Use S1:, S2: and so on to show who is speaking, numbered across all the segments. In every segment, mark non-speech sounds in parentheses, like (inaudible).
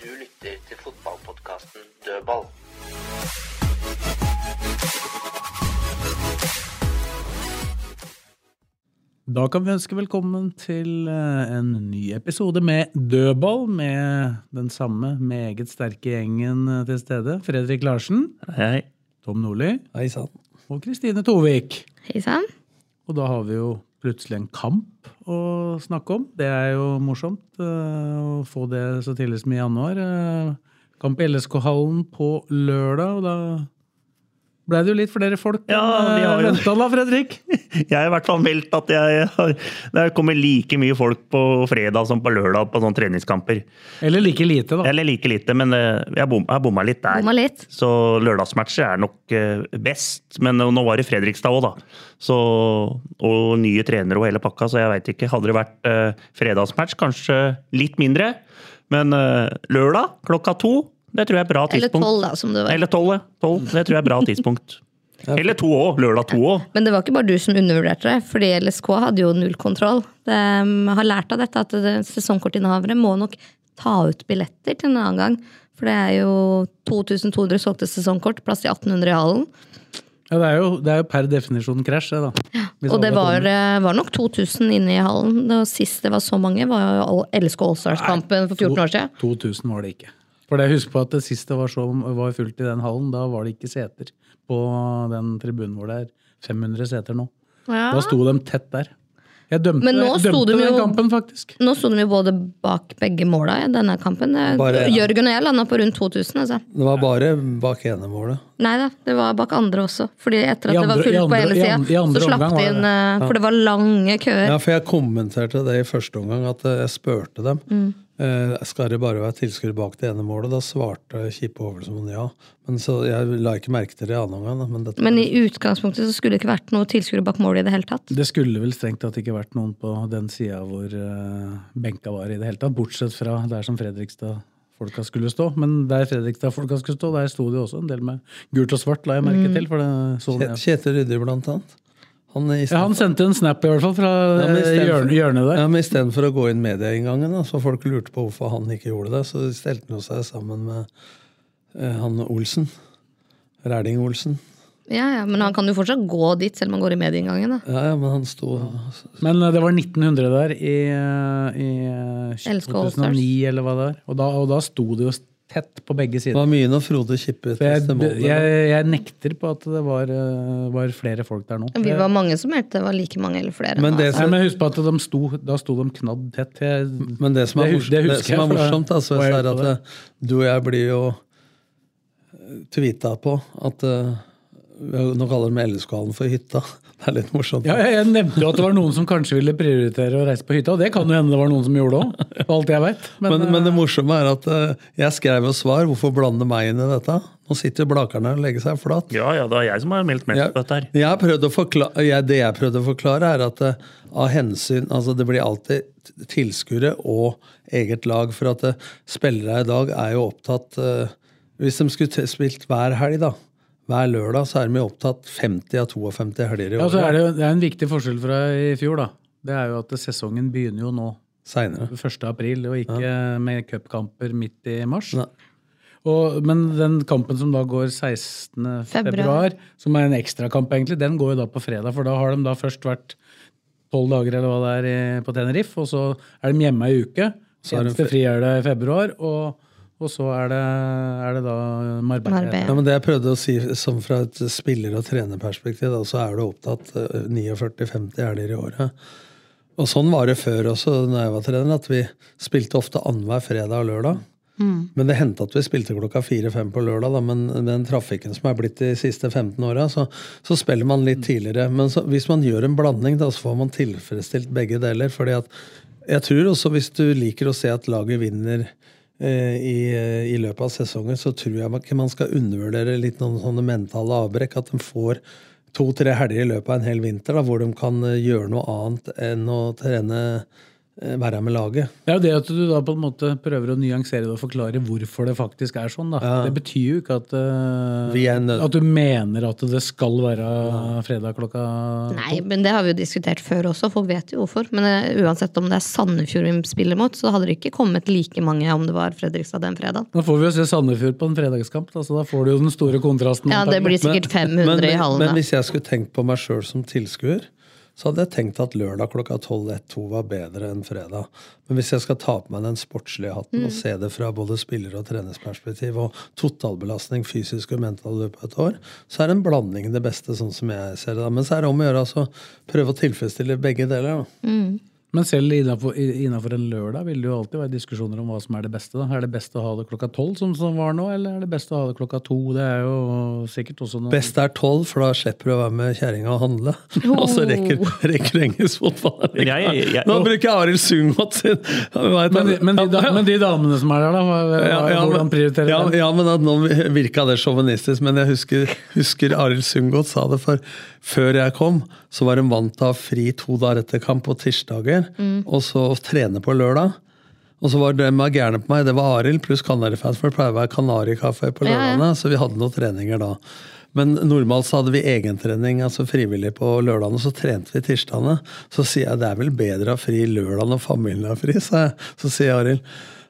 S1: Du lytter til fotballpodkasten Dødball.
S2: Da kan vi ønske velkommen til eh, en ny episode med dødball, med den samme meget sterke gjengen eh, til stede. Fredrik Larsen,
S3: Hei.
S2: Tom Nordli
S3: Hei sann.
S2: og Kristine Tovik.
S4: Hei sann.
S2: Og da har vi jo plutselig en kamp å snakke om. Det er jo morsomt eh, å få det så tidlig som i januar. Eh, Kamp i LSK-hallen på lørdag, og da ble det jo litt flere folk
S3: Ja, vi har jo-
S2: venta da, Fredrik.
S3: (laughs) Jeg har i hvert fall meldt at jeg har, det kommer like mye folk på fredag som på lørdag på sånne treningskamper.
S2: Eller like lite, da.
S3: Eller like lite, men eh, jeg bom, jeg bomma litt der.
S4: Bomma litt.
S3: Så lørdagsmatcher er nok eh, best. Men nå var det Fredrikstad òg, da. Så, og nye trenere og hele pakka, så jeg veit ikke. Hadde det vært eh, fredagsmatch, kanskje litt mindre. Men eh, lørdag klokka to, det tror jeg er bra
S4: Eller
S3: tidspunkt.
S4: tolv, da, som det var.
S3: Eller tolv, ja. Tolv. Det tror jeg er
S4: (laughs)
S3: bra tidspunkt. Eller to òg. Lørdag to òg.
S4: Men det var ikke bare du som undervurderte det, fordi LSK hadde jo null kontroll. De um, har lært av dette at det- sesongkortinnehavere må nok ta ut billetter til en annen gang. For det er jo 2200 solgte sesongkort, plass til 1800 i hallen.
S2: Ja, det, er jo, det er jo per definisjon krasj, det, da. Hvis
S4: Og det
S2: alle
S4: var,
S2: kommer.
S4: eh, var nok 2000 inne i hallen. Det sist det var så mange, var jo all- LSK Allstars-kampen for 14 år siden.
S2: 2000 var det ikke. For jeg husker på at det siste var, så, var fullt i den hallen. Da var det ikke seter på den tribunen hvor det er 500 seter nå. Da sto de tett der. Jeg dømte,
S4: Men nå
S2: jeg
S4: sto
S2: dømte
S4: de
S2: den
S4: jo-
S2: kampen, faktisk.
S4: Nå sto de jo både bak begge måla i denne kampen. Det-
S5: Bare-
S4: Jørgen og jeg landa på rundt 2000. altså.
S5: Det var bare bak ene målet.
S4: Nei da, det var bak andre også. Fordi etter at
S2: I andre-
S4: det var
S2: i
S4: fullt på
S2: andre-
S4: hele
S2: i
S4: sida,
S2: andre- i andre
S4: så slapp
S2: omgang
S4: de
S2: var
S4: inn
S2: det.
S4: eh, For det var lange køer.
S5: Ja, for jeg kommenterte det i første omgang, at eh, jeg spurte dem.
S4: Mm.
S5: Eh, skal det bare være tilskuere bak det ene målet? Da svarte Kippe Hovelsmoen ja. Men så Jeg la ikke merke til det i annen omgang. da, Men, dette,
S4: Men i utgangspunktet så skulle det ikke vært noe tilskuere bak målet i det hele tatt.
S2: Det skulle vel strengt tatt ikke vært noen på den sida hvor eh, benka var i det hele tatt, bortsett fra der som Fredrikstad-folka skulle stå. Men der Fredrikstad-folka skulle stå, der sto det jo også en del med gult og svart, la jeg merke til. For det så
S5: Ket-
S2: jeg.
S5: Kjetil Ryddi, blant annet. Han, i
S2: Ja, han sendte en snap i hvert fall fra
S5: Ja, men i
S2: eh,
S5: stedet for-
S2: hjørnet, hjørnet der.
S5: Ja, men Istedenfor å gå inn medieinngangen, da, så folk lurte på hvorfor han ikke gjorde det, så stelte han jo seg sammen med eh, han Olsen. Ræling-Olsen.
S4: Ja, ja, Men han kan jo fortsatt gå dit, selv om han går i medieinngangen. da.
S5: Ja, ja, men han sto
S2: Men eh, det var 1900 der i, eh, i eh,
S4: Elsker
S2: 2009, eller hva det er. Og da, og da sto det jo tett på begge
S5: Det
S2: sider.
S5: var mye når Frode Kippe
S2: Så jeg,
S5: til målet.
S2: jeg, jeg nekter på at det var, eh, var flere folk der nå.
S4: Vi var mange som meldte det var like mange eller flere.
S5: Men
S4: nå,
S5: det
S4: altså.
S2: Nei, men husk på at de sto, da sto de knadd tett. Jeg,
S5: Men det som er,
S2: Det hus-
S5: mors-
S2: det
S5: det
S2: husker
S5: som
S2: jeg, for
S5: er
S2: det
S5: morsomt, da, så
S2: var jeg
S5: er
S2: på
S5: at
S2: det.
S5: eh, du og jeg blir jo tweeta på at eh, Nå kaller de LSK-hallen for hytta. (laughs) Det er litt morsomt.
S2: ja, jeg, jeg nevnte jo at det var noen som kanskje ville prioritere å reise på hytta, og det kan jo hende det var noen som gjorde òg, for alt jeg veit. Men, eh,
S5: men, men det morsomme er at eh, jeg skrev jo svar. Hvorfor blande meg inn i dette? Nå sitter Blakerne og legger seg flat.
S3: Ja, ja, det er jeg som har meldt mest
S5: Jeg,
S3: på dette her.
S5: jeg har prøvd å forklare, jeg, det jeg prøvde å forklare, er at eh, av hensyn altså Det blir alltid t- tilskuere og eget lag. For at eh, spillere i dag er jo opptatt eh, Hvis de skulle t- spilt hver helg, da, hver lørdag, så er de jo opptatt 50 av 52 helger i
S2: ja,
S5: året.
S2: så er det, jo, det er en viktig forskjell fra i fjor, da. Det er jo at sesongen begynner jo nå.
S5: Senere.
S2: 1. april, og ikke med cupkamper midt i mars.
S5: Nei.
S2: Og, men den kampen som da går 16.
S4: Februar.
S2: februar, som er en ekstrakamp, egentlig, den går jo da på fredag. For da har de da først vært tolv dager eller hva det er i- på Tenerife, og så er de hjemme ei uke.
S5: Så er det
S2: Eneste
S5: fe-
S2: fri er det i februar, og, og så er det, er det da Marbella.
S4: Marbella.
S5: Ja, men Det jeg prøvde å si som fra et spiller- og trenerperspektiv, da, så er du opptatt eh, 49-50 helger i året. Og sånn var det før også, når jeg var trener, at vi spilte ofte annenhver fredag og lørdag. Men det hendte at vi spilte klokka fire-fem på lørdag, da, men med den trafikken som er blitt de siste 15 åra, så, så spiller man litt tidligere. Men så, hvis man gjør en blanding, da, så får man tilfredsstilt begge deler. fordi at Jeg tror også hvis du liker å se at laget vinner eh, i, i løpet av sesongen, så tror jeg man- ikke man skal undervurdere litt noen sånne mentale avbrekk. At de får to-tre helger i løpet av en hel vinter da, hvor de kan eh, gjøre noe annet enn å trene eh, være med laget.
S2: Det er jo det at du da på en måte prøver å nyansere det og forklare hvorfor det faktisk er sånn. da. Det betyr jo ikke at, eh,
S5: Vi er nød-
S2: at du mener at det skal være fredag klokka
S4: Nei, men det har vi jo diskutert før også, folk vet jo hvorfor. Men eh, uansett om det er Sandefjord vi spiller mot, så hadde det ikke kommet like mange om det var Fredrikstad den fredagen.
S2: Nå får vi jo se Sandefjord på en fredagskamp, da, så da får du jo den store kontrasten.
S4: Ja, det blir sikkert 500
S5: men,
S4: i hallen.
S5: Men
S4: da.
S5: hvis jeg skulle tenkt på meg sjøl som tilskuer, så hadde jeg tenkt at lørdag klokka 12-1-2 var bedre enn fredag. Men hvis jeg skal ta på meg den sportslige hatten
S4: Mm.
S5: og se det fra både spiller- og trenersperspektiv og totalbelastning fysisk og mental i løpet av et år, så er en blanding det beste, sånn som jeg ser det. da. Men så er det om å gjøre altså, prøve å tilfredsstille begge deler. da.
S2: Men selv innenfor, innenfor en lørdag vil det jo alltid være diskusjoner om hva som er det beste. da. Er det best å ha det klokka tolv, som det var nå, eller er det best å ha det klokka to? Det er jo sikkert også noe
S5: Best er tolv, for da slipper du å være med kjerringa og handle. Og så rekker, rekker du engelsk fotball.
S3: Men jeg- jeg- jeg-
S5: Nå bruker jeg Arild Sunngodt sin Hva heter
S2: men, de-
S5: han?
S2: men, de, da- men de damene som er der, da? Hva, hva,
S5: Ja, ja,
S2: hvordan
S5: men-
S2: prioriterer de?
S5: ja, ja, men at Nå virka det sjåvinistisk, men jeg husker, husker Arild Sundgodt sa det. For før jeg kom, så var hun vant til å ha fri to dager etter kamp på tirsdager,
S4: Mm.
S5: og så trene på lørdag. Og så var det de var gærne på meg, det var Arild pluss Kanarifans, for det pleier å være Kanarikafé på
S4: Ja, ja.
S5: lørdagene, så vi hadde noen treninger da. Men normalt så hadde vi egentrening, altså frivillig på lørdagene, så trente vi tirsdagene. Så sier jeg det er vel bedre å ha fri lørdag når familien har fri, sa jeg. Så sier Arild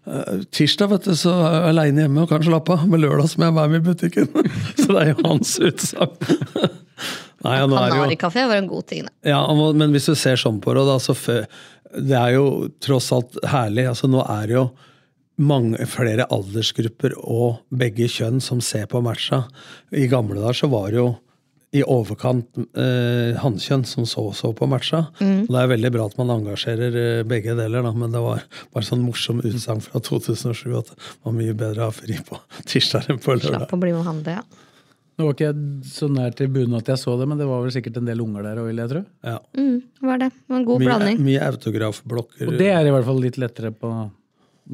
S5: «Eh, tirsdag vet du, så er jeg aleine hjemme og kan slappe av, men lørdag så må jeg være med i butikken. (laughs) så det er jo hans utsagn. (laughs) Nei, ja, nå er det jo-
S4: Kanarikafé var en god ting, da.
S5: ja, og- men hvis du ser sånn på det, da, så fø- det er jo tross alt herlig. Altså, nå er det jo mange, flere aldersgrupper og begge kjønn som ser på matcha. I gamle dager så var det jo i overkant eh, hannkjønn som så så på matcha.
S4: Mm.
S5: Og det er veldig bra at man engasjerer eh, begge deler, da, men det var bare sånn morsom utsagn fra 2007 at det var mye bedre å ha fri på (laughs) tirsdag enn på lørdag.
S4: Slapp å bli med og handle, ja.
S2: Nå var ikke jeg så nær til bunnen at jeg så det, men det var vel sikkert en del unger der òg, vil jeg tro.
S5: Ja.
S4: Mm, det var det. Det var en god
S5: Mye,
S4: blanding.
S5: mye autografblokker.
S2: Og det er i hvert fall litt lettere på å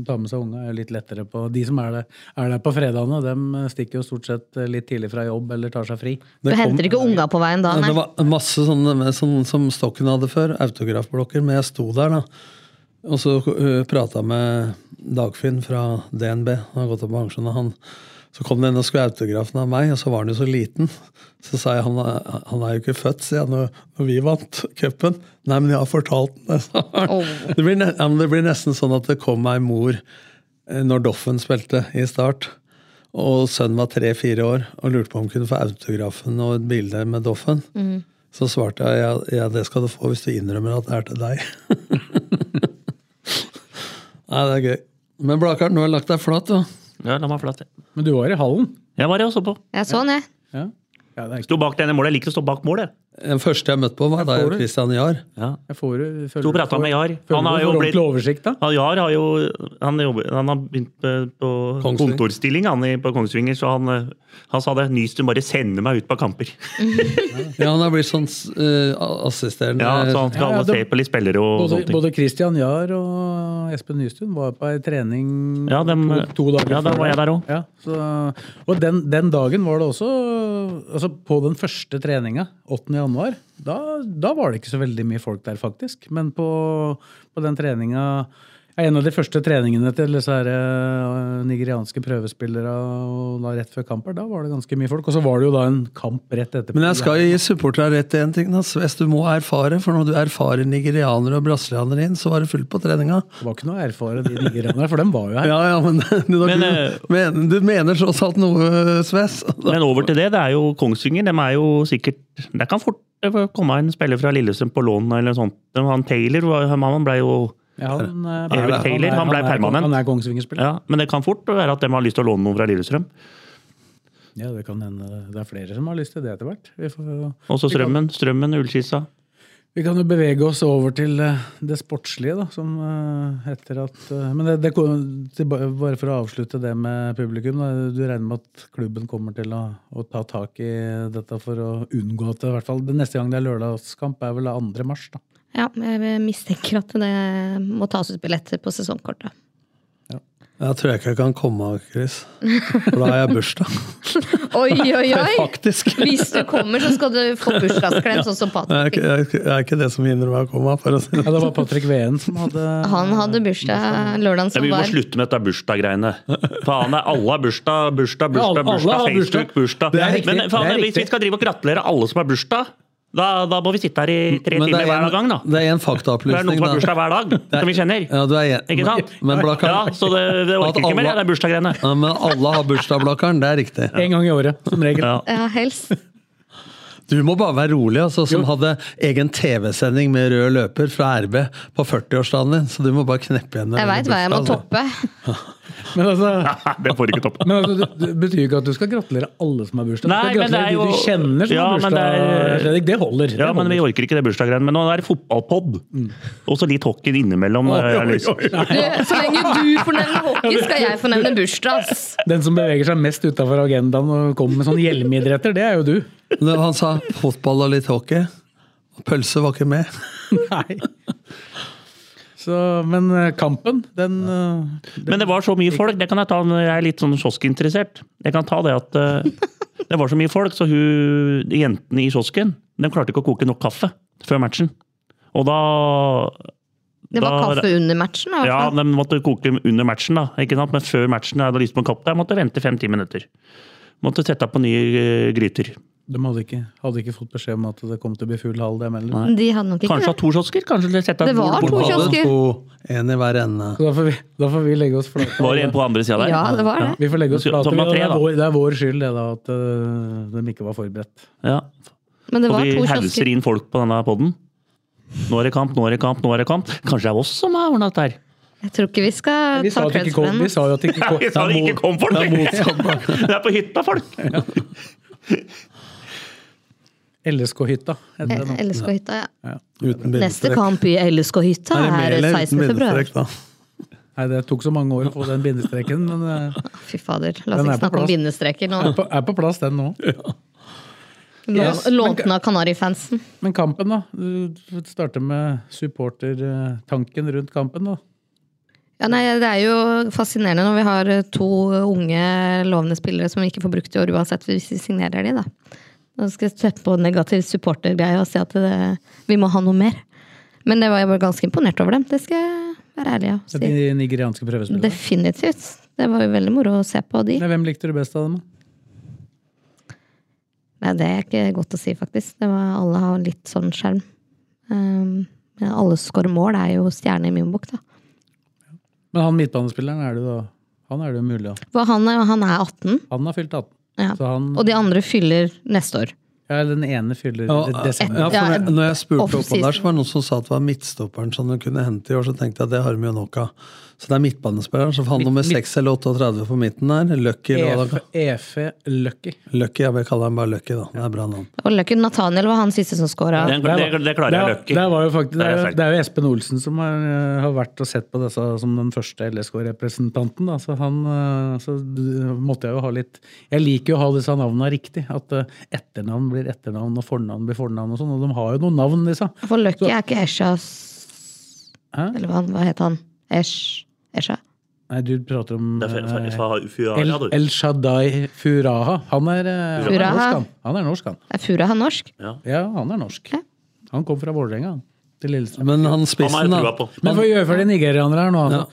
S2: ta med seg unga. er litt lettere på, De som er der, er der på fredagene, dem stikker jo stort sett litt tidlig fra jobb eller tar seg fri.
S4: Du
S5: Det kom-
S4: henter ikke unga på veien da,
S5: Ja,
S4: nei.
S5: det var masse sånne med, sånn, som Stokken hadde før, autografblokker. Men jeg sto der, da. Og så uh, prata med Dagfinn fra DNB, han har gått av med pensjon. og han- Så kom det en og skulle ha autografen av meg, og så var han jo så liten. Så sa jeg han er, han er jo ikke født, sier jeg, når, når vi vant cupen. Nei, men jeg har fortalt den (laughs) det, sa han.
S4: Åh.
S5: Det, blir ne ja, men det blir nesten sånn at det kom ei mor eh, når Doffen spilte i start. Og sønnen var tre-fire år og lurte på om han kunne få autografen og et bilde med Doffen. Så svarte jeg ja, ja, det skal du få hvis du innrømmer at det er til deg. (laughs) Nei, det er gøy. Men Blakkaren, du har lagt deg flat, du.
S3: Ja, la meg flat. jeg.
S2: Men du var i hallen?
S3: Jeg var det og så på.
S4: Jeg så den, jeg.
S2: Ja. ja det er ikke.
S3: Sto bak det ene målet. Jeg liker å stå bak målet.
S5: Den første jeg møtte på, var
S2: får
S5: deg og
S2: du.
S5: Christian Jahr.
S3: Ja.
S2: Jeg får, jo- føler,
S3: Sto og pratet
S2: får-
S3: med Jahr.
S2: føler
S3: Han har
S2: du
S3: jo
S2: får
S3: blitt-
S2: ordentlig oversikt, da.
S3: Han Jahr har jo han, jobber, han har begynt på- på
S5: Kongsvinger.
S3: kontorstilling han i- på Kongsvinger, så han, eh, han sa det. Nystuen bare sender meg ut på kamper. (laughs)
S5: Ja, han har blitt sånn eh, assisterende
S3: Ja, så han skal
S2: Ja, ja, det-
S3: se på litt spillere og
S2: Både,
S3: sånne ting.
S2: både Christian Jahr og Espen Nystuen var på ei trening
S3: Ja, dem-
S2: to, to dager
S3: ja, da
S2: før
S3: var jeg
S2: det.
S3: der også.
S2: Ja, så- og den, den dagen var det også altså På den første treninga, 8. januar, da, da var det ikke så veldig mye folk der, faktisk. Men på, på den treninga ja, En av de første treningene til disse her, eh, nigerianske prøvespillere og da rett før kamper, da var det ganske mye folk. Og så var det jo da en kamp rett etterpå.
S5: Men jeg skal jo gi supporterne rett i én ting. Da. Hvis du må erfare, for når du erfarer nigerianere og brasilianere inn, så var det fullt på treninga.
S2: Det var ikke noe å erfare de nigerianerne, for dem var jo her.
S5: Ja, ja, men, (laughs) du,
S3: Men, eh,
S5: men, du mener tross alt noe, Sves.
S3: Men over til det. Det er jo Kongsvinger. De er jo sikkert Det kan fort komme en spiller fra Lillestrøm på lån eller noe sånt. Han Taylor var- han ble jo
S2: Ja, han, eh,
S3: David
S2: han er-
S3: Taylor, han ble
S2: er-
S3: permanent.
S2: Han er Kongsvinger-spiller.
S3: ja, Men det kan fort være at de har lyst til å låne noen fra Lillestrøm.
S2: Ja, det kan hende det er flere som har lyst til det etter hvert. Vi, får,
S3: Også Strømmen, Strømmen, Ullskissa.
S2: vi kan jo bevege oss over til eh, det sportslige, da, som eh, etter at eh, Men det, det, kom- til- bare for å avslutte det med publikum. Da, du regner med at klubben kommer til å, å ta tak i dette for å unngå at det, i hvert fall, det neste gang det er lørdagskamp, er vel 2. mars, da.
S4: Ja, jeg mistenker at det må tas ut billetter på sesongkortet.
S5: Jeg tror jeg ikke jeg kan komme, Chris. For da har jeg bursdag.
S3: (laughs)
S4: Oi, oi, oi!
S5: Faktisk.
S4: Hvis du kommer, så skal du få bursdagsklem, sånn som
S5: Det er,
S4: Patrick.
S5: ikke, det er ikke- det er ikke det som hindrer meg å komme. For å si
S2: Ja,
S5: det. sånn.
S2: det var Patrick Veen som hadde
S4: Han hadde bursdag lørdagen
S3: Ja,
S4: som
S3: vi må
S4: var.
S3: slutte med dette bursdaggreiene. Faen, det er alle har bursdag, bursdag,
S2: Ja, alle-
S3: bursdag,
S2: alle
S3: bursdag,
S2: har bursdag.
S3: Facebook, bursdag.
S2: Det er riktig,
S3: Men faen,
S2: det er
S3: hvis vi
S2: riktig.
S3: skal drive og gratulere alle som har bursdag, da, da må vi sitte her i tre
S5: Men
S3: timer
S5: det er
S3: hver gang, da.
S5: en, det er
S3: Det er
S5: en
S3: noen
S5: faktaopplysning.
S3: som har
S5: da.
S3: bursdag hver dag, som vi kjenner.
S5: Ja, du er en,
S3: Ikke sant?
S5: Men, blakkaren,
S3: Ja, så det, det
S5: At
S3: orker ikke mer,
S5: alle-
S3: ja, det er bursdaggreiene.
S5: ja, men alle har bursdag, Blakkaren. Det er riktig.
S2: en gang i året, som regel.
S3: Ja.
S4: Ja, helst.
S5: Du må bare være rolig, altså, som
S2: Jo.
S5: hadde egen TV-sending med rød løper fra RB på 40-årsdagen din. Så du må bare kneppe igjen. når
S4: Jeg
S5: det
S4: veit
S5: blir
S4: hva jeg må
S5: bursdag, altså.
S4: toppe.
S2: Men altså,
S3: Det får ikke toppe.
S2: men altså det, det betyr jo ikke at du skal gratulere alle som har bursdag. Du
S3: Nei,
S2: skal
S3: men det er
S2: gratulere de
S3: jo-
S2: du kjenner som
S3: Ja,
S2: har
S3: men
S2: bursdag.
S3: det er-
S2: Fredrik, det holder.
S3: Ja,
S2: det
S3: men vi
S2: holder.
S3: orker ikke det bursdaggreiene. Men nå er det fotballpod. Og så litt hockey innimellom.
S2: Oi,
S3: eh, jeg har lyst.
S2: oi, oi.
S4: Du, så lenge du fornevner hockey, skal jeg fornevne bursdag. ass.
S2: Den som beveger seg mest utafor agendaen og kommer med sånne hjelmeidretter, det er jo du.
S5: Når han sa fotball og litt hockey. Pølse var ikke med.
S2: Nei. Så, men eh, kampen, den eh,
S3: Men det var så mye folk. Det kan jeg ta når jeg er litt sånn kioskinteressert. Jeg kan ta det at eh, (laughs) det var så mye folk, så hun, de jentene i kiosken de klarte ikke å koke nok kaffe før matchen. Og da
S4: Det var
S3: da-
S4: kaffe under matchen. i hvert
S3: Ja,
S4: fall.
S3: de måtte koke under matchen, da. Ikke sant? Men før matchen jeg hadde lyst på en kopp der, måtte jeg vente fem-ti minutter. Måtte sette opp på nye eh, gryter.
S2: De hadde ikke, hadde ikke fått beskjed om at det kom til å bli full hall, dem heller.
S4: De hadde nok ikke
S3: Kanskje ha
S4: det.
S3: to kiosker? Kanskje de sette
S4: Det
S3: et
S4: var
S3: bord
S4: to
S3: på
S5: Hadde
S4: kiosker.
S5: to, en i hver ende.
S2: Så da får vi, da får vi legge oss flate.
S3: Var det en på andre sida der?
S4: Ja, det var det.
S2: Vi får legge oss
S3: Så-
S2: flate.
S3: så man
S2: og Det
S3: tre,
S2: er
S3: da.
S2: vår, det er vår skyld det da, at eh, de ikke var forberedt.
S3: Ja.
S4: Men det
S3: Og
S4: var
S3: vi
S4: to
S3: hauser
S4: kiosker.
S3: inn folk på denne poden. Nå er det kamp, nå er det kamp, nå er det kamp. Kanskje det er oss som har ordna dette her?
S4: Jeg tror ikke vi skal
S2: Vi sa,
S4: ta
S2: at det
S4: kreds
S2: ikke kom,
S4: for
S2: vi
S4: den.
S2: sa jo at det ikke
S3: (laughs)
S2: kom.
S3: Jeg sa det
S2: (laughs) Nei,
S3: ikke
S2: mot-
S3: kom folk!
S5: Det er
S2: (laughs)
S5: motstand, da.
S3: Det er på hytta, folk!
S2: LSK-hytta. heter det nå.
S4: LSK-hytta, ja.
S5: Uten bildestrek.
S4: Neste kamp i LSK-hytta
S5: Er det med
S4: er
S5: eller uten
S4: 16. februar.
S5: bildestrek, da?
S2: Nei, det tok så mange år å få den bindestreken, men eh,
S4: Fy fader, la oss
S2: Den er
S4: ikke
S2: på
S4: snakke om
S2: plass.
S4: bindestreker nå.
S2: er på, er på plass, den nå. Yes,
S4: Lå-
S2: men-
S4: Låten av Kanarifansen.
S2: Men kampen, da. Du starter med supportertanken rundt kampen, da.
S4: Ja, nei, det er jo fascinerende når vi har eh, to unge lovende spillere som vi ikke får brukt i år uansett hvis vi signerer de, da. Nå skal jeg sette på negativ supportergreie og si at det, vi må ha noe mer. Men det var jeg var ganske imponert over dem, det skal jeg være ærlig og si.
S2: De nigerianske prøvespillene.
S4: Definitivt. Det var jo veldig moro å se på de.
S2: Nei, Hvem likte du best av dem?
S4: Nei, det er ikke godt å si, faktisk. Det var, alle har litt sånn skjerm. Um, men alle skårer mål, det er jo stjerne i min bok, da.
S2: Men han midtbanespilleren er det da Han er det jo mulig å
S4: For han, er- han er 18,
S2: Han har fylt 18.
S4: ja.
S2: Så han
S4: og de andre fyller neste år.
S2: ja, Den ene fyller
S5: Ja,
S2: i
S3: eh,
S2: desember.
S5: ja, for
S4: Ja,
S5: når- når jeg spurte opp
S4: offseason.
S5: der, så var det noen som sa at det var midtstopperen som de kunne hente i år. Så tenkte jeg at det har de jo nok av. Så det er midtbanespilleren. Så han nummer 6 eller 38 på midten der. Lucky,
S3: E
S5: eller hva
S2: EF,
S5: det-
S2: EF Lucky.
S5: Lucky, jeg vil kalle ham bare Lucky, da. Det er bra navn.
S4: Og Løkken Nathaniel var han siste som scora.
S3: Det, det, det klarer jeg
S2: Det, var jo faktisk, det,
S3: Der er
S2: er,
S3: jeg
S2: jo-
S3: sterk.
S2: det er jo Espen Olsen som har, eh, har vært og sett på disse som den første LSK-representanten. da, Så han eh, så d- måtte jeg jo ha litt Jeg liker jo å ha disse navnene riktig. At eh, etternavn blir etternavn, og fornavn blir fornavn og sånn. Og de har jo noen navn, disse.
S4: For Løkken er ikke Esha s-
S2: Hæ?
S4: Eller hva, han- hva het han? Esh? Esha?
S2: Nei, du prater om eh, El,
S3: løkker.
S2: El Shaddai Furaha. Han er, eh, han er
S4: Furaha.
S2: norsk, han. Han er norsk, han.
S4: Er Fura han norsk?
S2: Ja, han er norsk.
S4: Ja.
S2: Han kom fra Vålerenga, han. Til Lillestrøm.
S5: Men han spissen, da.
S2: Men hva gjør for de nigerianere her nå? Altså.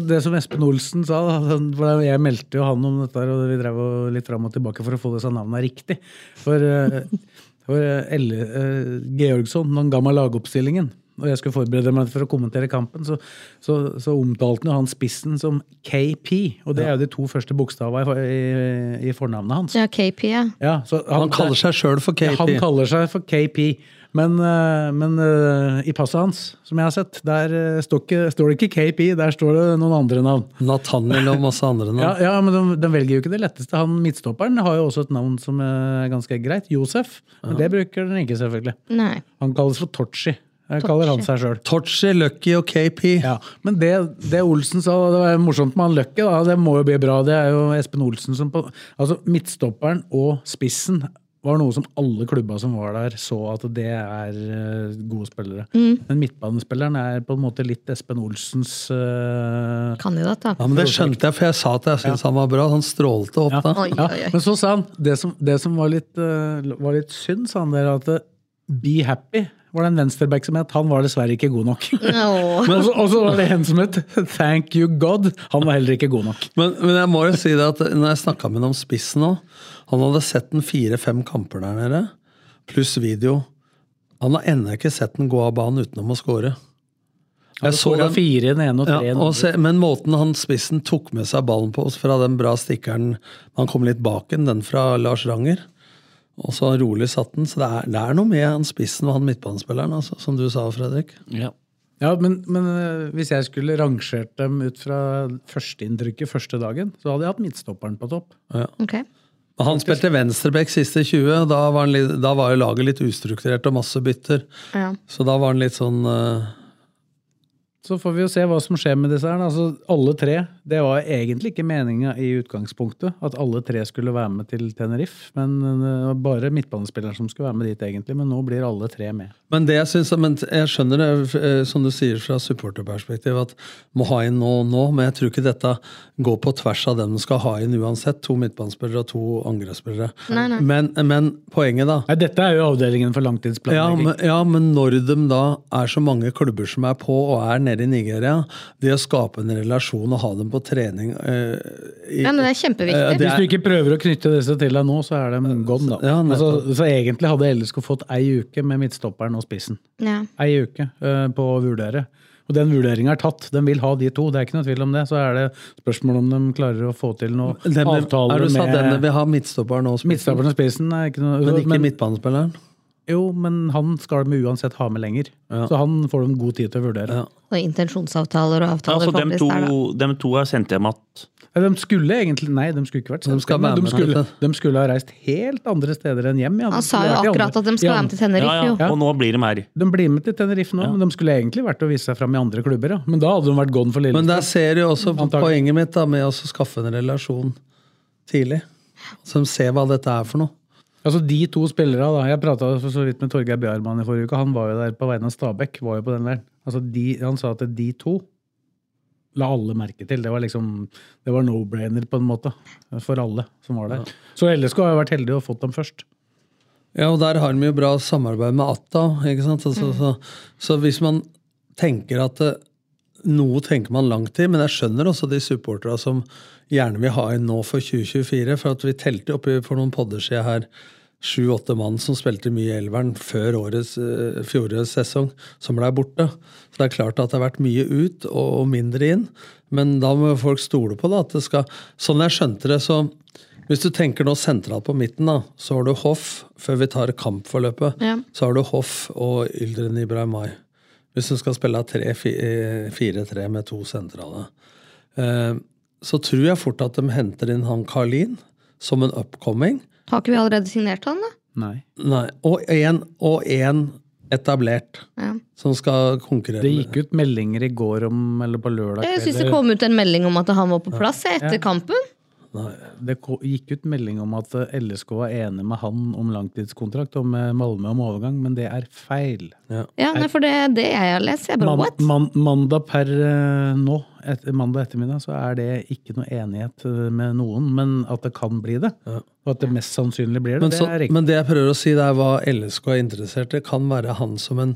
S2: Så det som Espen Olsen sa, da, han- for da- jeg meldte jo han om dette, her, og vi drev jo litt fram og tilbake for å få disse navnene riktig. For, eh, for eh, Elle eh, Georgsson, den gamle lagoppstillingen, og jeg skulle forberede meg for å kommentere kampen, så, så, så omtalte han jo han spissen som KP, og det er jo de to første bokstavene i, for- i, i fornavnet hans.
S4: Ja, KP, ja.
S2: Ja, så
S5: Han kaller seg sjøl for
S2: ja, Han
S5: KP.
S2: kaller seg for KP, men, eh, men eh, i passet hans, som jeg har sett, der eh, står, ikke, står det ikke KP, der står det noen andre navn.
S5: Nathaniel og masse andre
S2: Ja,
S5: navn.
S2: ja men de, de velger jo ikke det letteste. Han midtstopperen har jo også et navn som eh, er ganske greit, Josef. Men det bruker den ikke, selvfølgelig.
S4: Nei.
S2: Han kalles for Torchi. Det kaller han seg sjøl.
S5: Torchi, Lucky og KP.
S2: Ja, Men det, det Olsen sa, det var morsomt med han Løkke, da. Det må jo bli bra. Det er jo Espen Olsen som på Altså, midtstopperen og spissen var noe som alle klubba som var der, så at det er eh, gode spillere. Men midtbanespilleren er på en måte litt Espen Olsens eh,
S4: Kandidat, da.
S5: Ja, men Det skjønte jeg, for jeg sa at jeg syntes han var bra. så Han strålte opp da.
S4: Oi, oi,
S2: ja,
S4: oi.
S2: Men så sa han det som, det som var, litt, eh, var litt synd, sa han der, at eh, Be Happy var det en venstreback som het. Han var dessverre ikke god nok.
S4: Åh.
S2: (laughs) Men også- Og så var det en som het Thank You God. Han var heller ikke god nok.
S5: Men, men jeg må jo si det at når jeg snakka med ham om spissen nå Han hadde sett den fire-fem kamper der nede, pluss video. Han har ennå ikke sett den gå av banen utenom å score. Jeg så
S2: Skåra
S5: den-
S2: fire i den ene og
S5: Ja,
S2: tre i den
S5: og
S2: andre.
S5: se, men måten han spissen tok med seg ballen på fra den bra stikkeren Han kom litt bak den, den fra Lars Ranger. Og så rolig satt den. Så det er, det er noe med han spissen og han midtbanespilleren, altså, som du sa, Fredrik.
S2: Ja. Ja, men, men eh, hvis jeg skulle rangert dem ut fra førsteinntrykket første dagen, så hadde jeg hatt midtstopperen på topp.
S4: Ok.
S5: Og Han spilte venstreback siste 20. og Da var, han, litt- da var jo laget litt ustrukturert og masse bytter.
S4: Ja.
S5: Så da var han litt sånn eh,
S2: Så får vi jo se hva som skjer med disse her. da. Altså, alle tre. Det var egentlig ikke meninga i utgangspunktet at alle tre skulle være med til Tenerife. Men eh, det var bare midtbanespilleren som skulle være med dit, egentlig. Men nå blir alle tre med.
S5: Men det jeg synes, men jeg skjønner det, eh, som du sier fra supporterperspektiv, at må ha inn nå og nå, men jeg tror ikke dette går på tvers av dem du skal ha inn uansett. To midtbanespillere og to angrepsspillere. Men, men poenget, da.
S2: Nei, dette er jo avdelingen for
S5: Ja
S2: langtidsplanlegging.
S5: men, ja, men når de da er så mange klubber som er på og er nede i Nigeria, det å skape en relasjon og ha dem på trening eh, i,
S4: Ja, men det er kjempeviktig.
S5: Eh, det er- Eh,
S2: Hvis du ikke prøver å knytte disse til deg nå, så er de gone, da.
S5: Ja, nettopp.
S2: altså, så egentlig hadde LSK fått ei uke med midtstopperen og spissen.
S4: Ja.
S2: Ei uke eh, på å vurdere. Og den vurderinga er tatt. De vil ha de to, det er ikke noe tvil om det. Så er det spørsmål om de klarer å få til noe
S5: Dem- er
S2: avtaler
S5: du sa denne
S2: med
S5: vil ha midtstopperen og spissen,
S2: Midtstopperen og spissen er ikke noe
S5: men ikke midtbanespilleren?
S2: Jo, men han skal de uansett ha med lenger. Så han får de god tid til å vurdere.
S5: Ja.
S4: Og intensjonsavtaler og avtaler,
S3: Altså, dem,
S4: faktisk.
S3: to,
S4: der, da.
S3: dem to har sendt hjem at
S2: Nei, De skulle egentlig Nei, de skulle ikke vært
S5: De skal
S2: selvstendige.
S5: være med,
S2: de,
S5: dette.
S2: skulle, de skulle ha reist helt andre steder enn hjem. Ja. De
S4: Han sa
S2: skulle vært
S4: jo
S2: i
S4: akkurat
S2: andre-
S4: at de
S2: i
S4: skal være med til Tenerife,
S3: ja,
S4: jo.
S3: ja, Og nå blir de her.
S2: De blir med til Tenerife nå, men de skulle egentlig vært å vise seg fram i andre klubber. Ja. Men da hadde de vært gone for
S5: Men
S2: Lillestrøm.
S5: der ser du også på
S2: Antagelig.
S5: poenget mitt da, med å skaffe en relasjon tidlig. Så de ser hva dette er for noe.
S2: Altså de to spillere, da. Jeg prata så vidt med Torgeir Bjarmann i forrige uke. Han var jo der på vegne av Stabæk. var jo på den der. Altså de, Han sa at de to la alle merke til. Det var liksom, det var no-brainer på en måte for alle som var der. Så LSK har jo vært heldige og fått dem først.
S5: Ja, og der har de jo bra samarbeid med Atta. ikke sant? Altså, så, så hvis man tenker at eh, noe tenker man langt i, men jeg skjønner også de supporterne som gjerne vil ha inn nå for 2024. For at vi telte oppi for noen podder siden her sju-åtte mann som spilte mye i Elveren før årets, eh, fjorårets sesong, som ble borte. Så det er klart at det har vært mye ut og, og mindre inn. Men da må folk stole på det. at det skal... Sånn jeg skjønte det, så hvis du tenker nå sentralt på midten, da, så har du Hoff før vi tar kampforløpet.
S4: Ja.
S5: Så har du Hoff og Yldren Ibrahimai. Hvis du skal spille 4-3 med to sentrale. Eh, Så tror jeg fort at de henter inn han Karlin som en upcoming.
S4: Har ikke vi allerede signert han, da?
S2: Nei.
S5: Nei, og en, og en etablert
S4: Ja.
S5: som skal konkurrere.
S2: Det
S5: med-
S2: gikk ut meldinger i går om, eller på lørdag
S4: Jeg syns det
S2: eller-
S4: kom ut en melding om at han var på plass jeg, etter kampen.
S2: Det ko- gikk ut melding om at eh, LSK var enig med han om langtidskontrakt og med Malmö om overgang, men det er feil.
S4: Ja, nei, for det, det jeg har lest, jeg bare
S2: Man,
S4: what?
S2: man, mandag per eh, nå, et, mandag ettermiddag, så er det ikke noe enighet eh, med noen, men at det kan bli det, og at det mest sannsynlig blir det,
S5: Men, så,
S2: det er riktig.
S5: men det jeg prøver å si, det er hva LSK er interessert i. Kan være han som en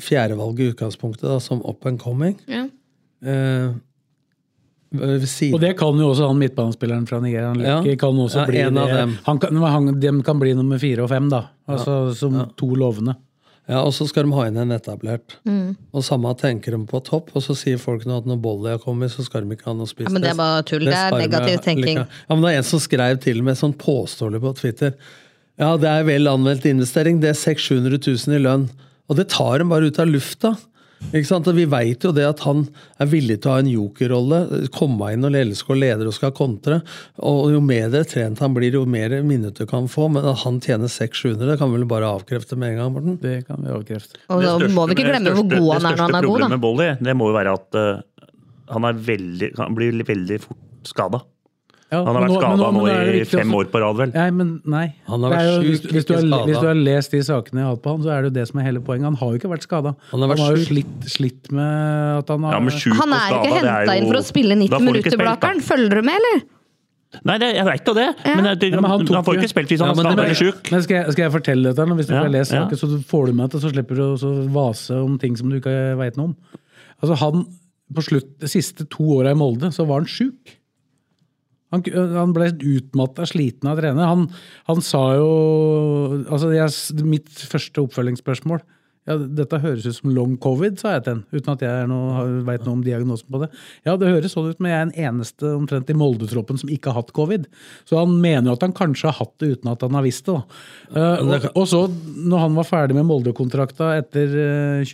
S5: fjerdevalg i utgangspunktet, da, som up and coming.
S4: Ja.
S5: Eh, ved
S2: Og
S5: siden
S2: det kan jo også han midtbanespilleren fra Nigeria. Han
S5: Ja.
S2: Lucky, kan også
S5: Ja,
S2: bli
S5: en av
S2: det.
S5: dem.
S2: Han kan, han, dem kan bli nummer fire og fem, da. Altså som to lovende.
S5: Ja, og så skal de ha inn en etablert.
S4: Mm.
S5: Og samme tenker de på topp, og så sier folk nå at når Bolly har kommet, så skal de ikke ha noe spist.
S4: Ja, men det er bare tull. Det er
S5: sparer meg
S4: negativ tenking.
S5: likevel. Ja, men det er en som skrev til og med sånn påståelig på Twitter. Ja, det er vel anvendt investering. Det er 600 000 i lønn. Og det tar dem bare ut av lufta. Ikke sant? Og vi veit jo det at han er villig til å ha en jokerrolle. Komme inn når LSK leder og skal kontre. Og jo mer trent han blir, jo mer minutter kan han få. Men at han tjener 600, det kan vi vel bare avkrefte med en gang, Morten?
S2: Det kan vi avkrefte.
S4: Og
S3: Det
S4: da
S3: største-
S4: må vi ikke
S3: det
S4: glemme hvor
S3: største-
S4: god han er når
S3: Det
S4: han er
S3: største
S4: god,
S3: problemet
S4: da.
S3: med Bolly, det må jo være at eh, han, er veldig, han blir veldig fort skada.
S2: Ja,
S3: Han har
S2: men
S3: vært
S2: nå- men
S3: skada
S2: nå-
S3: nå
S2: men nå er
S3: i
S2: det viktig
S3: fem
S2: også-
S3: år på rad, vel.
S2: Nei, men nei.
S5: Han har
S2: Det er
S5: vært
S2: jo- hvis,
S5: sjukt
S2: hvis, du har,
S5: lite skadet.
S2: hvis du har lest de sakene jeg har hatt på han, så er det jo det som er hele poenget. Han har jo ikke vært skada.
S5: Han
S2: Han
S5: har
S2: har,
S5: vært
S2: jo
S5: sjuk.
S2: slitt, slitt med at han har
S3: Ja, men sjuk
S4: Han
S3: og
S4: er ikke
S3: skada, det
S4: henta
S3: jo-
S4: inn for å spille
S3: Da får du
S4: 90
S3: ikke
S4: minutter,
S3: spilt, da.
S4: Blakeren. Følger du med, eller?
S3: Nei, det, jeg veit jo det, men, det,
S2: Ja, men han
S3: han,
S2: tok
S3: får
S2: jo-
S3: ikke spilt hvis han
S5: Ja,
S3: er
S5: men det
S3: skada
S5: ble-
S3: eller sjuk.
S2: Men skal jeg, skal jeg fortelle dette, nå? hvis du
S3: Ja,
S2: ikke har lest
S3: ja.
S2: saken, så får du med deg det, så slipper du å så vase om ting som du ikke veit noe om. Altså han, på slutt, De siste to åra i Molde så var han sjuk. Han, ku- han ble utmatta, sliten av å trene. Han, han sa jo altså jeg, s- Mitt første oppfølgingsspørsmål ja, Dette høres ut som long covid, sa jeg til han, uten at jeg er noe, vet noe om diagnosen på det. Ja, det høres sånn ut, men jeg er den eneste omtrent i Molde-troppen som ikke har hatt covid. Så han mener jo at han kanskje har hatt det uten at han har visst det. da. Eh, og, og så, når han var ferdig med Molde-kontrakta etter eh,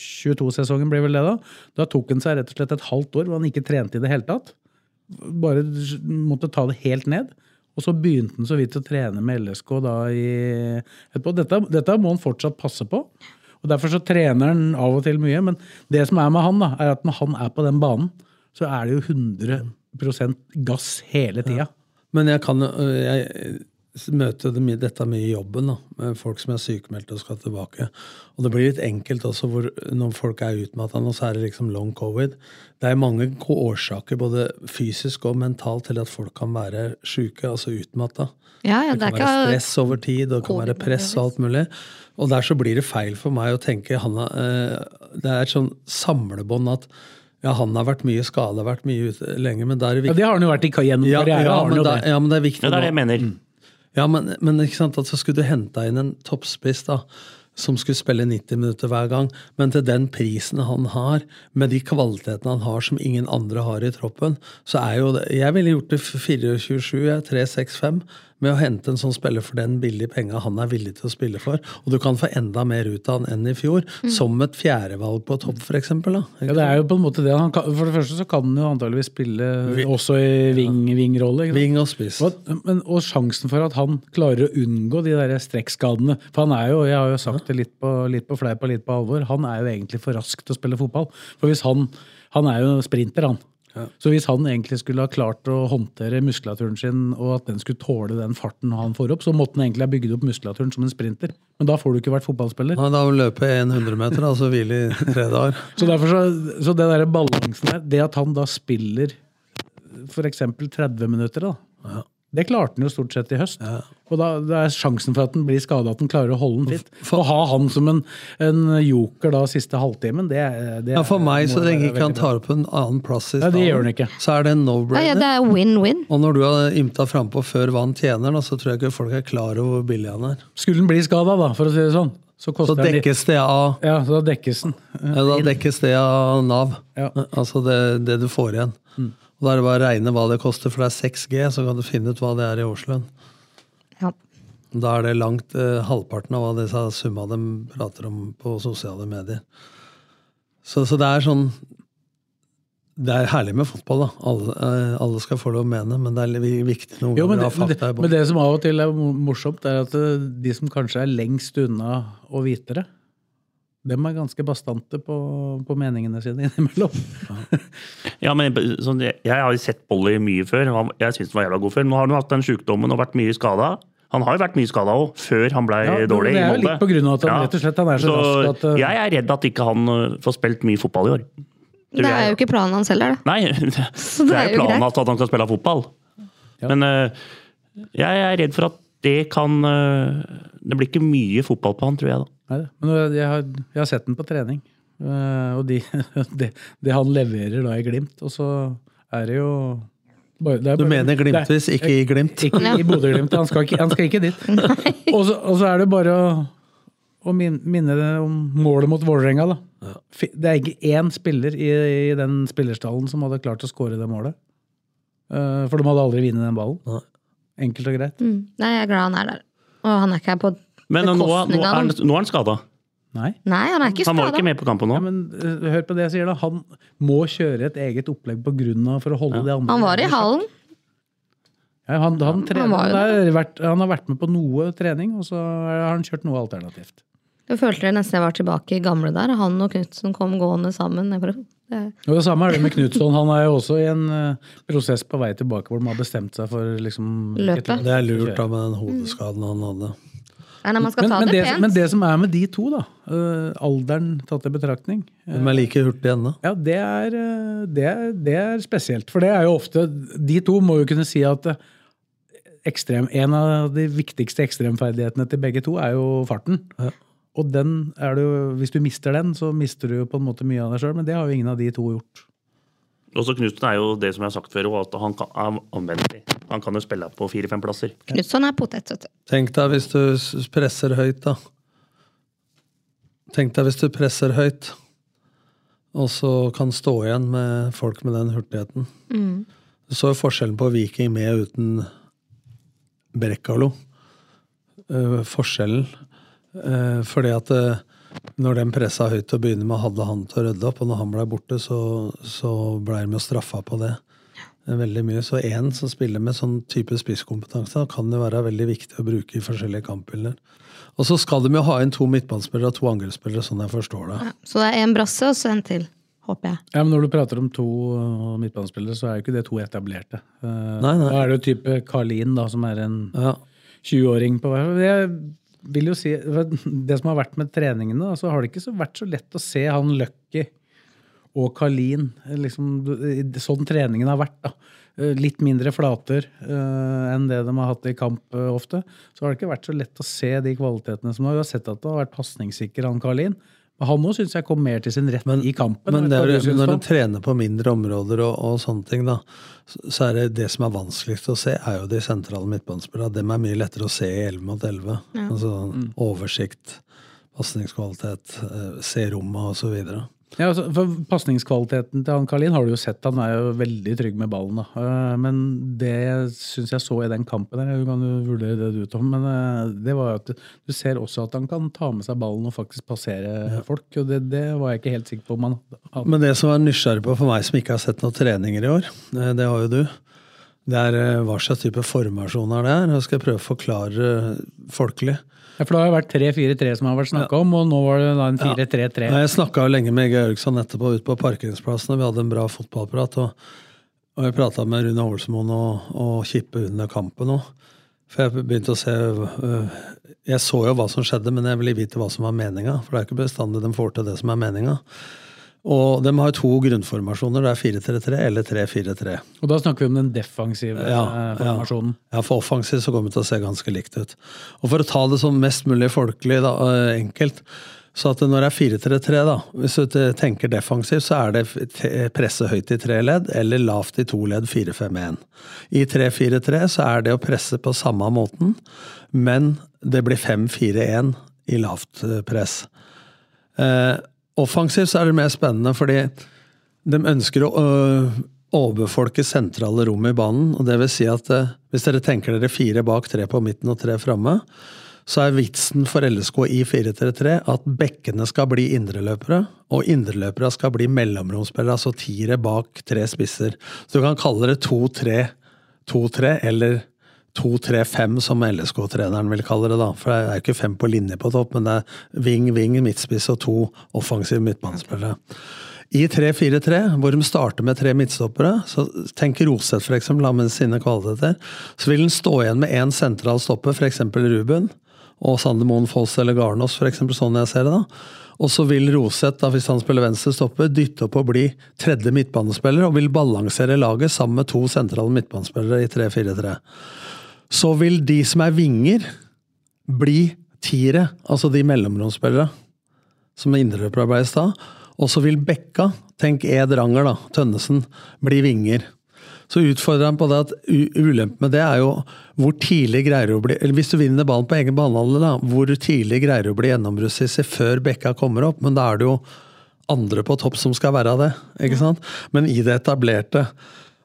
S2: 2022-sesongen, blir vel det da, da tok han seg rett og slett et halvt år hvor han ikke trente i det hele tatt bare måtte ta det helt ned. Og så begynte han så vidt å trene med LSK da i etterpå. Dette, dette må han fortsatt passe på. Og Derfor så trener han av og til mye. Men det som er med han, da, er at når han er på den banen, så er det jo 100 gass hele tida.
S5: Men jeg kan øh, jeg møter det mye, dette mye i jobben, da, med folk som er sykemeldte og skal tilbake. Og det blir litt enkelt også hvor, når folk er utmatta, og så er det liksom long covid. Det er mange ko- årsaker, både fysisk og mentalt, til at folk kan være syke, altså utmatta.
S4: Ja, ja,
S5: Det
S4: det
S5: kan
S4: er
S5: være
S4: ikke
S5: stress over tid, og det kan
S4: Covid
S5: være press og alt mulig. Og der så blir det feil for meg å tenke Hanna, eh, Det er et sånn samlebånd at ja, han har vært mye skada, vært mye ute lenge, men da er
S2: Ja,
S5: det viktig
S2: det har han jo vært i gjennom
S5: ja,
S2: karrieren.
S5: ja,
S2: har han
S5: men
S2: jo
S5: da-
S2: det.
S5: ja, men det er viktig
S3: Ja, det er det jeg
S5: nå.
S3: mener.
S5: Ja, men, men ikke sant, at så skulle du henta inn en toppspiss da, som skulle spille 90 minutter hver gang, men til den prisen han har, med de kvalitetene han har som ingen andre har i troppen, så er jo det Jeg ville gjort det 24-7, 3-6-5, med å hente en sånn spiller for den billige penga han er villig til å spille for. Og du kan få enda mer ut av han enn i fjor, som et fjerdevalg på topp, f.eks.
S2: Mm. Ja, det er jo på en måte det. Han kan, for det første så kan han jo antageligvis spille
S5: Vi-
S2: også i ving- vingrolle. ikke sant?
S5: Ving og spiss.
S2: Og, men, og sjansen for at han klarer å unngå de der strekkskadene For han er jo, jeg har jo sagt det litt på, litt på fleip og litt på alvor, han er jo egentlig for rask til å spille fotball. For hvis han, han er jo sprinter, han. Så hvis han egentlig skulle ha klart å håndtere muskulaturen sin, og at den skulle tåle den farten han får opp, så måtte han egentlig ha bygd opp muskulaturen som en sprinter. Men da får du ikke vært fotballspiller.
S5: Nei, da løper jeg 100 meter, altså hvile i tre dager.
S2: Så, derfor så, så det der balansen der, det at han da spiller f.eks. 30 minutter, da. Det klarte han jo stort sett i høst. Og da, da er sjansen for at han blir skada, at han klarer å holde den fit. For å ha han som en, en joker da siste halvtimen, det, er- det
S5: Ja, For meg, så
S2: må være
S5: lenge ikke han
S2: veldig bra.
S5: tar opp en annen plass i
S2: Nei, det gjør
S5: stallen,
S2: han ikke.
S5: så er det en
S4: Ja, ja,
S5: no-brainer.
S4: det er win-win.
S5: Og når du har ymta frampå før hva han tjener, da, så tror jeg ikke folk er klar over hvor billig han er.
S2: Skulle han bli skada, da, for å si det sånn, så
S5: Så
S2: koster han litt.
S5: dekkes det av,
S2: Ja, så da dekkes den.
S5: ja, da dekkes det av Nav.
S2: Ja. Mm.
S5: Altså det, det du får igjen. Og Da er det bare å regne hva det koster, for det er 6G, så kan du finne ut hva det er i årslønn.
S4: Ja.
S5: Da er det langt eh, halvparten av hva disse summa de prater om på sosiale medier. Så, så det er sånn Det er herlig med fotball, da. Alle, eh, alle skal få lov å mene, men det er li- viktig noen
S2: Jo, men,
S5: ganger å
S2: det,
S5: ha
S2: men,
S5: fakta
S2: det,
S5: i
S2: men
S5: bånn.
S2: det som av og til er mo- morsomt, er at eh, de som kanskje er lengst unna å vite det, dem er ganske bastante på, på meningene sine (laughs) innimellom.
S3: Ja, men sånn, jeg, jeg har jo sett Polly mye før. og han- Jeg syns han var jævla god før. Men nå har han jo hatt den sjukdommen og vært mye skada. Han har jo vært mye skada òg, før han ble
S2: Ja, men
S3: dårlig.
S2: det
S3: i
S2: er jo
S3: Molde.
S2: litt på grunn av at han rett og slett, han er så rask at, uh,
S3: Jeg er redd at ikke han uh, får spilt mye fotball i år. Tror
S4: Det er
S3: jeg.
S4: jo ikke planen hans heller, da.
S3: Nei, (laughs) det
S4: det
S3: er
S4: er
S3: jo
S4: jo
S3: planen
S4: greit.
S3: at at han skal spille fotball. Men eh, jeg er redd for at det kan eh, Det blir ikke mye fotball på han, tror jeg. da.
S2: Nei, da. men eh, jeg- jeg har, jeg har sett den på trening, Eh, og de, (laughs) det, det han leverer da i Glimt, og så er det jo bare, det er
S5: Du
S2: bare-
S5: mener Glimtvis,
S2: det er-
S5: ikke i Glimt?
S2: Ikke i Bodø-Glimt, han, skal ikke- han skal ikke dit. Og så, og så er det bare å, å min- minne det om målet mot Vålerenga, da. Fi- Det er ikke én spiller i, i den spillerstallen som hadde klart å skåre det målet. Eh, For de hadde aldri vunnet den ballen.
S5: Nei.
S2: Enkelt og greit.
S4: Mm. Nei, jeg er glad han er der. Og han er ikke her på
S3: Men nå, nå,
S4: bekostning
S3: er,
S4: av
S3: han-
S4: han.
S3: nå er han skada.
S2: Nei.
S4: Nei, han er ikke
S3: Han var jo
S4: skada.
S3: ikke med på kampen nå.
S2: Ja, men eh, hør på det jeg sier, da. Han må kjøre et eget opplegg på grunn av for å holde det andre
S4: Han var i hallen.
S2: Ja, han, han, trener,
S4: var jo
S2: han, har vært, han har vært med på noe trening, og så har han kjørt noe alternativt.
S4: Jeg følte jeg nesten jeg var tilbake i gamle der. Han og Knutsen kom gående sammen. Jeg bare, Det er
S2: Og det samme er det med Knutson. Han er jo også i en eh, prosess på vei tilbake hvor de har bestemt seg for liksom
S4: Løpet.
S2: et-
S5: Det er lurt da med den hodeskaden han hadde.
S4: Nei, nei, man skal
S2: Men,
S4: ta
S2: men,
S4: det
S2: det,
S4: pent.
S2: men det som er med de to, da, eh, alderen tatt i betraktning eh,
S5: De er like hurtige ennå.
S2: ja, det er, eh, det, er- det er spesielt. For det er jo ofte De to må jo kunne si at eh, ekstrem, en av de viktigste ekstremferdighetene til begge to er jo farten. Og den er det jo, hvis du mister den, så mister du jo på en måte mye av deg sjøl, men det har jo ingen av de to gjort.
S3: Også Knutsen er jo det som jeg har sagt før, og at han kan, er anvendelig. Han kan jo spille på fire-fem plasser.
S4: Knutson sånn er potet, vet du.
S5: Tenk deg hvis du s- presser høyt, da. Tenk deg hvis du presser høyt, og så kan stå igjen med folk med den hurtigheten. Du så jo forskjellen på Viking med og uten Brekkalo. Eh, forskjellen. Eh, fordi at eh, når den pressa høyt til å begynne med, hadde han til å rydde opp, og når han blei borte, så, så blei de jo straffa på det. Veldig mye. Så én som spiller med sånn type spisskompetanse, kan det være veldig viktig å bruke i forskjellige kampbilder. Og så skal de jo ha inn to midtbanespillere og to angrepsspillere, sånn jeg forstår det.
S4: Så det er en brasse og så en til, håper jeg.
S2: Ja, men Når du prater om to eh, midtbanespillere, så er jo ikke det to etablerte. Eh,
S5: Nei, nei.
S2: Da er det jo type Karlin, da, som er en
S5: Ja.
S2: 20-åring på hver. Jeg vil jo si, Det som har vært med treningene, da, så har det ikke så vært så lett å se han Lucky og Karlin. Liksom, sånn treningen har vært. da. Eh, Litt mindre flater eh, enn det de har hatt i kamp eh, ofte. Så har det ikke vært så lett å se de kvalitetene som har. Vi har sett at det har vært pasningssikker, han Karlin. Men han òg syns jeg kom mer til sin rett i kampen.
S5: Men
S2: Vet
S5: det
S2: du
S5: er,
S2: hva du synes,
S5: når
S2: Tom?
S5: du trener på mindre områder og, og sånne ting, da, så så er det det som er vanskeligst å se, er jo de sentrale midtbanespillerne. Dem er mye lettere å se i 11 mot 11. Altså oversikt, pasningskvalitet, eh, se rommet og så videre.
S2: Ja, altså, for Pasningskvaliteten til han Karlin har du jo sett. Han er jo veldig trygg med ballen. da. Eh, Men det syns jeg så i den kampen her, du kan jo vurdere det du, Tom, men eh, det var jo at du ser også at han kan ta med seg ballen og faktisk passere folk. og Det, det var jeg ikke helt sikker på om han hadde.
S5: Men det som er nysgjerrig på for meg som ikke har sett noen treninger i år, eh, det har jo du, det er eh, hva slags type formasjoner det er. Jeg skal prøve å forklare eh, folkelig.
S2: Ja, For det har jo vært 3-4-3 som har vært snakka om, og nå var det da en 4-3-3.
S5: Nei, Jeg snakka lenge med Georgsson etterpå ute på parkeringsplassen, og vi hadde en bra fotballprat. Og, og jeg prata med Rune Olsmoen og, og Kippe under kampen òg. For jeg begynte å se øh, Jeg så jo hva som skjedde, men jeg ville vite hva som var meninga. For det er ikke bestandig de får til det som er meninga. Og de har to grunnformasjoner. Det er 4-3-3 eller 3-4-3.
S2: Og da snakker vi om den defensive
S5: Ja,
S2: eh,
S5: ja.
S2: formasjonen.
S5: Ja, for offensivt så kommer det til å se ganske likt ut. Og for å ta det sånn mest mulig folkelig, da, eh, enkelt, så at når det er 4-3-3, da, hvis du te- tenker defensivt, så er det f- te- presse høyt i tre ledd, eller lavt i to ledd, 4-5-1. I 3-4-3 så er det å presse på samme måten, men det blir 5-4-1 i lavt eh, press. Eh, offensivt så er det mer spennende, fordi de ønsker å øh, overbefolke sentrale rom i banen. og det vil si at eh, Hvis dere tenker dere fire bak, tre på midten og tre framme, så er vitsen for LSK i 4-3-3 at bekkene skal bli indreløpere, og indreløpere skal bli mellomromsspillere, altså tiere bak tre spisser. Så du kan kalle det 2-3, 2-3 eller 2-3-5, som LSK-treneren vil kalle det. da, For det er jo ikke fem på linje på topp, men det er ving, ving, midtspiss og to offensive midtbanespillere. I 3-4-3, hvor de starter med tre midtstoppere, så tenk Roseth for eksempel, da, med sine kvaliteter, så vil han stå igjen med én sentral stopper, f.eks. Ruben, og Sander Moen Foss eller Garnås, for eksempel, sånn jeg ser det. da. Og så vil Roseth, da, hvis han spiller venstre stopper, dytte opp og bli tredje midtbanespiller, og vil balansere laget sammen med to sentrale midtbanespillere i 3-4-3. Så vil de som er vinger, bli tiere, altså de mellomromsspillere som indreløpere ble i stad. Og så vil Bekka, tenk Ed Ranger, da, Tønnesen, bli vinger. Så utfordrer han på det at u- ulempen med det er jo hvor tidlig greier du å bli eller Hvis du vinner ballen på egen banehalvdel, da, hvor tidlig greier du å bli gjennombruddssissig før Bekka kommer opp? Men da er det jo andre på topp som skal være det, ikke sant? Men i det etablerte.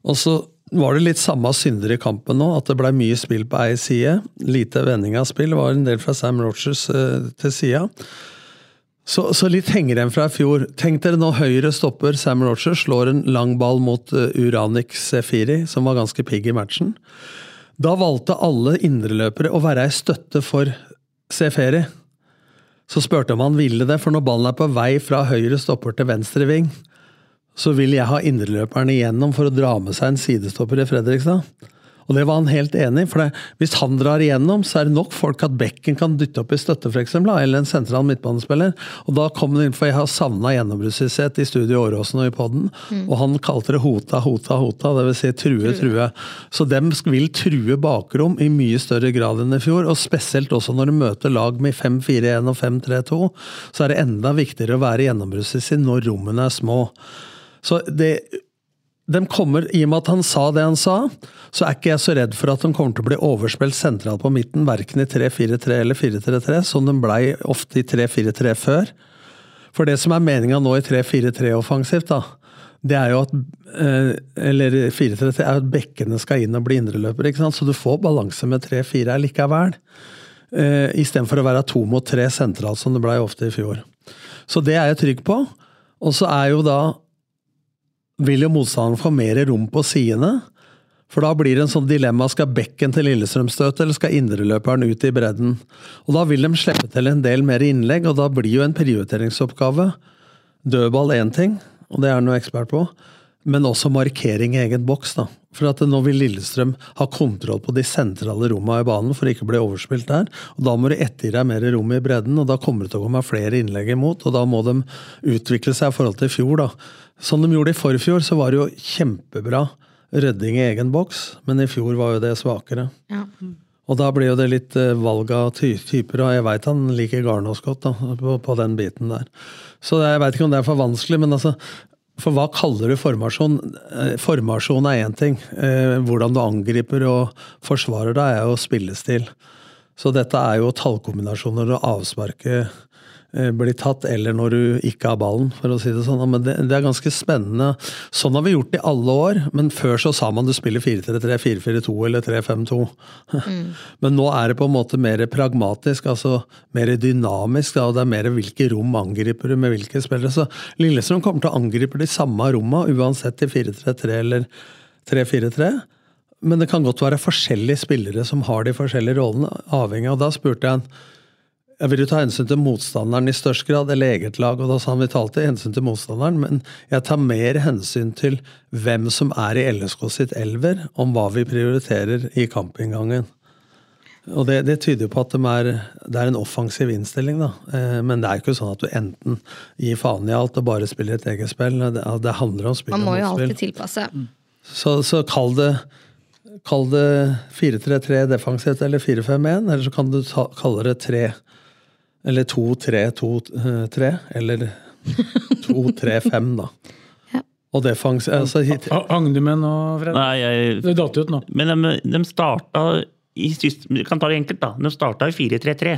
S5: Og så var det litt samme synder i kampen nå, at det blei mye spill på ei side. Lite vending av spill. Det var en del fra Sam Rogers eh, til sida. Så, så litt henger igjen fra i fjor. Tenk dere nå høyre stopper Sam Roger, slår en lang ball mot eh, Uranik Sefiri, som var ganske pigg i matchen. Da valgte alle indreløpere å være ei støtte for Sefiri. Så spurte om han ville det, for når ballen er på vei fra høyre stopper til venstre ving, så vil jeg ha indreløperne igjennom for å dra med seg en sidestopper i Fredrikstad. Og det var han helt enig i, for det, hvis han drar igjennom, så er det nok folk at bekken kan dytte opp i støtte, for eksempel, da, eller en sentral midtbanespiller. Og da kom det inn, for jeg har savna gjennombruddshissighet i studio Åråsen og i podden, og han kalte det hota, hota, hota, dvs. Si true, true. Så dem sk- vil true bakrom i mye større grad enn i fjor, og spesielt også når du møter lag med 5-4-1 og 5-3-2, så er det enda viktigere å være gjennombruddshissighet når rommene er små. Så det de kommer, I og med at han sa det han sa, så er ikke jeg så redd for at de kommer til å bli overspilt sentralt på midten, verken i 3-4-3 eller 4-3-3, som de blei ofte i 3-4-3 før. For det som er meninga nå i 3-4-3 offensivt, da, det er jo at eh, Eller 4-3-3 er jo at bekkene skal inn og bli indreløpere, ikke sant? så du får balanse med 3-4 likevel. Eh, Istedenfor å være to mot tre sentralt, som det blei ofte i fjor. Så det er jeg trygg på. Og så er jo da vil jo motstanderen få mer rom på sidene. For da blir det en sånn dilemma skal bekken til Lillestrøm støte, eller skal indreløperen ut i bredden? Og Da vil de slippe til en del mer innlegg, og da blir jo en prioriteringsoppgave dødball én ting, og det er han jo ekspert på, men også markering i egen boks. da. For at nå vil Lillestrøm ha kontroll på de sentrale rommene i banen for å ikke bli overspilt der. og Da må du ettergi deg mer rom i bredden, og da kommer det til å komme flere innlegg imot. og Da må de utvikle seg i forhold til i fjor. da. Som de gjorde i forfjor, så var det jo kjempebra rydding i egen boks, men i fjor var jo det svakere.
S4: Ja.
S5: Og da blir jo det litt eh, valg av ty typer, og jeg veit han liker Garnås godt da, på, på den biten der. Så det- jeg veit ikke om det er for vanskelig, men altså For hva kaller du formasjon? Eh, Formasjon er én ting. Eh, Hvordan du angriper og forsvarer deg, er jo spillestil. Så dette er jo tallkombinasjoner når avsparket eh, blir tatt, eller når du ikke har ballen, for å si det sånn. Men det, det er ganske spennende. Sånn har vi gjort i alle år, men før så sa man du spiller 4-3-3, 4-4-2 eller 3-5-2. (laughs) Men nå er det på en måte mer pragmatisk, altså mer dynamisk, da, og det er mer hvilke rom angriper du med hvilke spillere. Så Lillestrøm kommer til å angripe de samme romma, uansett i 4-3-3 eller 3-4-3. Men det kan godt være forskjellige spillere som har de forskjellige rollene, avhengig av. Og Da spurte jeg han jeg vil jo ta hensyn til motstanderen i størst grad, eller eget lag. Og da sa han vi tar alltid hensyn til motstanderen, men jeg tar mer hensyn til hvem som er i LSK sitt elver, om hva vi prioriterer i kampinngangen. Og det, det tyder jo på at de er, det er en offensiv innstilling, da. Eh, Men det er jo ikke sånn at du enten gir faen i alt og bare spiller et eget spill. Det, det handler om spill
S4: Man må
S5: og
S4: jo
S5: motspill.
S4: alltid tilpasse.
S5: Så, så kall det Kall det 4-3-3 defensivt eller 4-5-1, eller så kan du ta, kalle det 3 Eller 2-3-2-3, eller 2-3-5, da.
S4: Ja.
S5: Og defens... Altså, hit,
S2: Ha- Hang du med nå, Fred?
S3: Nei, jeg
S2: Du datt ut nå.
S3: Men de, de starta i sist, Vi kan ta det enkelt, da. De starta i 4-3-3.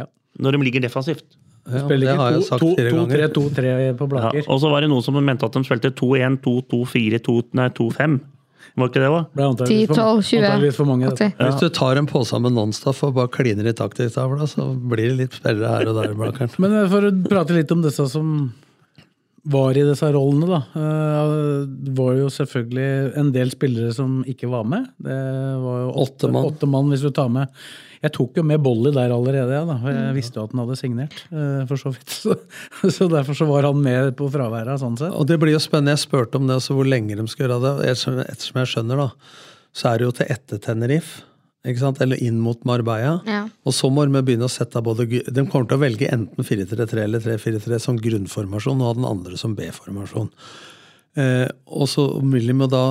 S2: Ja.
S3: Når de ligger defensivt.
S5: ja,
S2: Spiller
S5: det har jeg
S2: ikke
S5: sagt fire ganger.
S2: 2-3-2-3 på
S3: Ja,
S2: Blaker.
S3: og så var det noen som mente at de spilte 2-1, 2-2, 4-2, nei 2-5. Var ikke det òg?
S2: Ble
S4: 10,
S2: antageligvis for,
S4: 12, 20,
S2: antageligvis for mange. dette.
S4: 80.
S5: Hvis du tar en pose med Nonstop og bare kliner i taktikktavla, så blir det litt spillere her og der. Blakkeren.
S2: Men eh, for å prate litt om disse som var i disse rollene, da. Eh, Det var jo selvfølgelig en del spillere som ikke var med. Det var jo åtte,
S5: Åtte mann.
S2: åtte mann, hvis du tar med. Jeg tok jo med Bolly der allerede, jeg, da. for Jeg visste jo at han hadde signert, eh, for så vidt. (laughs) Så, så derfor så var han med på fraværet, sånn sett.
S5: Og det blir jo spennende. Jeg spurte om det, altså hvor lenge de skal gjøre det. Og Ettersom, ettersom jeg skjønner, da, så er det jo til etter Tenerife. Ikke sant? Eller inn mot Marbella.
S4: Ja.
S5: Og så må de begynne å sette av både gu- De kommer til å velge enten 4-3-3 eller 3-4-3 som grunnformasjon, og ha den andre som B-formasjon. Eh, og så vil de jo da,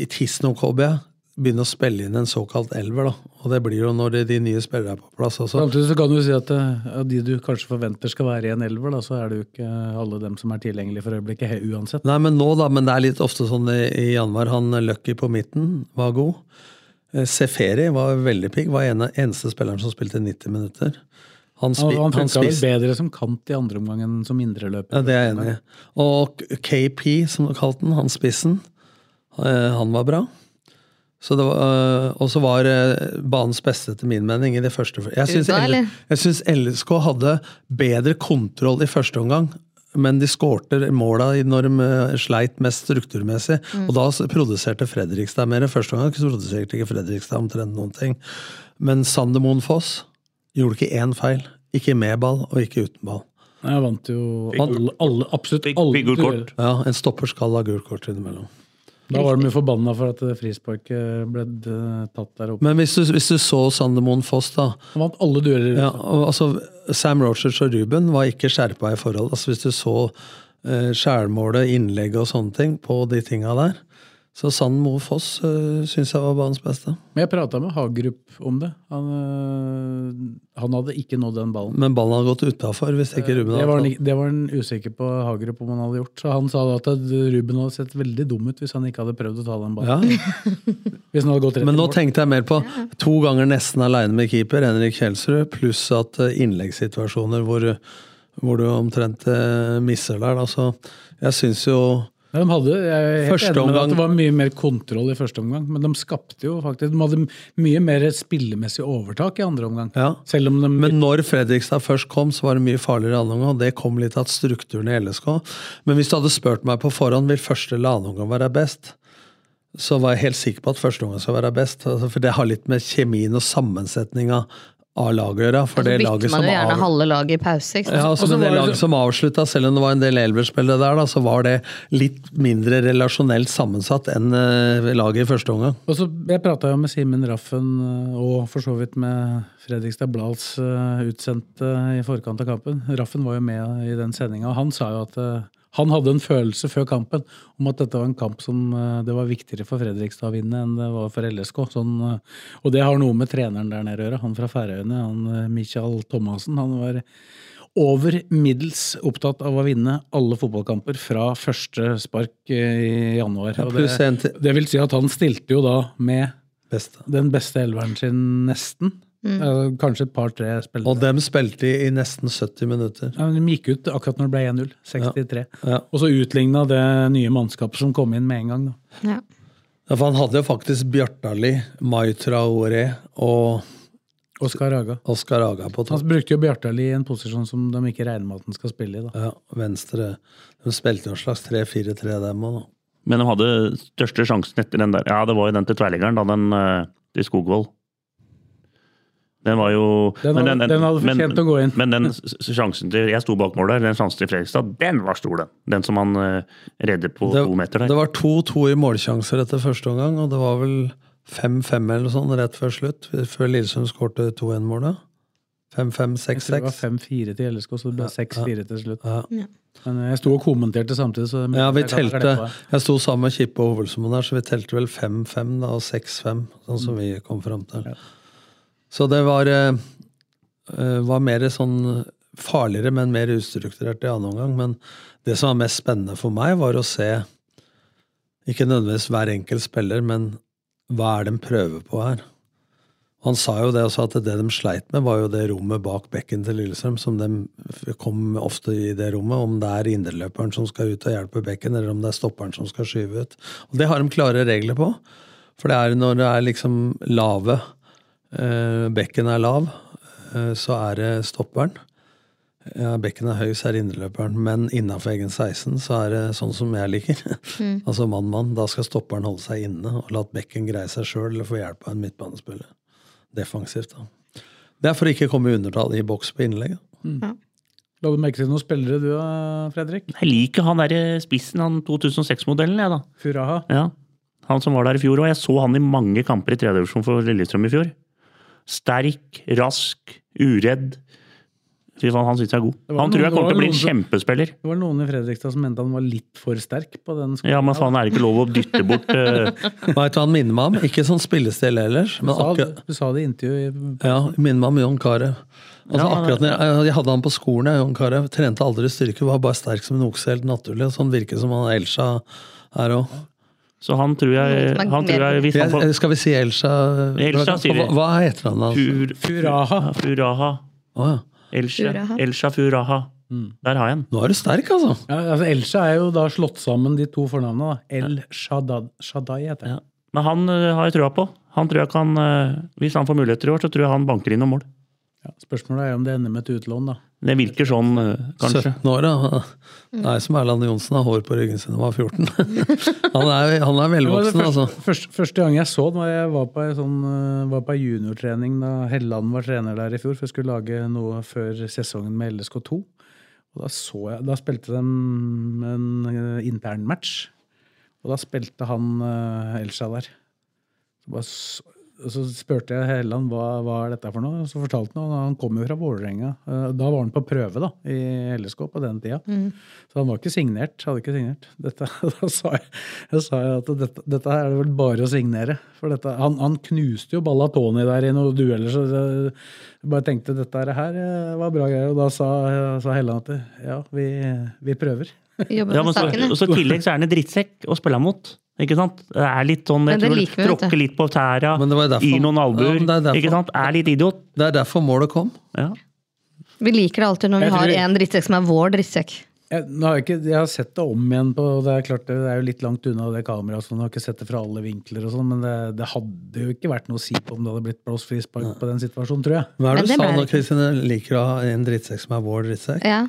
S5: i tidsnok, håper jeg, begynne å spille inn en såkalt elver. da. Og det blir jo når de, de nye spillerne er på plass. altså. også.
S2: Samtidig så kan du si at eh, av de du kanskje forventer skal være i en elver, da, så er det jo ikke alle dem som er tilgjengelige for øyeblikket, he- uansett.
S5: Nei, men nå da, men det er litt ofte sånn i, i januar. Han Lucky på midten var god. Eh, Seferi var veldig pigg. Var ene, eneste spilleren som spilte 90 minutter. Han,
S2: Han,
S5: spi,
S2: han
S5: han,
S2: funka vel
S5: spiste
S2: bedre som kant i andre omgang enn som indreløper.
S5: ja, Det er jeg enig i. Og KP, som du kalte den, han spissen, eh, han var bra. Så det var, eh, og så var eh, banens beste, etter min mening, i det første Jeg syns
S4: Uta, eller?
S5: L- jeg syns LSK hadde bedre kontroll i første omgang. Men de skårte måla i- når de eh, sleit mest strukturmessig. Og da s- produserte Fredrikstad mer. Første omgang produserte ikke Fredrikstad omtrent noen ting. Men Sander Moen Foss gjorde ikke én feil. Ikke med ball og ikke uten ball.
S2: Jeg vant jo alle, alle, absolutt
S3: Fikk-
S2: alle
S3: fikk gult
S2: dueller.
S3: kort.
S5: Ja, En stopper skal ha gult kort innimellom.
S2: Da var de jo forbanna for at det frisparket ble eh, tatt der oppe.
S5: Men hvis du, hvis du så Sandemoen Foss, da
S2: Han vant alle dueller.
S5: ja, og, altså, Sam Rogers og Ruben var ikke skjerpa i forhold. Altså, hvis du så eh, skjærmålet, innlegget og sånne ting på de tinga der, så Sandmo Foss eh, syns jeg var banens beste.
S2: Men jeg prata med Hagerup om det. Han, eh, han hadde ikke nådd den ballen.
S5: Men ballen hadde gått utafor hvis ikke
S2: Eh,
S5: Ruben
S2: Det
S5: hadde
S2: var, han,
S5: tatt.
S2: ikke- det var han usikker på Hagerup om han hadde gjort. Så han sa da at Ruben hadde sett veldig dum ut hvis han ikke hadde prøvd å ta den ballen.
S5: Ja,
S2: Hvis han hadde gått rett
S5: Men
S2: i
S5: nå
S2: mål.
S5: tenkte jeg mer på to ganger nesten aleine med keeper, Henrik Kjelsrud, pluss at eh, innleggssituasjoner hvor, hvor du omtrent eh, misser der. da. Så jeg syns jo
S2: Ja, De hadde, jeg er helt
S5: Første
S2: enig med deg
S5: omgang-
S2: at det var mye mer kontroll i første omgang, men de skapte jo faktisk De hadde mye mer spillemessig overtak i andre omgang.
S5: Ja.
S2: Selv om de
S5: Men når Fredrikstad først kom, så var det mye farligere i annen omgang. og Det kom litt av strukturen i LSK. Men hvis du hadde spurt meg på forhånd vil første eller annen omgang være best, så var jeg helt sikker på at første omgang skal være best. Altså, For det har litt med kjemien og sammensetninga av laget å gjøre. For
S4: Så
S5: det
S4: Altså, bytter
S5: laget
S4: man
S5: som
S4: jo gjerne
S5: av-
S4: halve laget i pause. Ikke sant?
S5: Ja, altså,
S2: Og så
S5: men det
S2: var det-
S5: laget som avslutta, selv om det var en del elverspillere der, da, så var det litt mindre relasjonelt sammensatt enn eh, laget i første omgang.
S2: Og så, Jeg prata jo med Simen Raffen eh, og for så vidt med Fredrikstad Blads eh, utsendte i forkant av kampen. Raffen var jo med i den sendinga, og han sa jo at eh, han hadde en følelse før kampen om at dette var en kamp som eh, det var viktigere for Fredrikstad å vinne enn det var for LSK. Sånn, eh, og det har noe med treneren der nede å gjøre. Han fra Færøyene, han eh, Michael Thomassen, han var over middels opptatt av å vinne alle fotballkamper fra første spark eh, i januar.
S5: Ja,
S2: Og
S5: pluss en til
S2: det vil si at han stilte jo da med
S5: beste.
S2: den beste elveren sin nesten. Eh, Kanskje et par-tre
S5: Og
S2: spillere.
S5: dem spilte i nesten 70 minutter.
S2: Ja, men De gikk ut akkurat når det ble 1-0. 63.
S5: Ja.
S2: Og så utligna det nye mannskapet som kom inn med en gang. Da.
S4: Ja.
S5: Ja, for han hadde jo faktisk Bjartali, Mai Traoré og
S2: Oskar Haga.
S5: Oskar Aga på
S2: Han
S5: topp.
S2: brukte jo Bjartali i en posisjon som de ikke regner med at han skal spille i. da.
S5: Ja, venstre. De spilte jo en slags 3-4-3, dem òg, da.
S3: Men de hadde største sjansen etter den der. Ja, det var jo den til tverrliggeren, da, den eh, til Skogvold. Den var jo
S2: Den hadde- den hadde fortjent å gå inn.
S3: Men den s- s- sjansen til Jeg sto bak målet, den sjansen til Fredrikstad, den var stor, den. Den som han uh, redder på
S5: Det,
S3: to meter
S5: det
S3: der.
S5: var 2-2 i målsjanser etter første omgang, og det var vel 5-5 eller noe sånt rett før slutt, før Lillesund skårte 2-1-målet.
S2: Jeg tror det var 5-4
S5: 5-5-6-6.
S2: til LSK, så det ble 6-4 til slutt.
S5: Ja.
S2: Men eh, jeg sto og kommenterte samtidig. så...
S5: Ja, vi
S2: jeg kan ha
S5: telte
S2: glemt det.
S5: Jeg sto sammen med Kippe og Hovelsmoen her, så vi telte vel 5-5 da, og 6-5, sånn som vi kom fram til. Så det var, eh, eh, var mer sånn farligere, men mer ustrukturert i annen omgang. Men det som var mest spennende for meg, var å se ikke nødvendigvis hver enkelt spiller, men hva er det de prøver på her? Han sa jo det også, at det de sleit med, var jo det rommet bak bekken til Lillestrøm, som de kom ofte i det rommet, om det er indreløperen som skal ut og hjelpe bekken, eller om det er stopperen som skal skyve ut. Og det har de klare regler på, for det er når det er liksom lave, eh, bekken er lav, eh, så er det stopperen. Ja, bekken er høy, så er det indreløperen, men innafor egen 16 så er det sånn som jeg liker. (laughs) altså mann-mann. Da skal stopperen holde seg inne og la bekken greie seg sjøl eller få hjelp av en midtbanespiller. Defensivt, da. Det er for å ikke komme i undertall i boks på innlegget.
S2: La du merke til noen spillere du, da, Fredrik?
S3: Jeg liker han derre spissen, han 2006-modellen, jeg, da.
S2: Furaha?
S3: Ja. Han som var der i fjor òg. Jeg så han i mange kamper i tredje divisjon for Lillestrøm i fjor. Sterk, rask, uredd. Fy faen, han syns jeg er god.
S2: var
S3: Han tror
S2: noen-
S3: jeg kommer til å
S2: det var
S3: bli en
S2: noen
S3: kjempespiller.
S2: Det var noen i Fredrikstad som mente han var litt for sterk på den skolen.
S3: Ja, men faen, er det ikke lov å dytte bort eh,
S2: (laughs)
S5: Veit du hva han minner meg om? Ikke sånn spillestil ellers,
S2: Du
S5: men
S2: sa,
S5: akkurat
S2: du sa det i intervjuet.
S5: Ja, minner meg om John Carew. Altså,
S3: Ja, han er-
S5: akkurat når jeg, jeg hadde han på skolen, jeg, John Carew. Trente aldri styrke, var bare sterk som en okse, helt naturlig. Sånn virker som han Elsa er òg.
S3: Så han tror jeg, han tror jeg Hvis han får
S5: Skal vi si Elsa
S3: Elsa, sier vi.
S5: Hva, hva er etternavnet hans?
S3: Fur-
S2: Furaha.
S3: Furaha.
S5: Å, ja.
S3: Elsha.
S4: Furaha.
S3: Elsha Furaha.
S2: Mm.
S3: Der har jeg den.
S5: Nå er du sterk, altså!
S2: Ja, altså Elsha er jo da slått sammen de to fornavnene. da. El Shaddad, Shaddai heter det.
S3: Ja. Men han eh, har jeg trua på. Han tror jeg kan, eh, Hvis han får muligheter i år, så tror jeg han banker inn noen mål.
S2: Ja. Spørsmålet er om det ender med et utlån, da.
S3: Det virker sånn, eh, kanskje.
S5: 17 år, da. Nei, som Erland Johnsen har hår på ryggen sin, han var 14. (laughs) han,
S2: Det
S5: er, han er
S2: var det
S5: velvoksen, altså.
S2: første, første, første gang jeg så den, var jeg var på ei sånn, eh, var på ei juniortrening da Helland var trener der i fjor, for jeg skulle lage noe før sesongen med LSK2. Og da, så jeg, da spilte de en eh, intern match. Og da spilte han eh, Elsa der. Så, bare, s- og så spurte jeg Helland hva, hva er dette for noe, og så fortalte han. og Han kom jo fra Vålerenga. Eh, Da var han på prøve da, i LSK på den tida. Så han var ikke signert. Hadde ikke signert. Dette, (laughs) da sa jeg, jeg sa jo at dette, dette her er det vel bare å signere. For dette, han, han knuste jo Ballatoni der i noen dueller, så jeg bare tenkte dette her eh, var bra greier. Og da sa, sa Helland at ja, vi, vi prøver.
S4: Jobbe
S3: Ja,
S4: med
S3: men så,
S4: sakene.
S3: og så i tillegg så er han en drittsekk å spille mot. Ikke sant? Det er litt sånn, jeg
S4: Men det
S3: tror
S4: liker vi, vet du.
S3: Tråkker litt på tæra,
S5: Men det var jo derfor-
S3: gir noen
S5: Ja,
S3: albuer.
S5: men det er derfor-
S3: ikke sant? Er litt idiot.
S5: Det er derfor målet kom.
S3: Ja.
S4: Vi liker det alltid når vi
S2: Jeg tror
S4: har
S2: vi-
S4: en drittsekk som er vår drittsekk.
S2: Jeg, nå har jeg, ikke, jeg har sett det om igjen på Det er klart det er jo litt langt unna det kameraet, så man har ikke sett det fra alle vinkler, og sånn, men det, det hadde jo ikke vært noe å si på om det hadde blitt blåst frispark på den situasjonen, tror jeg.
S5: Hva er det
S4: Men det
S5: du sa
S4: ble
S5: nå,
S4: det ikke.
S5: Kristine? Liker du å ha en drittsekk som er vår drittsekk?
S4: Ja.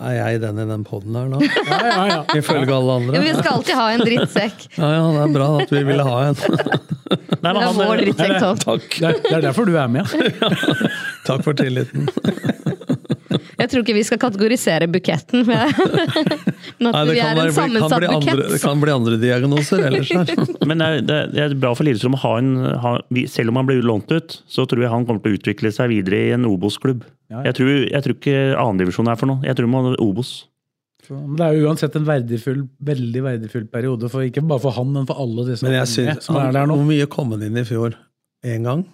S5: Er jeg den i den poden her nå?
S2: Ja, ja, ja.
S5: Ifølge alle andre?
S4: Men vi skal alltid ha en drittsekk.
S5: Ja, ja, det er bra at vi ville ha
S4: (laughs)
S5: en.
S3: Nei,
S4: Det
S3: men
S4: er
S3: han,
S4: vår
S3: eh,
S4: drittsekk, Tom.
S5: Takk.
S2: Det, er, det er derfor du er med. ja.
S5: Takk for tilliten.
S4: Jeg tror ikke vi skal kategorisere buketten. Men
S5: Nei,
S4: men at
S5: det kan,
S4: vi er en
S5: være, kan,
S4: sammensatt
S5: bli andre, det
S4: bukett.
S5: kan bli andre diagnoser ellers her.
S4: (laughs)
S3: men det er, det er- det er bra for Lillestrøm å ha en ha, vi- Selv om han blir lånt ut, så tror jeg han kommer til å utvikle seg videre i en Obos-klubb.
S2: Ja, ja.
S3: Jeg, tror, jeg tror ikke andredivisjon er for noe. Jeg tror man Obos.
S2: Så, men det er jo uansett en verdifull, veldig verdifull periode, for, ikke bare for han, men for alle disse
S5: Men jeg
S2: andre
S5: synes,
S2: som er der
S5: han,
S2: nå.
S5: Hvor mye kom han inn i fjor? Én gang?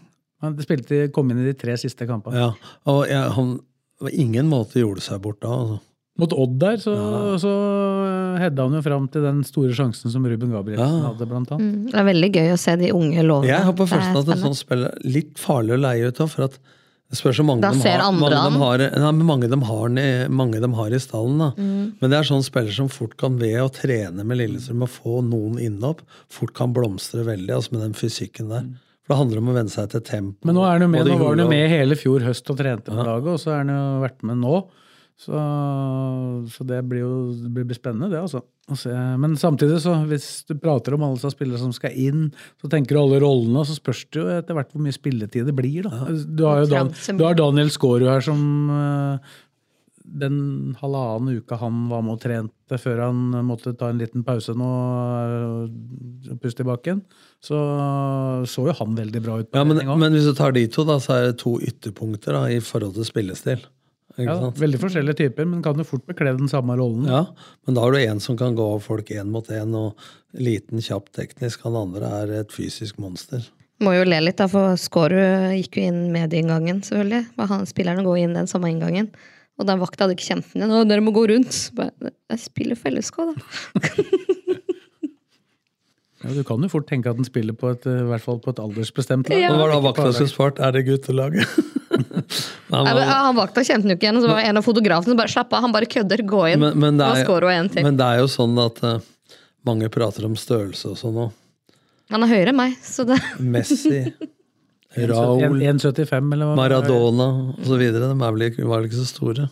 S2: Han spilte, kom inn i de tre siste kampene.
S5: Ja. Og jeg, han på ingen måte gjorde seg bort da. Altså.
S2: Mot Odd der så,
S5: Ja.
S2: så eh, hedda han jo fram til den store sjansen som Ruben Gabrielsen
S5: Ja.
S2: hadde, blant annet.
S4: Mm, Det er veldig gøy å se de unge lovene.
S5: Jeg har på
S4: Det er
S5: følelsen at en
S4: spennende.
S5: sånn spill er litt farlig å leie ut av, for at det spørs hvor mange,
S4: Da
S5: de
S4: ser
S5: har,
S4: andre
S5: mange,
S4: han.
S5: de har, nei, men mange, de har, i- mange de har i stallen. Da.
S4: Mm.
S5: Men det er sånn spiller som fort kan ved å trene med Lillestrøm og få noen innopp, fort kan blomstre veldig altså med den fysikken der. For det handler om å venne seg til tempo.
S2: Mm. Men nå, er han jo med,
S5: og
S2: nå
S5: de
S2: var han jo
S5: gule-
S2: med hele fjor høst og trente på laget, og så er han jo vært med nå. Så, så det blir jo det blir spennende, det, altså. Å se. Men samtidig, så hvis du prater om alle som spillere som skal inn, så tenker du alle rollene, og så spørs det jo etter hvert hvor mye spilletid det blir, da. Du har jo Dan,
S4: Transe-
S2: du har Daniel Skårud her som eh, den halvannen uka han var med og trente før han måtte ta en liten pause nå eh, og puste i bakken, så så jo han veldig bra ut. på
S5: Ja, men,
S2: trening også.
S5: men hvis du tar de to, da, så er det to ytterpunkter da, i forhold til spillestil. Ikke
S2: Ja,
S5: sant?
S2: veldig forskjellige typer, men kan jo fort bekle den samme rollen.
S5: Ja, men da har du en som kan gå av folk én mot én, og liten, kjapp teknisk. Han andre er et fysisk monster.
S4: Må jo le litt, da, for Skårud gikk jo inn medieinngangen, selvfølgelig. Var han, spillerne går inn den samme inngangen. Og da vakta hadde ikke kjent den igjen. Å, dere må gå rundt! Så Bare, jeg spiller
S5: (laughs)
S4: fellesko, da.
S2: Ja, du kan jo fort tenke at den spiller på et, eh, i hvert fall på et aldersbestemt lag.
S4: Ja.
S5: Men hva da
S2: Ikke på
S5: vakta skulle
S2: A-lag.
S5: svart? Er det guttelaget? (laughs) Nei,
S4: Nei, men,
S5: men,
S4: han vakta kjente den jo ikke igjen, og så var det en av fotografene som bare slapp av, han bare kødder, gå inn.
S5: men, men, det
S4: og Skårud er en
S5: er,
S4: til.
S5: men det er jo sånn at eh, mange prater om størrelse og sånn òg.
S4: Han er høyere enn meg, så det
S5: (laughs) Messi,
S2: En-
S5: Raúl,
S2: 1,75 eller hva?
S5: Maradona osv. De er vel ikke, var vel ikke så store.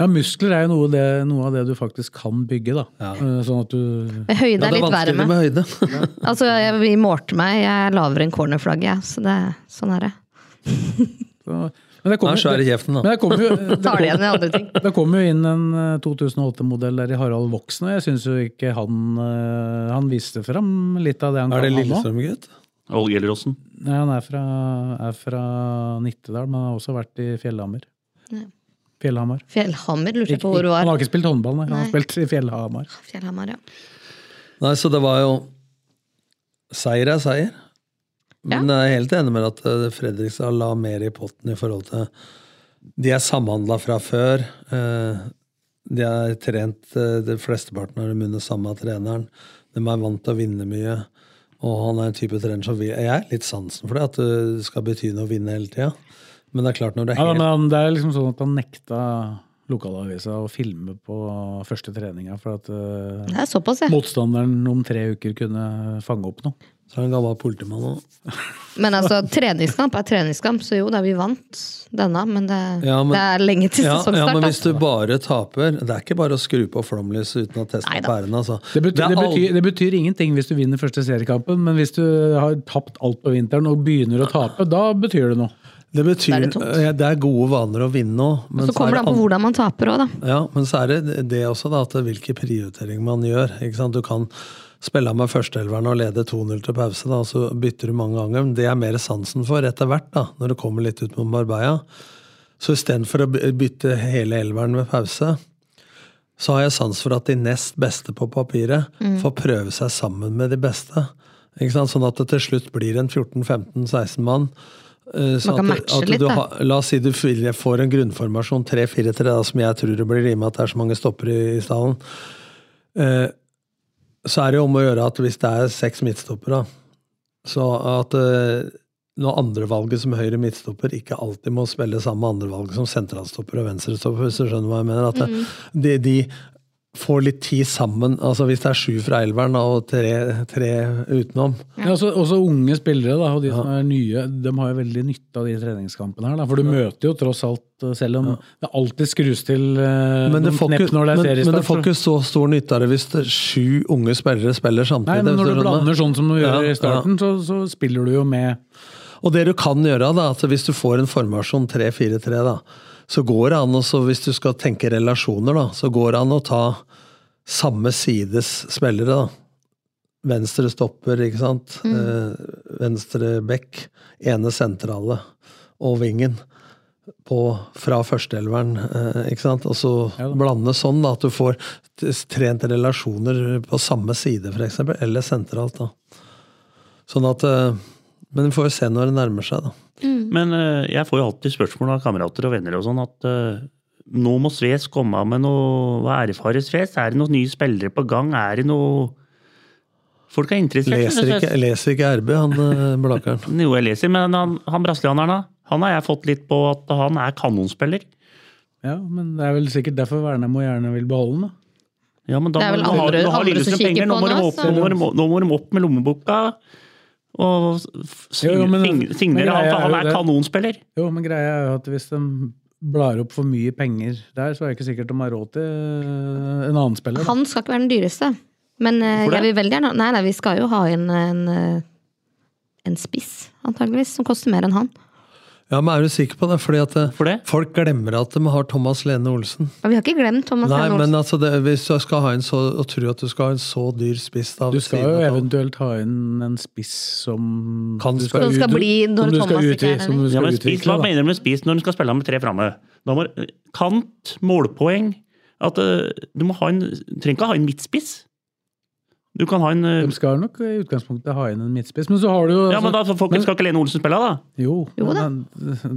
S2: Ja, muskler er jo noe, det, noe av det du faktisk kan bygge, da.
S5: Ja.
S2: Eh, Sånn at du
S4: Men
S5: Ja,
S4: høyde er
S5: det er
S4: litt verre
S5: vanskeligere
S4: med.
S5: med (laughs) høyde.
S4: Altså, jeg, vi målte meg, jeg er lavere enn cornerflagget, jeg, så det, sånn er det.
S2: så, Men det
S5: Han er svær i
S2: jo-
S5: kjeften, da.
S2: men det kommer jo, det
S4: Tar det igjen i andre ting.
S5: (laughs)
S2: Det kom jo inn en eh, 2008-modell der i Harald Voksen, og jeg syns jo ikke han eh, Han viste fram litt av det han
S5: Er det
S2: kan, han også.
S5: Lillestrøm-gutt?
S3: Olge Gjelleråsen.
S2: Nei, han er fra, er fra Nittedal, men har også vært i Fjellhammer.
S4: Ja.
S2: Fjellhamar.
S4: Fjellhammer, lurte jeg
S2: Ikke,
S4: på hvor du
S2: han
S4: var.
S2: har ikke spilt håndball, nei. Han har
S4: Nei.
S2: spilt i Fjellhamar.
S4: Fjellhammer, ja.
S5: Nei, så det var jo Seier er seier. Men jeg er helt enig med at eh, Fredrikstad la mer i potten i forhold til De er samhandla fra før. eh, De er trent eh, det flesteparten av dem under samme treneren. De er vant til å vinne mye. Og han er en type trener som vil Jeg er litt sansen for det, at eh, det skal bety noe å vinne hele tida. Men det er klart, når det er
S2: Ja,
S5: helt
S2: men han, det er liksom sånn at han nekta lokalavisa å filme på første treninga for at eh,
S4: Det er såpass, jeg.
S2: motstanderen om tre uker kunne fange opp noe.
S5: Så er han gammel politimann òg.
S4: Men altså, treningskamp er treningskamp, så jo da, vi vant denne, men det,
S5: Ja, men-
S4: det er lenge
S5: Ja,
S4: til altså.
S5: ja,
S4: sesongstart.
S5: men
S4: da.
S5: hvis du bare taper Det er ikke bare å skru på flomlyset uten å teste
S4: Neida.
S5: pærene. Altså.
S2: Det betyr, det,
S5: er all-
S2: betyr, det betyr ingenting hvis du vinner første seriekampen, men hvis du har tapt alt på vinteren og begynner å tape, da betyr det noe.
S5: Det betyr
S4: Da er det
S5: det
S4: tungt.
S5: er, gode vaner å vinne òg.
S4: Og så kommer det an på hvordan man taper òg, da.
S5: Ja, men så er det det også, da, at hvilke prioritering man gjør. ikke sant? Du kan spille av med førsteelveren og lede 2-0 til pause, da, og så bytter du mange ganger. Men det er mer sansen for etter hvert, da, når du kommer litt ut mot Marbella. Så istedenfor å by- bytte hele elveren ved pause, så har jeg sans for at de nest beste på papiret
S4: Mm.
S5: får prøve seg sammen med de beste. Ikke sant? Sånn at det til slutt blir en 14-15-16 mann. eh, sånn
S4: kan
S5: at-
S4: matche
S5: at
S4: litt,
S5: du
S4: da.
S5: har- La oss si du vil- får en grunnformasjon 3-4-3, da, som jeg tror det blir, i og med at det er så mange stopper i, i stallen. Eh, så er det jo om å gjøre at hvis det er seks midtstoppere, så at eh, når andrevalget som høyre midtstopper ikke alltid må spille sammen med andrevalget som sentralstopper og venstrestopper, hvis du skjønner hva jeg mener. At det, de, de får litt tid sammen. altså Hvis det er sju fra elveren da, og tre, tre utenom.
S2: Ja, også, også unge spillere, da, og de som er nye, de har jo veldig nytte av de treningskampene her. Da, for du møter jo tross alt, eh, selv om det alltid skrus til eh,
S5: Men, det
S2: noen
S5: får,
S2: knepp
S5: ikke,
S2: når det
S5: men,
S2: er
S5: men det
S2: seriestart. så-
S5: får ikke så stor nytte av det hvis det, sju unge spillere spiller
S2: Nei,
S5: samtidig.
S2: men
S5: hvis
S2: når du
S5: skjønner hva-
S2: blander sånn som du gjør
S5: Ja,
S2: i starten, så, så spiller du jo med
S5: Og det du kan gjøre, da, at hvis du får en formasjon 3-4-3, da, så går det an også, hvis du skal tenke relasjoner, da, så går det an å ta samme sides spillere, da. Venstre stopper, ikke sant. Eh, Venstre back, ene sentrale og vingen. På, fra førsteelveren, eh, ikke sant. Og så blande sånn, da, at du får t- trent relasjoner på samme side, f.eks., eller sentralt, da. Sånn at eh, men vi får jo se når det nærmer seg, da.
S3: Men eh, jeg får jo alltid spørsmål av kamerater og venner og sånn at eh, nå må Sves komme med noe Hva er det for Sves? Er det noen nye spillere på gang? Er det noe Folk er interessert.
S5: Leser
S3: synes jeg.
S5: ikke, leser ikke RB, han eh, Blakkaren.
S3: Jo, jeg leser, men han, han brasilianeren, da? Han har jeg fått litt på at han er kanonspiller.
S2: Ja, men det er vel sikkert derfor Vernemo gjerne vil beholde den, da.
S3: Ja, men da,
S4: Det er vel
S3: nå har-
S4: andre-
S3: nå har
S4: andre som
S3: Lillestrøm
S4: kikker
S3: penger, nå
S4: på
S3: må de
S4: nå,
S3: opp-
S4: så-
S3: nå må de- Nå må de opp med lommeboka og f-
S2: Jo, jo, men-
S3: sign- signere han,
S2: men
S3: for han
S2: jeg er
S3: er
S2: jo
S3: kanonspiller.
S2: Jo, men greia er jo at hvis de blar opp for mye penger der, så er det ikke sikkert de har råd til eh, en annen spiller. da.
S4: Han skal ikke være den dyreste. Men eh,
S3: Hvorfor det?
S4: jeg vil veldig gjerne Nei, nei, vi skal jo ha en, en, eh, en spiss, antageligvis, som koster mer enn han.
S5: Ja, men er du sikker på det? Fordi at eh,
S3: For det?
S5: folk glemmer at de har Thomas Lene Olsen.
S4: Og vi har ikke glemt Thomas
S5: Nei,
S4: Lene Olsen.
S5: men altså, det, hvis du skal ha en så, og tro at du skal ha en så dyr spiss da,
S2: Du
S5: ved
S2: skal
S5: siden
S2: jo
S5: av han.
S2: eventuelt ha inn en spiss som
S5: Kan
S2: du
S5: spille.
S4: Som skal
S2: ut-
S4: bli når
S2: som du skal
S4: Thomas ikke er
S2: utvi-
S4: der.
S2: som du
S3: Ja,
S2: skal
S3: men spis, hva
S2: utvikle, da.
S3: mener du med spis når du skal spille med tre framme? Da må, kant, målpoeng at eh, Du må ha en, du trenger ikke ha en midtspiss. Du kan ha en eh,
S2: De skal nok i utgangspunktet ha inn en midtspiss, men så har du jo
S3: Ja, men da får folk
S2: men-
S3: skal ikke Lene Olsen spille, da?
S2: Jo,
S4: Jo
S2: men
S4: da.
S2: han-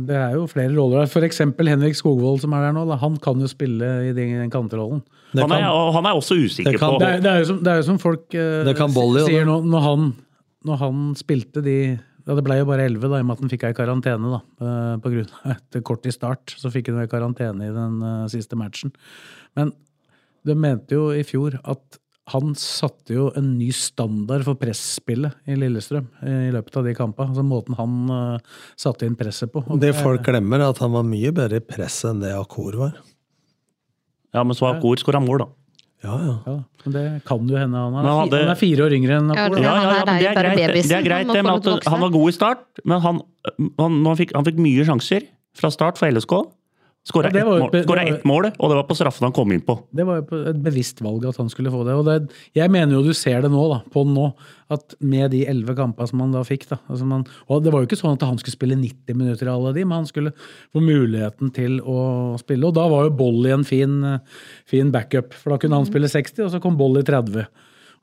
S2: det er jo flere roller der. For eksempel Henrik Skogvold som er der nå, da, han kan jo spille i den den kanterollen.
S5: Det
S3: Han er,
S5: kan,
S3: og han er også usikker
S5: Det kan-
S3: på
S2: Det er, det er, jo, som, det er jo som folk eh,
S5: Det kan
S2: s-
S5: volley, og
S2: sier
S5: det-
S2: nå, når han, når han spilte de ja, Det ble jo bare 11 da, i og med at han fikk ei karantene da, eh, på grunn av et kort i start. Så fikk han jo ei karantene i den eh, siste matchen. Men de mente jo i fjor at han satte jo en ny standard for presspillet i Lillestrøm eh, i løpet av de kampene. Altså måten han eh, satte inn presset på. Og
S5: det folk glemmer, er at han var mye bedre i presset enn det Akor var.
S3: Ja, men så har Kor skåra mål, da.
S5: Ja, ja.
S2: ja, men det kan jo hende. Han er,
S3: Men han
S2: fi-
S3: hadde-
S2: han er fire år yngre enn Akor.
S4: Ja,
S2: da.
S3: Ja,
S4: han
S3: ja, ja, men
S4: er
S3: det er
S4: jo bare
S3: greit, det, det er
S4: babyen sin.
S3: greit
S4: Han må
S3: det,
S4: få
S3: men
S4: lov
S3: at
S4: til å vokse.
S3: han var god i start. Men han, han, når han, fikk, han fikk mye sjanser fra start for LSK. Skåra
S2: Ja, det
S3: ett
S2: var jo-
S3: mål,
S2: det-
S3: skåret
S2: det var-
S3: ett mål, og det var på straffen han kom inn på.
S2: Det var jo på- et bevisst valg at han skulle få det. Og det, jeg mener jo du ser det nå, da, på nå, at med de elleve kampene som han da fikk da, altså man, Og det var jo ikke sånn at han skulle spille 90 minutter i alle de, men han skulle få muligheten til å spille. Og da var jo Bolly en fin, eh, fin backup, for da kunne han spille 60, og så kom Bolly 30.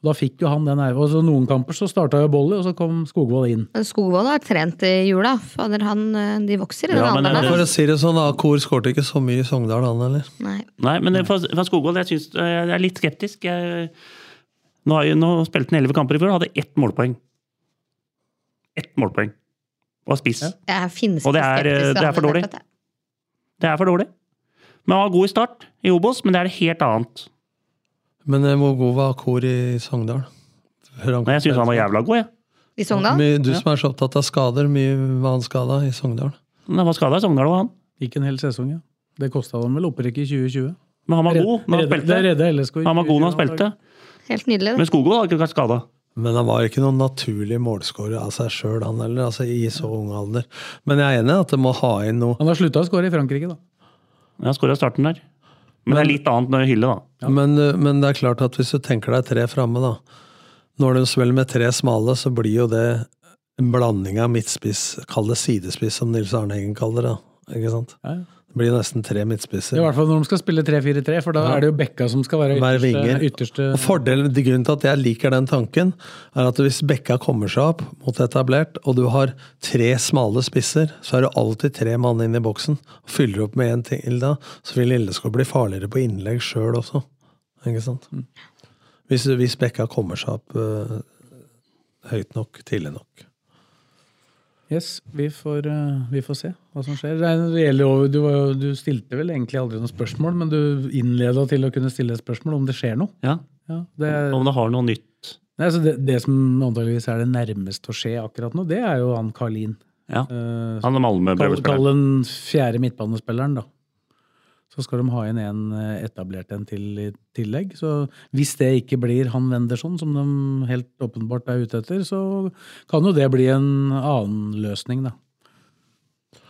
S2: Og da fikk jo han den nerven. Og så noen kamper så starta jo Bolly, og så kom Skogvold inn.
S4: Skogvold har trent i jula. Fader, han, eh, de vokser i den
S3: Ja, men
S4: alderen.
S3: det-
S4: da.
S5: For å si det sånn, Akor skårte ikke så mye i Sogndal, han heller.
S4: Nei.
S3: Nei, men det- for, for Skogvold, jeg, synes, eh, jeg er litt skeptisk. Jeg, nå, har jeg, nå spilte han elleve kamper i fjor, hadde ett målpoeng. Ett målpoeng. Og er spiss.
S4: Jeg er finnes
S3: Og det er, eh,
S4: skeptisk til
S3: det er for
S4: alle
S3: dårlig.
S4: dette.
S3: Det er for dårlig. Men han var god i start i Obos, men det er helt annet.
S5: Men eh, hvor god var Akor i Sogndal? Før han kom
S3: Nei, jeg syns han var jævla god, jeg.
S4: I Sogndal?
S5: Mye- Du som er så opptatt av skader, mye var han skada i Sogndal?
S3: Men Han var skada i Sogndal, og han.
S2: Gikk en hel sesong, ja. Det kosta dem vel opprykk i 2020.
S3: Men han var
S2: Red-
S3: god når han
S2: redde- det
S3: spilte.
S2: redde LSK i
S3: Han var god når han
S2: 2020,
S3: spilte.
S4: Helt nydelig.
S3: Men Skogvold har ikke vært skada.
S5: Men han var ikke noen naturlig målskårer av seg sjøl, han heller. Altså, I så ung alder. Men jeg er enig i at det må ha inn noe.
S2: Han har slutta å skåre i Frankrike, da.
S3: Jeg skåra starten der. Men det er litt annet når hylle, da.
S5: Men, eh, men det er klart at hvis du tenker deg tre framme, da. Når de spiller med tre smale, så blir jo det en blanding av midtspiss, kall det sidespiss, som Nils Arne Eggen kaller det. da. Ikke sant?
S2: Ja, ja.
S5: Det blir nesten tre
S2: Det er I
S5: midtspisser.
S2: hvert fall når de skal spille 3-4-3, for da er det jo Bekka som skal være
S5: Hver vinger.
S2: ytterste, ytterste
S5: Og Fordelen, de Grunnen til at jeg liker den tanken, er at hvis Bekka kommer seg opp mot etablert, og du har tre smale spisser, så er det alltid tre mann inn i boksen. Og fyller opp med én til da, så vil Lilleskog bli farligere på innlegg sjøl også. Ikke sant?
S2: Mm.
S5: Hvis, hvis Bekka kommer seg opp eh, høyt nok, tidlig nok.
S2: Yes, vi får, eh, vi får se hva som skjer. Det er- det gjelder jo, du, var jo- du stilte vel egentlig aldri noe spørsmål, men du innleda til å kunne stille et spørsmål om det skjer noe.
S3: Ja.
S2: Ja, det, er-
S3: Om det har noe nytt.
S2: nei, så det, det som antageligvis er det nærmeste å skje akkurat nå, det er jo han Karlin.
S3: Ja.
S2: Eh,
S3: Han er Malmö
S2: Kall kall
S3: prøvespiller.
S2: den fjerde midtbanespilleren, da. Så skal de ha inn en eh, etablert en til i tillegg. Så hvis det ikke blir han Wendersson, som de helt åpenbart er ute etter, så kan jo det bli en annen løsning, da.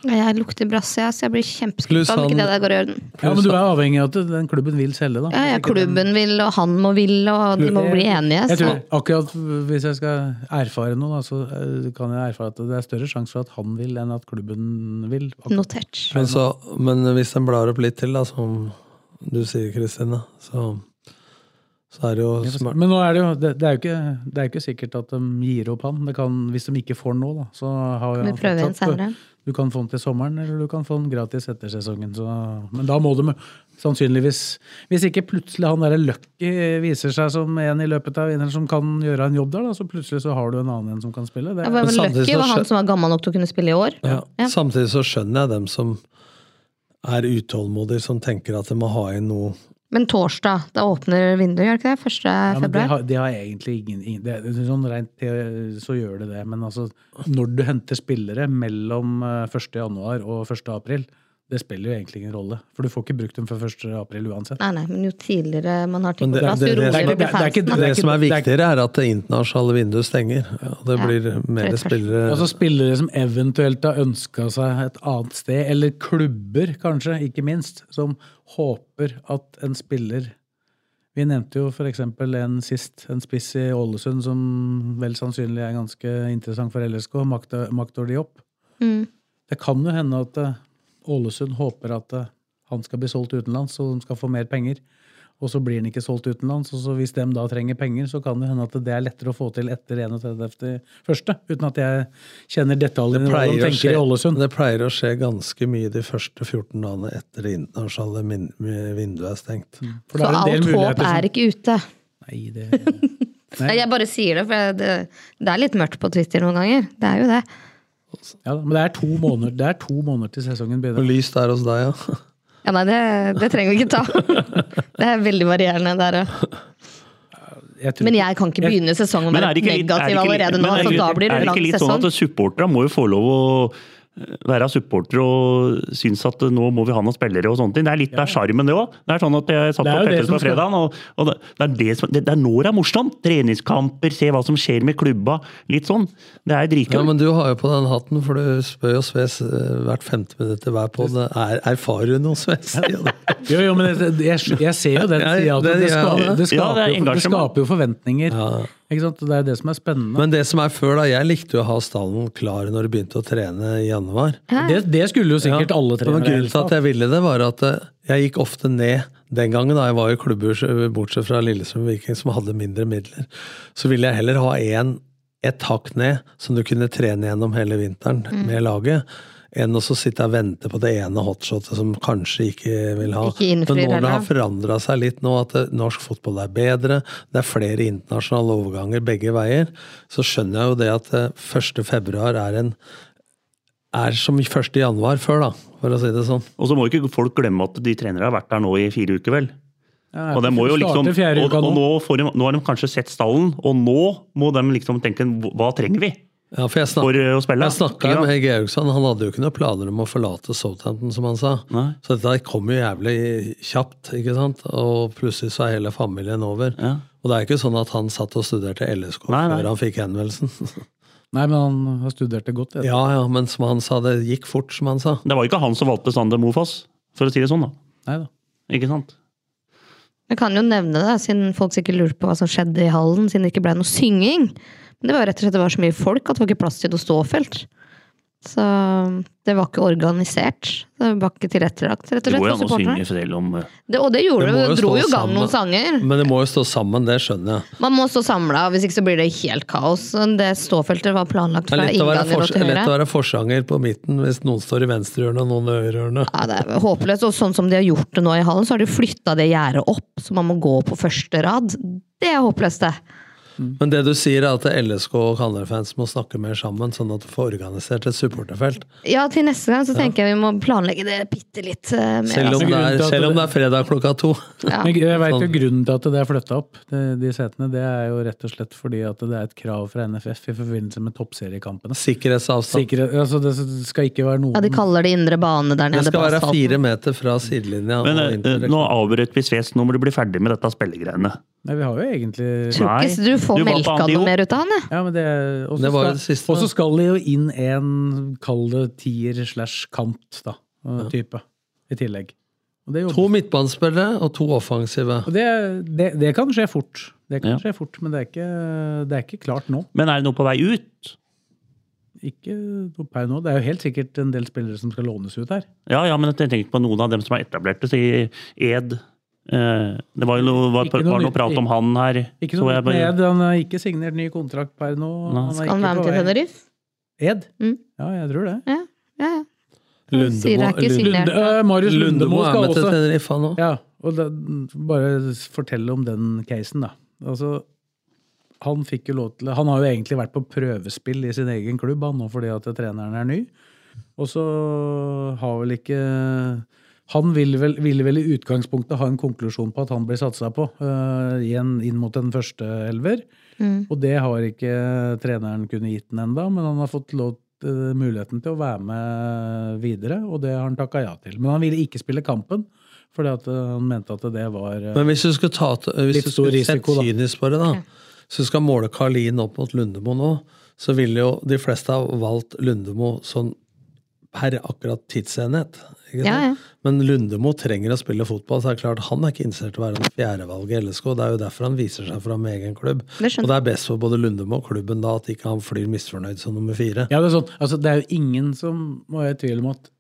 S4: Jeg lukter brasse, ja, så jeg blir
S5: Pluss
S4: kjempeskuffa om
S5: han-
S4: ikke det der går i orden.
S2: Ja, men du er avhengig av at den klubben vil selge, da.
S4: Ja, ja, klubben vil, og han må vil, og de må bli enige.
S2: Jeg
S4: Så.
S2: tror akkurat Hvis jeg skal erfare noe, da, så eh, kan jeg erfare at det er større sjanse for at han vil, enn at klubben vil. Akkurat.
S4: Notert.
S5: Men, så, men hvis den blar opp litt til, da, som du sier, Kristine, så, så er det jo smart.
S2: Men nå er det jo det, det er jo ikke, det er jo ikke sikkert at de gir opp han. Det kan, hvis de ikke får han nå, da, så har jo
S4: Vi
S2: han
S4: prøver igjen
S2: fortsatt-
S4: senere.
S2: Du kan få den til sommeren, eller du kan få den gratis etter sesongen. Så, men da må de sannsynligvis Hvis ikke plutselig han derre Lucky viser seg som en i løpet av vinneren som kan gjøre en jobb der, da, så plutselig så har du en annen en som kan spille. Det,
S4: Det var
S5: Men
S4: vel
S5: samtidig
S4: Lucky
S5: så
S4: var
S5: skjø-
S4: han som var gammel nok til å kunne spille i år.
S5: Ja.
S4: Ja.
S5: Samtidig så skjønner jeg dem som er utålmodige, som tenker at de må ha inn noe
S4: Men torsdag, da åpner vinduet, gjør det ikke det? Første
S2: Ja, men det
S4: februar?
S2: har, det har egentlig ingen, ingen det, det- Sånn rent te- så gjør det det. Men altså, når du henter spillere mellom eh, 1. januar og 1. april, det spiller jo egentlig ingen rolle. For du får ikke brukt dem før 1. april uansett.
S4: Nei, nei, men jo tidligere man har ting
S5: Men
S4: på
S5: det-
S4: plass,
S5: det-
S4: jo
S5: det- det er
S4: roligere
S2: ikke-
S4: blir
S2: det er ikke-
S4: fansen. da.
S2: er
S5: Det som er
S2: det er ikke-
S5: viktigere, er at det internasjonale vinduet stenger. Og det
S4: Ja,
S5: blir mer
S4: rett og slett.
S5: spillere
S2: Altså Spillere som eventuelt har ønska seg et annet sted, eller klubber kanskje, ikke minst, som håper at en spiller Vi nevnte jo f.eks. en sist, en spiss i Ålesund som vel sannsynlig er ganske interessant for LSK, Makta- Maktor Diop.
S4: Mm.
S2: Det kan jo hende at eh, Ålesund håper at eh, han skal bli solgt utenlands, så de skal få mer penger. Og så blir han ikke solgt utenlands, og så hvis de da trenger penger, så kan det hende at det er lettere å få til etter 31.1., uten at jeg kjenner detaljene i hva de
S5: pleier
S2: tenker
S5: å
S2: i
S5: skje,
S2: Ålesund.
S5: det pleier å skje ganske mye de første 14 dagene etter det internasjonale min- vinduet er stengt.
S2: For det er
S4: Så
S2: en del
S4: alt håp
S2: muligheter som-
S4: er ikke ute.
S2: Nei, det...
S4: Nei, Jeg bare sier det, for det, det er litt mørkt på Twitter noen ganger. Det er jo det.
S2: Ja, da, men det er, to måneder, det er to måneder til sesongen
S5: Og
S2: begynner.
S5: lyst er hos deg, ja.
S4: Ja, nei, det, det trenger vi
S2: (laughs)
S4: ikke ta. Det er veldig varierende der òg.
S2: Jeg tror-
S4: Men jeg kan ikke begynne sesongen og
S3: Men
S4: være
S3: er det ikke litt, er det
S4: negativ
S3: ikke litt,
S4: allerede
S3: men
S4: nå.
S3: er det
S4: Så da
S3: ikke-
S4: blir
S3: er
S4: det
S3: det
S4: lang
S3: ikke litt sånn
S4: sesong.
S3: at supportere må jo få lov å eh, være supportere og synes at nå må vi ha noen spillere og sånne ting. Det er litt av sjarmen, det òg. Det er sånn at jeg satt
S2: Det er
S3: og
S2: jo det
S3: tettet
S2: som
S3: på
S2: skal-
S3: fredagen, og, og det, det, er det, som, det, det er nå det er morsomt. Treningskamper, se hva som skjer med klubba. Litt sånn. Det er
S5: Ja,
S3: dritkult.
S5: men du har jo på den hatten, for du spør jo Sves eh, hvert femte minutt i hver podd. Er, erfarer du noe, Sves?
S2: Jo, jo, men jeg, jeg, jeg ser jo den
S5: Ja,
S2: sida. at Det,
S5: det-
S2: det,
S5: ja,
S2: skaper- det,
S3: det- ja,
S2: skaper
S3: det er
S2: jo- det
S3: engasjement.
S2: skaper jo forventninger. Ikke sant? Det er det som er spennende.
S5: (laughs) Men det som er før, da. Jeg likte jo å ha stallen klar når du begynte å trene i januar.
S2: Det, det skulle jo sikkert alle
S5: Men
S2: trenere.
S5: grunnen
S2: helst
S5: til
S2: ha.
S5: at jeg ville det, var at eh, jeg gikk ofte ned den gangen da jeg var i klubber eh, bortsett fra Lillestrøm Viking som hadde mindre midler. Så ville jeg heller ha en, et hakk ned som du kunne trene gjennom hele vinteren
S4: Mm.
S5: med laget. Enn å så sitte og vente på det ene hotshotet som kanskje ikke vil ha.
S4: Ikke innfrir
S5: Men nå det har
S4: heller.
S5: forandra seg litt nå, at eh, norsk fotball er bedre, det er flere internasjonale overganger begge veier, så skjønner jeg jo det at eh, 1. februar er en er som 1. januar før, da, for å si det sånn.
S3: Og så må ikke folk glemme at de trenere har vært der nå i fire uker, vel.
S2: Ja,
S3: Og, det må jo liksom,
S2: starter fjerde
S3: og,
S2: uka
S3: og
S2: nå.
S3: nå, får de, nå har de kanskje sett stallen, og nå må de liksom tenke hva trenger vi
S5: Ja, for jeg
S3: for
S5: snak-
S3: eh, å spille?
S5: jeg snakka
S3: Ja.
S5: med Georgsson, han hadde jo ikke noen planer om å forlate Southampton, som han sa.
S3: Nei.
S5: Så dette kom jo jævlig kjapt, ikke sant. Og plutselig så er hele familien over.
S3: Ja.
S5: Og det er ikke sånn at han satt og studerte LSK
S3: Nei, nei.
S5: før han fikk henvendelsen. (laughs)
S2: Nei, men han har studert det godt. jeg.
S5: ja, ja, men som han sa, det gikk fort, som han sa.
S3: Det var jo ikke han som valgte Sander Mofoss, for å si det sånn, da.
S2: Neida.
S3: Ikke sant?
S4: Jeg kan jo nevne det, siden folk sikkert lurer på hva som skjedde i hallen, siden det ikke ble noe synging. Men det var jo rett og slett det var så mye folk at det var ikke plass til noe ståfelt. Så det var ikke organisert. Det var ikke tilrettelagt, rett og
S3: Det
S4: slett,
S3: går jo an
S4: for
S3: å synge
S4: supporterne.
S3: selv om eh,
S4: Det, og det gjorde
S5: Det
S4: det,
S5: må jo
S4: det dro
S5: stå
S4: jo i gang
S5: sammen.
S4: noen sanger.
S5: Men det må jo stå sammen, det skjønner jeg.
S4: Man må stå samla, hvis ikke så blir det helt kaos. Det ståfeltet var planlagt
S5: Det er
S4: fra
S5: lett å være,
S4: innganger og
S5: fors
S4: til
S5: lett å
S4: høyre.
S5: være forsanger på midten hvis noen står i venstrehjørnet og noen i høyrehjørnet.
S4: Ja, det er håpløst. Og sånn som de har gjort det nå i hallen, så har de flytta det gjerdet opp, så man må gå på første rad. Det er håpløst, det.
S5: Men det du sier, er at LSK og Kalmar-fans må snakke mer sammen, sånn at du får organisert et supporterfelt.
S4: Ja, til neste gang så tenker jeg vi må planlegge det bitte litt eh, mer.
S5: Selv om,
S4: altså.
S5: det
S2: Grunnen
S5: er,
S2: til at
S5: selv om
S2: det-
S5: det er fredag klokka to.
S4: Ja.
S2: Men jeg vet jo
S5: Sånn.
S2: grunnen til at det er flytta opp, de, de setene. Det er jo rett og slett fordi at det er et krav fra NFF i forbindelse med toppseriekampene.
S5: Sikkerhetsavstand.
S2: Sikkerhet, altså det skal ikke være noen
S4: Ja, de kaller det indre bane der
S5: Det
S4: nede.
S5: skal
S4: på
S5: være
S4: asfalten.
S5: fire meter fra sidelinja.
S3: Men
S5: og
S3: eh,
S5: inn til
S3: eh, nå avbrøt vi Sves, nå må du bli ferdig med dette spillegreiene.
S2: Nei, vi har jo egentlig
S4: Tror
S3: Nei.
S4: ikke du får
S3: Du var på
S4: melka
S3: Antio.
S4: noe mer ut av han, jeg.
S2: ja, men det, og så
S5: Det var
S2: skal-
S5: det siste,
S2: Og så
S5: da.
S2: skal det jo inn en, kall det tier slash kant, da, type, i tillegg. Og det, gjorde-
S5: To midtbanespillere og to offensive.
S2: og det, det, det kan skje fort. Det kan
S3: Ja.
S2: skje fort, men det er, ikke, det er ikke klart nå.
S3: Men er det noe på vei ut?
S2: Ikke noe per nå. Det er jo helt sikkert en del spillere som skal lånes ut her.
S3: Ja, ja, men jeg tenker på noen av dem som er etablerte, så i Ed eh, Det var jo noe, var,
S2: Ikke noe
S3: var noe
S2: nytt-
S3: prat om han her.
S2: Ikke
S3: så
S2: noe
S3: jeg
S2: nytt med
S3: bare-
S2: Ed. Han har ikke signert ny kontrakt per nå.
S3: Nei.
S2: er
S4: Skal han
S2: ikke
S4: være
S2: på
S4: med til
S2: vei.
S4: Tenerife?
S2: Ed?
S4: Mm.
S2: Ja, jeg tror det.
S4: Ja, ja, ja. Sier
S5: Lundemo,
S4: det er ikke
S5: Lund-
S4: signert.
S2: Lunde, øh, Marius Lundemo
S5: Lundemo er
S2: skal
S5: med til
S2: også
S5: Tenerife nå.
S2: Ja, og da, bare fortelle om den casen, da. Altså, han fikk jo lov til Han har jo egentlig vært på prøvespill i sin egen klubb, han nå fordi at treneren er ny. Og så har vel ikke Han ville vel, ville vel i utgangspunktet ha en konklusjon på at han blir satsa på øh, igjen inn mot den første elver.
S4: Mm.
S2: Og det har ikke treneren kunnet gitt den enda, men han har fått lov, øh, muligheten til å være med videre, og det har han takka ja til. Men han ville ikke spille kampen, fordi at øh, han mente at det var øh,
S5: Men hvis du skulle, ta, hvis
S2: Litt
S5: du
S2: stor
S5: skulle sett
S2: risiko, da.
S5: kynisk på det, da Så skal måle Karlin opp mot Lundemo nå, så ville jo de fleste ha valgt Lundemo sånn per akkurat tidsenhet. Ikke sant?
S4: Ja, ja.
S5: Men Lundemo trenger å spille fotball, så er det klart han er ikke interessert i å være en fjerdevalg i LSK. Det er jo derfor han viser seg fram med egen klubb.
S4: Det skjønner
S5: og det er best for både Lundemo og klubben da at ikke han flyr misfornøyd som nummer fire.
S2: Ja, det er sånn. Altså, det er jo ingen som må være i tvil om at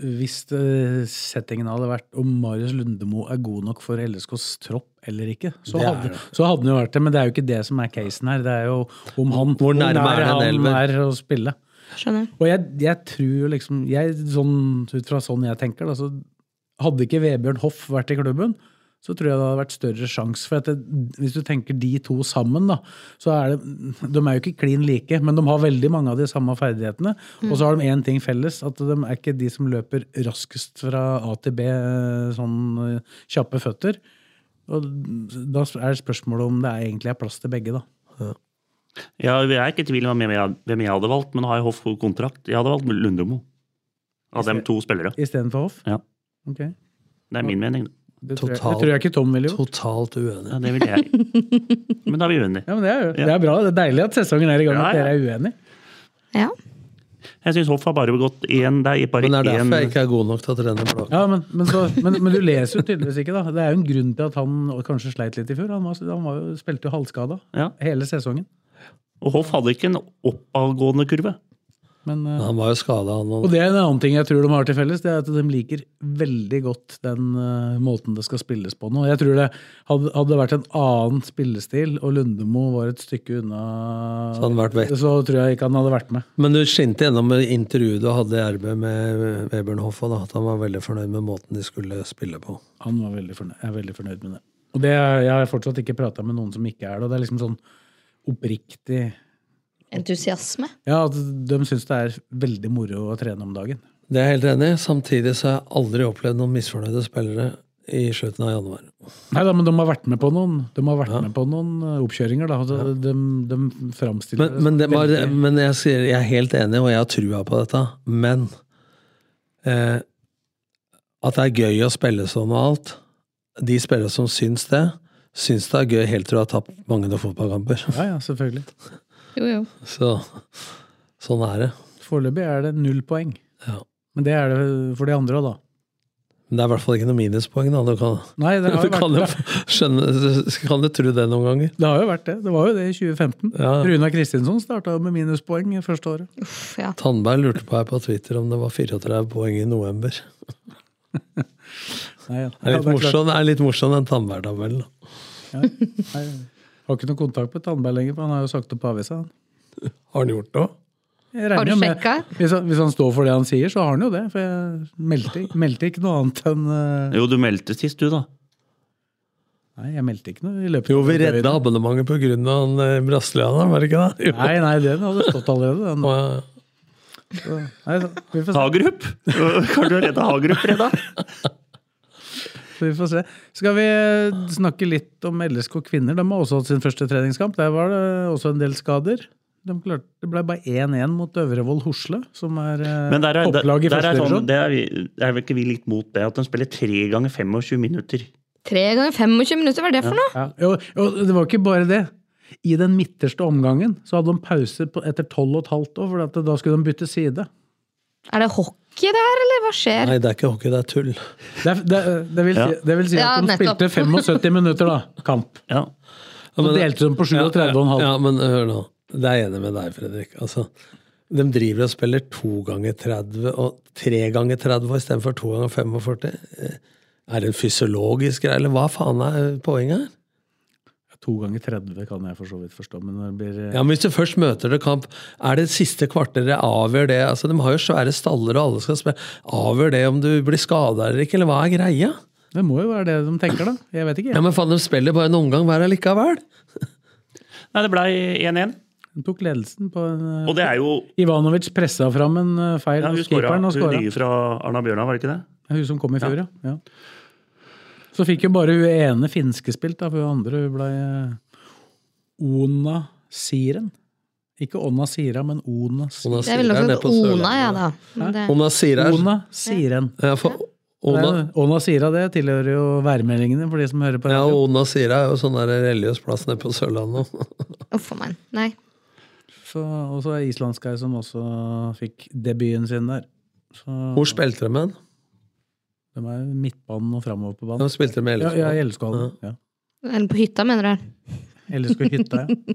S2: hvis eh, settingen hadde vært om Marius Lundemo er god nok for LSKs tropp eller ikke, så
S5: Det er
S2: hadde,
S5: det.
S2: så hadde han jo vært det. Men det er jo ikke det som er casen her. Det er jo om han,
S5: Hvor nærme
S2: nær
S5: er det en
S2: han
S5: elver?
S2: er å spille.
S4: Skjønner.
S2: Og jeg, jeg tror jo liksom jeg, sånn, Ut fra sånn jeg tenker, da, så hadde ikke Vebjørn Hoff vært i klubben, så tror jeg det hadde vært større sjanse. For at det, hvis du tenker de to sammen, da, så er det De er jo ikke klin like, men de har veldig mange av de samme ferdighetene. Og så har de én ting felles, at de er ikke de som løper raskest fra A til B, sånn eh, kjappe føtter. Og da er spørsmålet om det er egentlig er plass til begge, da.
S3: Ja, jeg er ikke i tvil om hvem jeg, hvem jeg hadde valgt, men har jeg Hoff kontrakt? Jeg hadde valgt Lundemo. Av dem to spillere.
S2: Istedenfor Hoff.
S3: Ja.
S2: Ok.
S3: Det er min mening.
S2: Det, tror jeg, det
S5: Total-
S2: tror jeg ikke Tom ville gjort.
S5: Totalt uenig.
S3: Ja, det vil jeg.
S2: (laughs)
S3: Men da er vi uenige.
S2: Ja, men det er, jo- det er bra. Det er deilig at sesongen er i gang,
S3: Ja,
S2: at
S3: ja.
S2: dere er uenige.
S4: Ja.
S3: Jeg syns Hoff har bare gått én. Det er bare
S5: Men det er
S3: én
S5: derfor jeg ikke er god nok til å trene blokk.
S2: Ja, men, men, så, (laughs) men, men du leser jo tydeligvis ikke, da. Det er jo en grunn til at han kanskje sleit litt i fjor. Han, var, han var jo, spilte jo halvskada
S3: Ja.
S2: hele sesongen.
S3: Og Hoff hadde ikke en oppadgående kurve.
S2: Men, eh,
S5: Han var jo skada, han
S2: og
S5: òg.
S2: det er en annen ting jeg tror de har til felles, det er at de liker veldig godt den eh, måten det skal spilles på nå. Jeg tror det hadde, hadde det vært en annen spillestil, og Lundemo var et stykke unna,
S5: Så han hadde vært vekk.
S2: så tror jeg ikke han hadde vært med.
S5: Men du skinte gjennom med intervjuet du hadde i RB med Vebjørn Hoffa, da, at han var veldig fornøyd med måten de skulle spille på.
S2: Han var veldig fornøyd, er veldig fornøyd med det. Og det, er- jeg har fortsatt ikke prata med noen som ikke er det. Og det er liksom sånn oppriktig
S4: Entusiasme.
S2: Ja, at de syns det er veldig moro å trene om dagen.
S5: Det er jeg helt enig i. Samtidig så har jeg aldri opplevd noen misfornøyde spillere i slutten av januar.
S2: Nei da, men de har vært med på noen, de har vært med på noen eh, oppkjøringer, da. og De, de, de framstiller
S5: Men, men, det
S2: som
S5: var,
S2: veldig-
S5: men jeg, sier, jeg er helt enig, og jeg har trua på dette. Men eh, at det er gøy å spille sånn og alt De spillere som syns det, syns det er gøy helt til du har tapt mange nok fotballkamper. (laughs)
S2: Ja, ja, selvfølgelig.
S4: Jo, jo.
S5: Så sånn er det.
S2: Foreløpig er det null poeng.
S5: Ja.
S2: Men det er det for de andre òg, da.
S5: Men det er i hvert fall ikke noe minuspoeng, da. Du kan,
S2: Nei, det har
S5: (laughs) du
S2: jo
S5: kan,
S2: vært
S5: jo skjønne, kan du tro det noen ganger?
S2: det. har jo vært det. Det var jo det i 2015.
S5: Ja.
S2: Runa Kristinsson starta med minuspoeng i første året.
S4: Uff, ja.
S5: Tandberg lurte på her på Twitter om det var 34 poeng i november.
S2: Nei, ja.
S5: Det er litt
S2: Ja, klart.
S5: morsom, det er litt morsom den Tandberg-tabellen. da.
S2: Nei, jeg har ikke noe kontakt med Tandberg lenger, for han har jo sagt opp avisa. han.
S5: Har han gjort det òg?
S2: Jeg regner
S4: Har du
S2: jo med-
S4: sjekka?
S2: Hvis han, hvis han står for det han sier, så har han jo det. For jeg meldte, meldte ikke noe annet enn eh,
S3: Jo, du meldte sist, du, da.
S2: Nei, jeg meldte ikke noe i løpet
S5: Jo, vi redda abonnementet pga. han eh, brasilianeren, var det ikke det? Jo.
S2: Nei, nei, den hadde stått allerede. Den.
S5: Og, eh,
S2: Nei, så, vi, får se,
S3: Hagerup! (laughs) Kan du redde Hagerup, Freda?
S2: vi får se. Skal vi eh, snakke litt om LSK kvinner? De har også hatt sin første treningskamp. Der var det også en del skader. De klarte, det ble bare 1-1 mot Øvrevoll Hosle, som er eh,
S3: Men der er, der,
S2: topplag i
S3: der
S2: første
S3: er, sånn,
S2: divisjon.
S3: det er, vi, er vel ikke vi litt mot det? At de spiller tre ganger 25 minutter.
S4: Tre ganger 25 minutter, hva er det for noe?
S2: Ja, og, og det var ikke bare det. I den midterste omgangen så hadde de pause på, etter tolv og et halvt år, for at da skulle de bytte side.
S4: Er det hockey det her, eller hva skjer?
S5: Nei, det er ikke hockey, det er tull.
S2: Det, er- det, det, vil, si, det vil si
S4: Ja,
S2: at de
S4: nettopp.
S2: spilte 75 minutter, da. Kamp.
S3: Ja.
S5: Ja,
S2: Så delte de på 37,5.
S5: Ja, men hør nå. Det er jeg enig med deg, Fredrik. Altså, de driver og spiller to ganger 30 og tre ganger 30 år istedenfor to ganger 45. Eh, Er det en fysiologisk greie, eller hva faen er poenget her?
S2: To ganger 30 kan jeg for så vidt forstå, men når det blir
S5: Ja, men Hvis du først møter det kamp, er det siste kvarteret avgjør det? Altså, De har jo svære staller, og alle skal spille. Avgjør det om du blir skada eller ikke, eller hva er greia?
S2: Det må jo være det de tenker, da. Jeg vet ikke.
S5: Ja, men faen, De spiller bare en omgang hver allikevel.
S3: Nei, det blei 1-1.
S2: De tok ledelsen på en eh,
S3: Og det er jo
S2: Ivanovic pressa fram en eh, feil,
S3: ja,
S2: og
S3: Hun skåra.
S2: keeperen og
S3: Hun
S2: skåra.
S3: nye fra Arna Bjørnar, var det ikke det?
S2: Hun som kom i fjor, ja. ja. Så fikk jo bare hun ene finske spilt, da, for hun andre hun blei Ona Siren. Ikke Ona Sira, men Ona Siren.
S5: Ona
S4: Det er vel
S5: Sira nede
S4: også
S5: på
S4: et Ona, ja
S5: Sørlandet.
S4: da. Men det,
S5: Ona Sira er-
S2: Ona Siren.
S5: Ja, for Ona,
S2: Nei, Ona Sira, det tilhører jo værmeldingene for de som hører på
S5: ja,
S2: radio.
S5: Ona Sira er jo sånn der religiøs plass nede på Sørlandet.
S4: uff a meg. Nei.
S2: Så, og så er islandsk ei som også fikk debuten sin der. Så
S5: Hvor spilte de hen?
S2: de er jo midtbanen og framover på
S5: De
S2: banen.
S5: spilte med
S2: Ja,
S5: Ellefsborg.
S2: ja, Elskålen. Ja.
S4: Eller på hytta, mener du?
S2: Elsker
S5: (laughs)
S2: hytta, ja.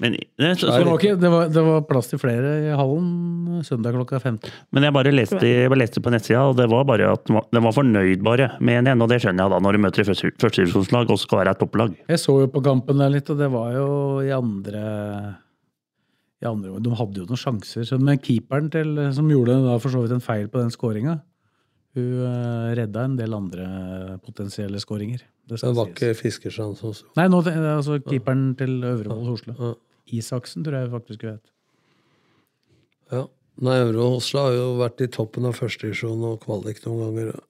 S3: Men, nei, så,
S2: Så
S3: så,
S2: det, var ikke, det, var, det var plass til flere i hallen søndag klokka 15.
S3: men jeg bare leste, jeg bare leste på nettsida, og det var bare at den var- den var fornøyd bare med 1-1. Og det skjønner jeg da, når du møter et første- førstedivisjonslag og skal være et topplag.
S2: Jeg så jo på kampen der litt, og det var jo i andre i andre, De hadde jo noen sjanser. så- Men keeperen til, som gjorde da for så vidt en feil på den skåringa, hun eh, redda en del andre potensielle skåringer. Det
S5: Det
S2: skal
S5: var
S2: sies.
S5: ikke Fiskerstrand som sto.
S2: Nei, nå, ten- altså keeperen til Øvrevoll Hosle.
S5: Ja.
S2: Isaksen, tror jeg faktisk hun het.
S5: Ja. Nei, Øvre Oslo har jo vært i toppen av førstedivisjon og kvalik noen ganger.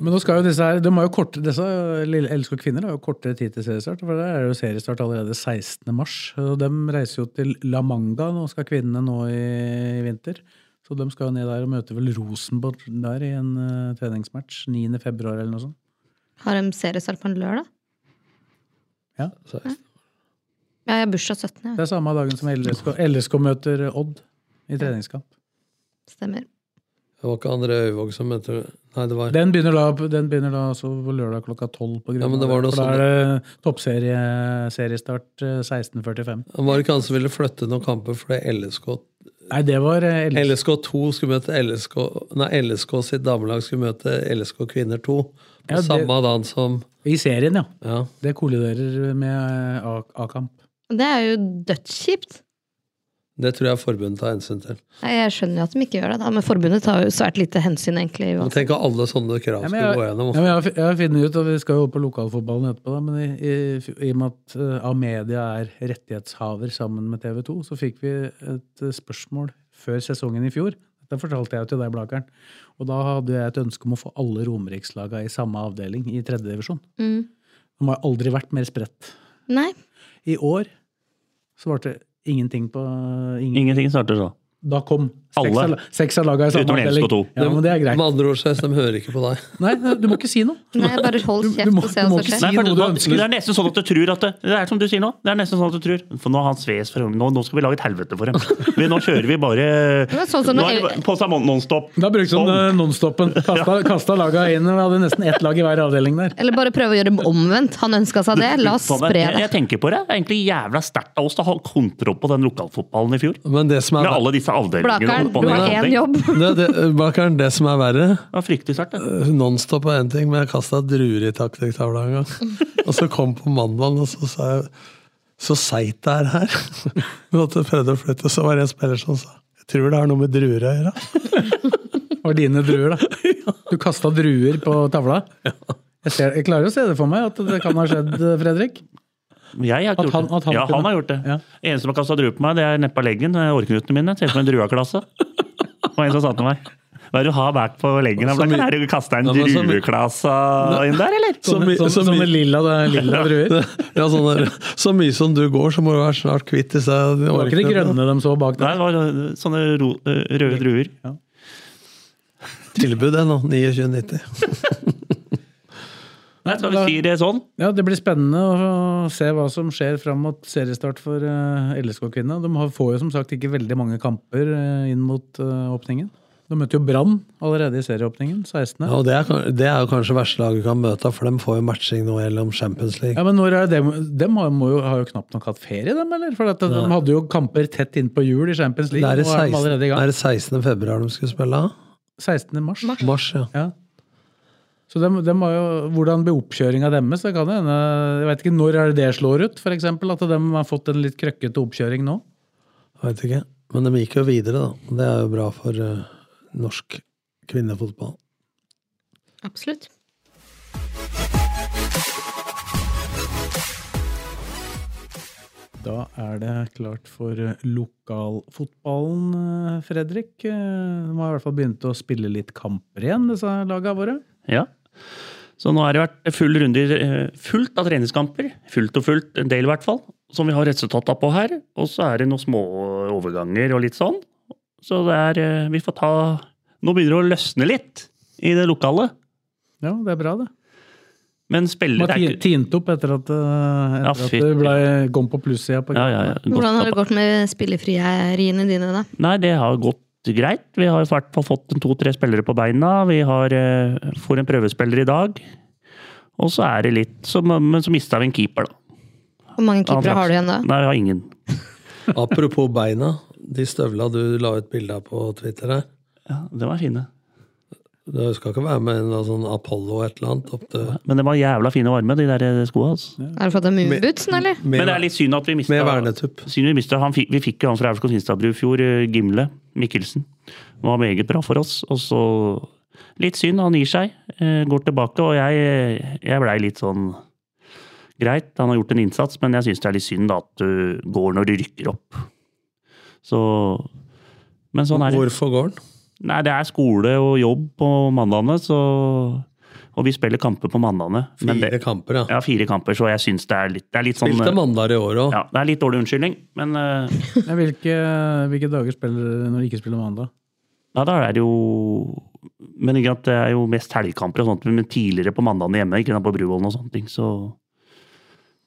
S2: Men nå skal jo disse her, de har jo korte, disse lille elsker kvinner har jo kortere tid til seriestart, for det er jo seriestart allerede 16. mars. Og de reiser jo til La Manga, nå skal kvinnene nå i, i vinter. Så de skal jo ned der og møte vel Rosenborg der i en eh, treningsmatch 9. februar eller noe sånt.
S4: Har de seriestart på en lørdag?
S2: Ja,
S4: Ja, jeg har bursdag 17. Ja.
S2: Det er samme dagen som LSK, LSK møter Odd i treningskamp.
S4: Stemmer.
S5: Det var ikke André Øyvåg som mente Nei, det var
S2: Den begynner da, den begynner da også på lørdag klokka 12 på grunn
S5: Ja, men det var noe sånn-
S2: for da er det eh, toppseriestart 16.45.
S5: Han var ikke han som ville flytte noen kamper fordi LSK,
S2: Nei, det var eh, LSK.
S5: LSK2 skulle møte LSK Nei, LSK sitt damelag skulle møte LSK kvinner 2. På
S2: Ja, det-
S5: samme dagen som
S2: I serien, ja.
S5: Ja.
S2: Det kolliderer med eh, A- A-kamp.
S4: Og Det er jo dødskjipt.
S5: Det tror jeg forbundet tar hensyn til.
S4: Nei, Jeg skjønner jo at de ikke gjør det, da, men forbundet tar jo svært lite hensyn, egentlig.
S5: Men Tenk at alle sånne krav
S2: Ja, men
S5: skulle
S2: jeg,
S5: gå
S2: ja,
S5: gjennom.
S2: men jeg, har fi- jeg har funnet ut, og vi skal jo opp på lokalfotballen etterpå, da, men i, i, i og med at eh, Amedia er rettighetshaver sammen med TV 2, så fikk vi et eh, spørsmål før sesongen i fjor. Det fortalte jeg jo til deg, Blakeren. Og da hadde jeg et ønske om å få alle romerikslagene i samme avdeling i tredjedivisjon.
S4: Mm.
S2: De har aldri vært mer spredt.
S4: Nei.
S2: I år svarte ingenting på ingen.
S3: Ingenting starter så.
S2: Da kom Seks
S3: Alle.
S2: av la- Seks av laga i samme
S3: Utenom Lillestrøm
S2: avdeling.
S3: to.
S2: Ja, men det er
S5: Med
S2: greit.
S5: andre ord, Skeis, de hører ikke på deg.
S2: Nei, du må ikke si noe.
S4: Nei, bare hold
S2: Du- du
S4: kjeft
S2: må-
S4: og se
S2: du må
S4: hva som
S2: ikke
S4: skjer.
S2: si-
S3: Nei, for
S2: noe
S3: det,
S2: du
S3: man,
S2: ønsker.
S3: det er nesten sånn at du tror at det, det er som du sier nå. Det er nesten sånn at du tror For nå har han sves for ungene. Nå, nå skal vi lage et helvete for dem. Men nå kjører vi bare
S4: var sånn som
S3: Nå
S4: når
S3: er det
S4: El-
S3: bare på seg nonstop.
S2: Da brukte han
S3: Sånn.
S2: eh, nonstopen. Kasta, kasta laga inn. Vi hadde nesten ett lag i hver avdeling der.
S4: Eller bare prøve å gjøre det omvendt. Han ønska seg det. La oss
S3: Sånn,
S4: spre
S3: jeg,
S4: det.
S3: jeg tenker på det. Det er egentlig jævla sterkt av oss å ha kontroll på den lokalfotballen i fjor.
S5: (laughs) Men det som
S3: Med
S5: er, (laughs)
S3: alle disse avdelingene.
S4: Blakeren,
S3: oppe og
S4: du har
S3: ned.
S4: én jobb.
S5: det, det, Bakeren, det som er verre
S3: Det var fryktelig sterkt. det.
S5: Nonstop er én ting, men jeg kasta druer i taktikktavla en gang. Og så kom på mandagen, og så sa jeg Så seigt det er her. (laughs) Vi måtte prøve å flytte, så var det en spiller som sa Jeg tror det har noe med druer å gjøre.
S2: Det var dine druer, da. Du kasta druer på tavla. Jeg, ser, jeg klarer å se det for meg at det kan ha skjedd, eh, Fredrik.
S3: Jeg har ikke
S2: At
S3: gjort
S2: han-
S3: det.
S2: at han
S3: ja,
S2: kunne-
S3: han har gjort det.
S2: Ja.
S3: Eneste som har kasta druer på meg, det er nedpå leggen. det er Årknutene mine. Ser ut som en drueklasse. Det var en som sa til meg. Hva er det du har bak på leggen?
S5: Så mye-
S3: Har du kasta en
S5: Ja, men så mye-
S3: drueklasse inn der, eller?
S5: Så
S2: Sånne,
S5: mye- så
S2: sånne, sånne
S5: mye-
S2: lilla, det er lilla druer.
S5: Ja, sånn der, så mye som du går, så må du være snart kvitt disse
S2: Det var ikke de grønne de så bak
S3: Nei,
S2: der.
S3: det var øh, sånne ro, øh, røde druer.
S5: Tilbud ennå. 29,90.
S3: Nei, skal vi si det sånn?
S2: Ja, Det blir spennende å se hva som skjer fram mot seriestart for eh, LSK-kvinna. De har- får jo som sagt ikke veldig mange kamper eh, inn mot eh, åpningen. De møter jo Brann allerede i serieåpningen, 16.
S5: Ja, og det er, kan- det er jo kanskje verste laget du kan møte, for de får jo matching nå gjennom Champions League.
S2: Ja, men når er det? De har, må jo, har jo knapt nok hatt ferie, dem, eller? For at de hadde jo kamper tett innpå jul i Champions
S5: Det
S2: League.
S5: er, i
S2: Nå er de
S5: 16,
S2: allerede i
S5: er
S2: gang.
S5: det 16. februar de skulle spille? da?
S2: 16. mars.
S5: Mars, ja.
S2: Ja. Så dem, dem har jo, hvordan blir oppkjøringa deres? Det kan jo hende Jeg vet ikke når er det det slår ut, f.eks. At de har fått en litt krøkkete oppkjøring nå.
S5: Jeg Vet ikke. Men de gikk jo videre, da. Og Det er jo bra for eh, norsk kvinnefotball.
S4: Absolutt.
S2: Da er det klart for eh, lokalfotballen, eh, Fredrik. Eh, De har i hvert fall begynt å spille litt kamper igjen, disse laga våre.
S3: Ja. Så nå har det vært full runde, i- eh, fullt av treningskamper. Fullt og fullt, en del i hvert fall, som vi har resultater på her. Og så er det noen små overganger og litt sånn. Så det er eh, Vi får ta Nå begynner det å løsne litt i det lokale.
S2: Ja, det er bra, det.
S3: Men spiller
S2: Man
S3: det er
S2: ti-
S3: ikke
S2: tinte opp etter at, eh,
S3: Ja,
S2: etter
S3: fy.
S2: at det ble, kom på plussida. på
S3: ja, ja, ja. Godt
S4: Hvordan har det
S3: tappa.
S4: gått med spillefrieriene dine, da?
S3: Nei, det har gått greit. Vi har i hvert fall fått en to-tre spillere på beina. Vi har, eh, får en prøvespiller i dag. Og så er det litt så, Men så mista vi en keeper, da.
S4: Hvor mange
S3: Han
S4: keepere
S3: trakk
S4: har du
S3: seg.
S4: igjen da?
S3: Nei, jeg har ingen.
S5: Apropos beina. De støvla du la ut bilde av på Twitter her.
S3: Ja, det var fine.
S5: Du skal ikke være med en eller annen sånn Apollo et eller annet opp til
S3: Men det var jævla fine og varme, de der skoa. Altså.
S4: Har du fått deg moonbootsen, eller?
S3: Men det
S5: med,
S3: er litt synd at vi mista
S5: med vernetupp.
S3: Synd vi, mistet, han, fi- vi fikk jo han fra Aurskog Finstadbru i fjor, eh, Gimle Mikkelsen. Han var meget bra for oss. Og så litt synd, han gir seg. eh, Går tilbake, og jeg, jeg blei litt sånn Greit, han har gjort en innsats, men jeg syns det er litt synd da, at du går når du rykker opp. Så Men sånn er det.
S5: Hvorfor går den?
S3: Nei, det er skole og jobb på mandagene, så Og vi spiller kamper på mandagene. men
S5: Fire
S3: det-
S5: kamper, ja.
S3: Ja, fire kamper, så jeg syns det er litt, det er litt sånn
S5: Spilte mandag i år òg.
S3: ja, Det er litt dårlig unnskyldning, men eh,
S2: Men Hvilke, hvilke dager spiller dere når de ikke spiller mandag?
S3: ja, da er det jo Men ikke at det er jo mest helgekamper og sånt, men tidligere på mandagene hjemme, ikke sant, på Bruvollen og sånne ting, så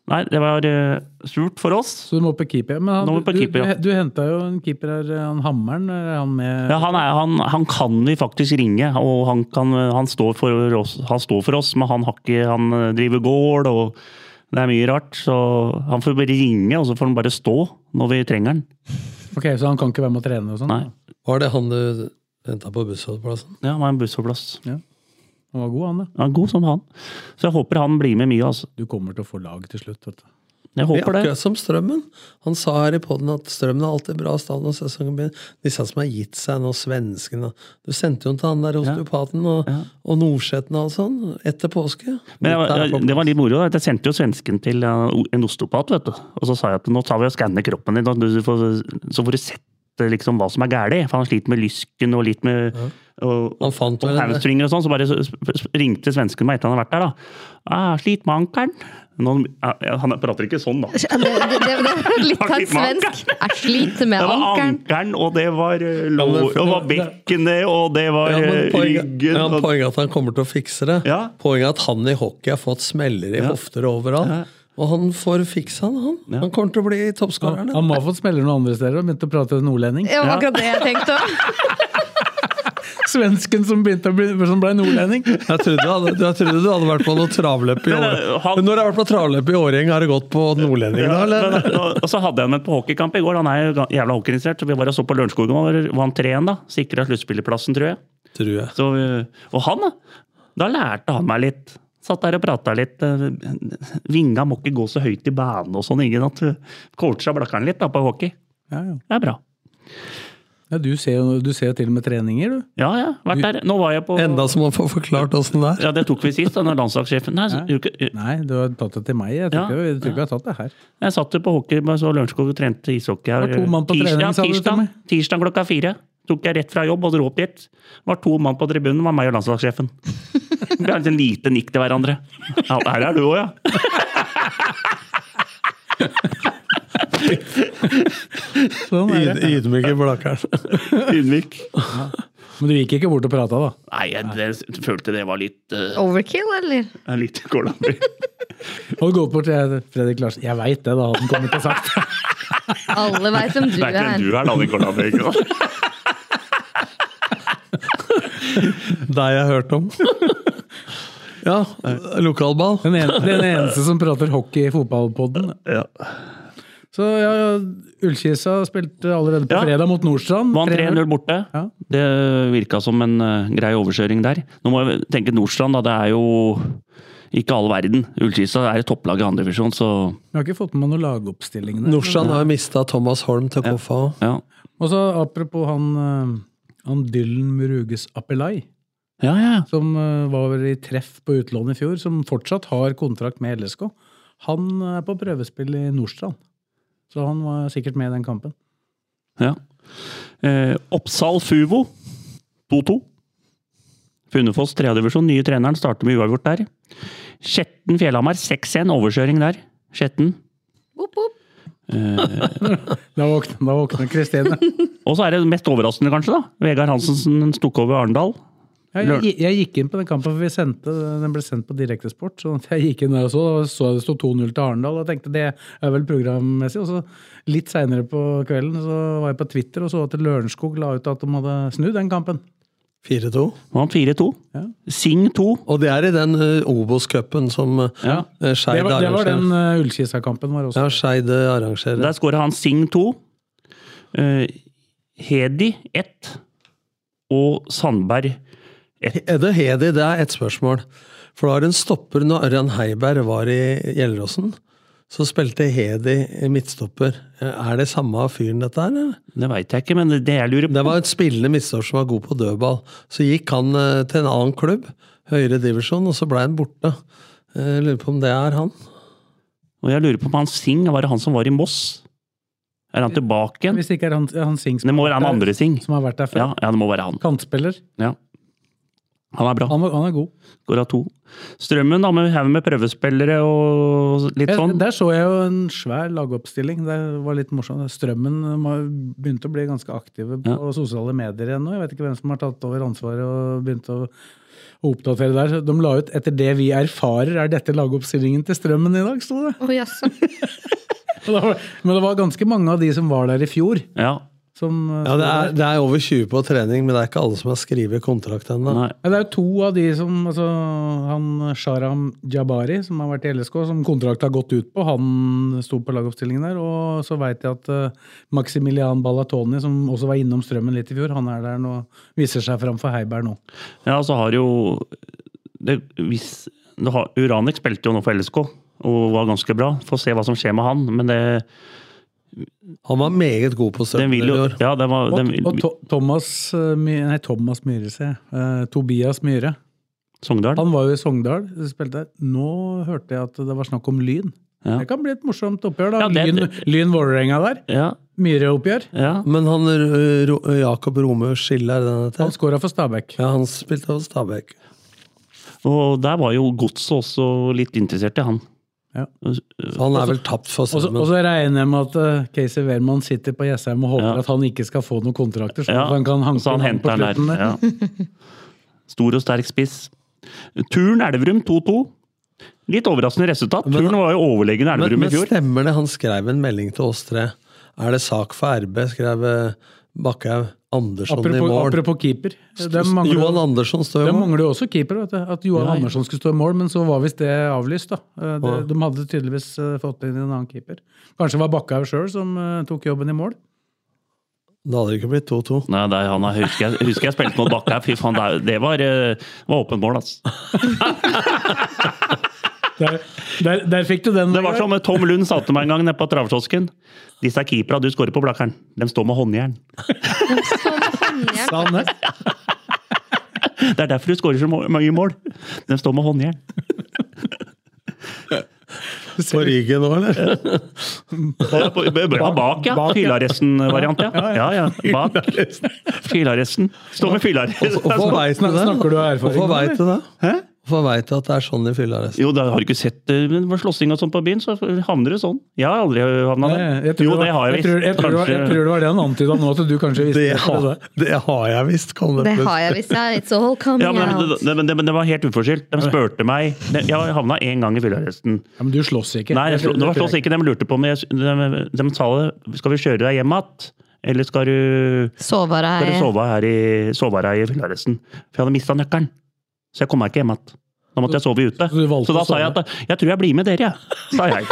S3: Nei, det var eh, surt for oss.
S2: Så du må på keeper. Men han,
S3: Nå må vi på
S2: du,
S3: keeper, ja.
S2: du, du henta jo en keeper her, han Hammeren. Er han med
S3: Ja, han, er, han, han kan vi faktisk ringe, og han, kan, han, står for oss, han står for oss, men han, har ikke, han driver gård, og det er mye rart. Så han får bare ringe, og så får han bare stå når vi trenger han.
S2: Ok, Så han kan ikke være med å trene? og sånn?
S3: Nei.
S5: Var det han du henta på bussholdeplassen?
S3: Ja, han var en bussholdeplass.
S2: Han var god, han da.
S3: Han er god som han. Så jeg håper han blir med mye, altså.
S2: Du kommer til å få lag til slutt. vet du.
S3: Jeg
S5: Det er
S3: håper det.
S5: akkurat som Strømmen. Han sa her i poden at Strømmen er alltid bra stand når sesongen begynner. Disse som har gitt seg nå, svenskene Du sendte jo han til han der osteopaten og, og Nordseten og alt sånn etter påske.
S3: Men jeg,
S5: Dette er
S3: var-
S5: på-
S3: det var litt moro. da, at Jeg sendte jo svensken til uh, en osteopat, vet du. Og så sa jeg at nå tar vi og skanner kroppen din, og du får, så får du sett uh, liksom hva som er gærlig. For han sliter med lysken og litt med og,
S5: Han fant
S3: og
S5: vel en-
S3: hamstringer og sånn, så bare s- s- ringte svensken meg etter han hadde vært der. da. Ah, 'Slit med ankelen'. Nå- ja, Han prater ikke sånn, da.
S4: Det, det, det, det var litt av et
S3: Litt med
S4: svensk. Jeg sliter med
S3: Det var
S4: ankeren.
S3: ankelen, og det var eh,
S5: Ja, men-
S3: lår, og det var bekkenet, og det var
S5: Ja, men
S3: eh,
S5: poenget,
S3: ryggen.
S5: ja,
S3: og-
S5: poenget er at han kommer til å fikse det.
S3: Ja.
S5: Poenget er at han i hockey har fått smeller i hofter og overalt.
S3: Ja.
S5: Og han får fikse han, han. Han kommer til å bli toppskåreren.
S2: Han han må ha fått smeller noen andre steder og begynte å prate nordlending.
S4: Det var akkurat det jeg tenkte òg.
S2: Svensken som, begynte å bli, som ble nordlending.
S5: Jeg trodde, du hadde- jeg trodde du hadde vært på noe travløp i
S3: Nei,
S5: år.
S3: nei, han-
S5: Men Når du har vært på travløp i Årgjeng, har det gått på Nordlendingen da,
S3: Ja,
S5: eller?
S3: men, og, og så hadde jeg ham med på hockeykamp i går. Han er jo ga- jævla hockeyinteressert. Så vi bare så på Lørenskogen, og der vant 3-1, da. Sikra sluttspillerplassen, tror jeg.
S5: Tror jeg.
S3: Så, eh, og han, da. Da lærte han meg litt. Satt der og prata litt. eh, Vinga må ikke gå så høyt i banen og sånn. Ingen at Coacha blakkeren litt da på hockey.
S2: Ja, ja.
S3: Det er bra.
S2: Ja, du, ser jo, du ser jo til og med treninger, du.
S3: Ja, ja. Vært der. Nå var jeg på
S5: Enda som man får forklart åssen det er.
S3: Ja, det tok vi sist, da når landslagssjefen Nei, så, gjorde ikke-
S2: Nei, du har tatt det til meg. Jeg tror
S3: Ja.
S2: ikke jeg tror ikke jeg har tatt det her.
S3: Jeg satt jo på hockey med så Lørenskog og trente ishockey her.
S2: Det var to mann på trening,
S3: ja,
S2: sa du til
S3: tirsdag,
S2: meg.
S3: tirsdag klokka fire. Tok jeg rett fra jobb og dro opp dit. Var to mann på tribunen, var meg og
S2: (laughs)
S3: landslagssjefen. Vi har et lite nikk til hverandre. Ja, her er du òg, ja.
S2: Sånn er det.
S5: Yd- Ydmyke Blakkaren.
S3: Ydmyk.
S2: Men du gikk ikke bort og prata, da?
S3: Nei, jeg det, følte det var litt uh,
S4: (laughs) Overkill, eller?
S3: Litt (laughs) gålandby.
S2: Og gå bort til Fredrik Larsen. Jeg veit det, da hadde han kommet og sagt.
S4: Alle veit hvem du
S3: Veit hvem
S4: er.
S3: du er, da, din gålandby. ikke (laughs) sant?
S5: Deg jeg har hørt om. Ja, lokalball.
S2: Den,
S3: (laughs)
S2: en, den eneste som prater hockey i fotballpodden.
S3: Ja.
S2: Så ja, Ullkisa spilte allerede på
S3: Ja.
S2: fredag mot Nordstrand.
S3: Vant
S2: 3-0.
S3: 3-0 borte.
S2: Ja.
S3: Det virka som en eh, grei overkjøring der. Nå må jeg tenke Nordstrand, da. Det er jo ikke all verden. Ullkisa er et topplag i andredivisjon, så
S2: Vi har ikke fått med noen lagoppstilling der.
S5: Nordstrand har mista Thomas Holm til KFA.
S3: ja.
S2: Og så apropos han, eh, han Dylan Muruges Appelai,
S3: Ja, ja.
S2: som eh, var i treff på utlån i fjor, som fortsatt har kontrakt med LSK. Han eh, er på prøvespill i Nordstrand, så han var sikkert med i den kampen.
S3: ja. Eh, Oppsal Fuvo 2-2. Funnefoss tredjedivisjon, nye treneren, starter med uavgjort der. Skjetten Fjellhamar 6-1, overkjøring der. Skjetten.
S4: Boop, boop.
S2: Da våkna, da våkna
S3: (laughs)
S2: Kristine.
S3: Og så er det mest overraskende, kanskje, da. Vegard Hansen stukk over Arendal.
S2: Jeg, jeg, jeg gikk inn på den kampen, for vi sendte, den ble sendt på Direktesport. Så (laughs) at jeg gikk inn der og så, og så det sto 2-0 til Arendal. Og tenkte det er vel programmessig. Og så litt seinere på kvelden så var jeg på Twitter og så at Lørenskog la ut at de hadde snudd den kampen.
S5: 4-2.
S3: Vant 4-2.
S2: Ja.
S3: Sing 2.
S5: Og det er i den eh, Obos-cupen som eh,
S3: Ja.
S5: eh,
S2: Det
S5: Skeid
S2: var, det var
S5: arrangerer.
S2: den uh, Ullkisa-kampen var også.
S5: Ja, Skeid eh, arrangerer.
S3: Der skåra han Sing 2. eh, Hedi 1. Og Sandberg
S5: Er Eh, det Hedi? Det er ett spørsmål. For da er det en stopper når Ørjan Heiberg var i Gjelleråsen. Så spilte Hedi i midtstopper. Eh, Er det samme fyren dette her, eller?
S3: Det veit jeg ikke, men det jeg lurer på
S5: Det var et spillende midtstopper som var god på dødball. Så gikk han eh, til en annen klubb, høyere divisjon, og så ble han borte. Eh, Lurer på om det er han.
S3: Og jeg lurer på om han Sing var det han som var i Moss? Er han tilbake igjen?
S2: Hvis det ikke er han, han Sings
S3: Det må være han andre Sing.
S2: som har vært der før.
S3: Ja, ja det må være han.
S2: Kantspiller.
S3: Ja. Han er bra.
S2: Han, var- han er god.
S3: Skåra to. Strømmen, da, med haug med prøvespillere og litt
S2: Jeg,
S3: sånn.
S2: der så jeg jo en svær lagoppstilling. Det var litt morsomt. Strømmen har begynt å bli ganske aktive på
S3: Ja.
S2: sosiale medier igjen nå. Jeg vet ikke hvem som har tatt over ansvaret og begynt å å oppdatere der. De la ut 'etter det vi erfarer, er dette lagoppstillingen til Strømmen i dag', sto det.
S4: Å, jaså.
S2: Og da var- Men det var ganske mange av de som var der i fjor,
S3: Ja.
S2: som eh,
S5: Ja, det er, det er over 20 på trening, men det er ikke alle som har skrevet kontrakt ennå.
S3: Nei.
S2: Men det er jo to av de som altså, Han Sharam Jabari, som har vært i LSK, som kontrakten har gått ut på, han sto på lagoppstillingen der. Og så veit jeg at eh, Maximilian Ballatoni, som også var innom strømmen litt i fjor, han er der nå, viser seg framfor Heiberg nå.
S3: Ja, så har jo det, hvis, det har, Uranek spilte jo nå for LSK og var ganske bra. Får se hva som skjer med han. Men det,
S5: Han var meget god på
S3: den
S5: støtten
S3: vil
S5: i
S3: jo
S5: år.
S3: ja, den var,
S2: Og,
S3: den,
S2: og to, Thomas, eh, My, nei, Thomas Myhre, sier jeg. Eh, Tobias Myhre.
S3: Sogndal.
S2: Han var jo i Sogndal, spilte der. Nå hørte jeg at det var snakk om Lyn.
S3: Ja.
S2: Det kan bli et morsomt oppgjør. da.
S3: Ja, det-
S2: Lyn, Lyn Vålerenga der.
S3: Ja,
S2: Myhre-oppgjør.
S3: ja.
S5: Men han eh, Ro- Jakob Romø Skille, er det
S2: Han
S5: han heter?
S2: skåra for Stabæk.
S5: Ja, han spilte hos Stabæk.
S3: Og der var jo godset også litt interessert i han.
S2: Ja.
S5: Så han er vel tapt for
S2: Og så og
S5: Strømmen.
S2: så regner jeg med at eh, Casey Wehrmann sitter på Jessheim og håper
S3: Ja.
S2: at han ikke skal få noen kontrakter. Så
S3: Ja,
S2: han kan hanke
S3: så han
S2: inn han på
S3: henter den
S2: slutten der.
S3: der. Ja. Stor og sterk spiss. Turn Elverum 2-2. Litt overraskende resultat.
S5: Men-
S3: Turn var jo overlegen
S5: Men,
S3: Elverum
S5: men
S3: i fjor.
S5: stemmer det, han skrev en melding til oss tre. Er det sak for RB, skrev eh, Bakkhaug. Andersson i
S2: Apropos,
S5: mål.
S2: apropos keeper. De mangler,
S5: Johan Andersson står
S2: de
S5: jo i mål.
S2: mangler jo også keeper. Vet du. At Johan Andersson skulle stå i mål, men så var visst det avlyst. da. Eh, De, de hadde tydeligvis eh, fått inn en annen keeper. Kanskje det var Bakkhaug sjøl som eh, tok jobben i mål.
S5: Det hadde ikke blitt
S2: (laughs)
S5: 2-2.
S3: Nei, det er, han er, husker, jeg, husker jeg spilte mot Bakke her. Fy faen, det, er- det var, eh, var åpent mål, altså.
S2: Der, der, der fikk du den.
S3: Det var som Tom Lund sa til meg en gang nede på travkiosken. Disse keepera du skårer på Blakkern, de står med håndjern.
S4: Håndjern.
S2: Sa han det?
S3: Det er derfor du skårer så må- mange mål. De står med håndjern.
S5: På ryggen nå, eller?
S3: Ja, på- ja, bak, ja. Fylaresten-variant, ja. ja, ja. Bak. Fylaresten. Stå med
S5: Hvorfor
S3: fylaresten. Altså.
S5: veit du det?
S2: Snakker du av erfaring
S5: Hvorfor
S2: nå,
S5: vet du det?
S3: Hæ?
S5: Hvorfor vet du at det er sånn i fyllearresten?
S3: Jo, da har du ikke sett eh, men for slåssing og sånn på byen, så havner du sånn. Jeg har aldri havna
S2: Nei,
S3: der.
S2: jeg tror
S3: Jo,
S2: var-
S3: det har jeg
S2: jeg tror- jeg
S3: visst.
S2: tror det var- Jeg tror
S3: Kanskje
S2: det var det han antyda nå, at du kanskje visste
S5: Det
S2: det.
S5: har, det har jeg visst, kom det
S4: Det har
S5: plutselig.
S4: jeg visst, ja. It's all coming
S3: ja, men,
S4: out.
S3: det, det, men det, men det var helt uforskyldt. De spurte meg De- Jeg havna én gang i fyllearresten.
S2: Ja, men du slåss ikke.
S3: Nei, jeg slo- det var slåss
S2: tror jeg
S3: ikke. De lurte på om jeg, de, de sa det Skal vi kjøre deg hjem igjen, eller skal du
S4: Sårbare
S3: Skal du
S4: er
S3: sove her i, sove her i fyllearresten? For jeg hadde mista nøkkelen. Så jeg kom meg ikke hjem igjen. Da måtte jeg sove ute.
S2: Så du valgte
S3: Så da
S2: å
S3: sa jeg
S2: sove?
S3: at jeg tror jeg blir med dere, jeg. Sa
S2: (laughs)
S3: jeg.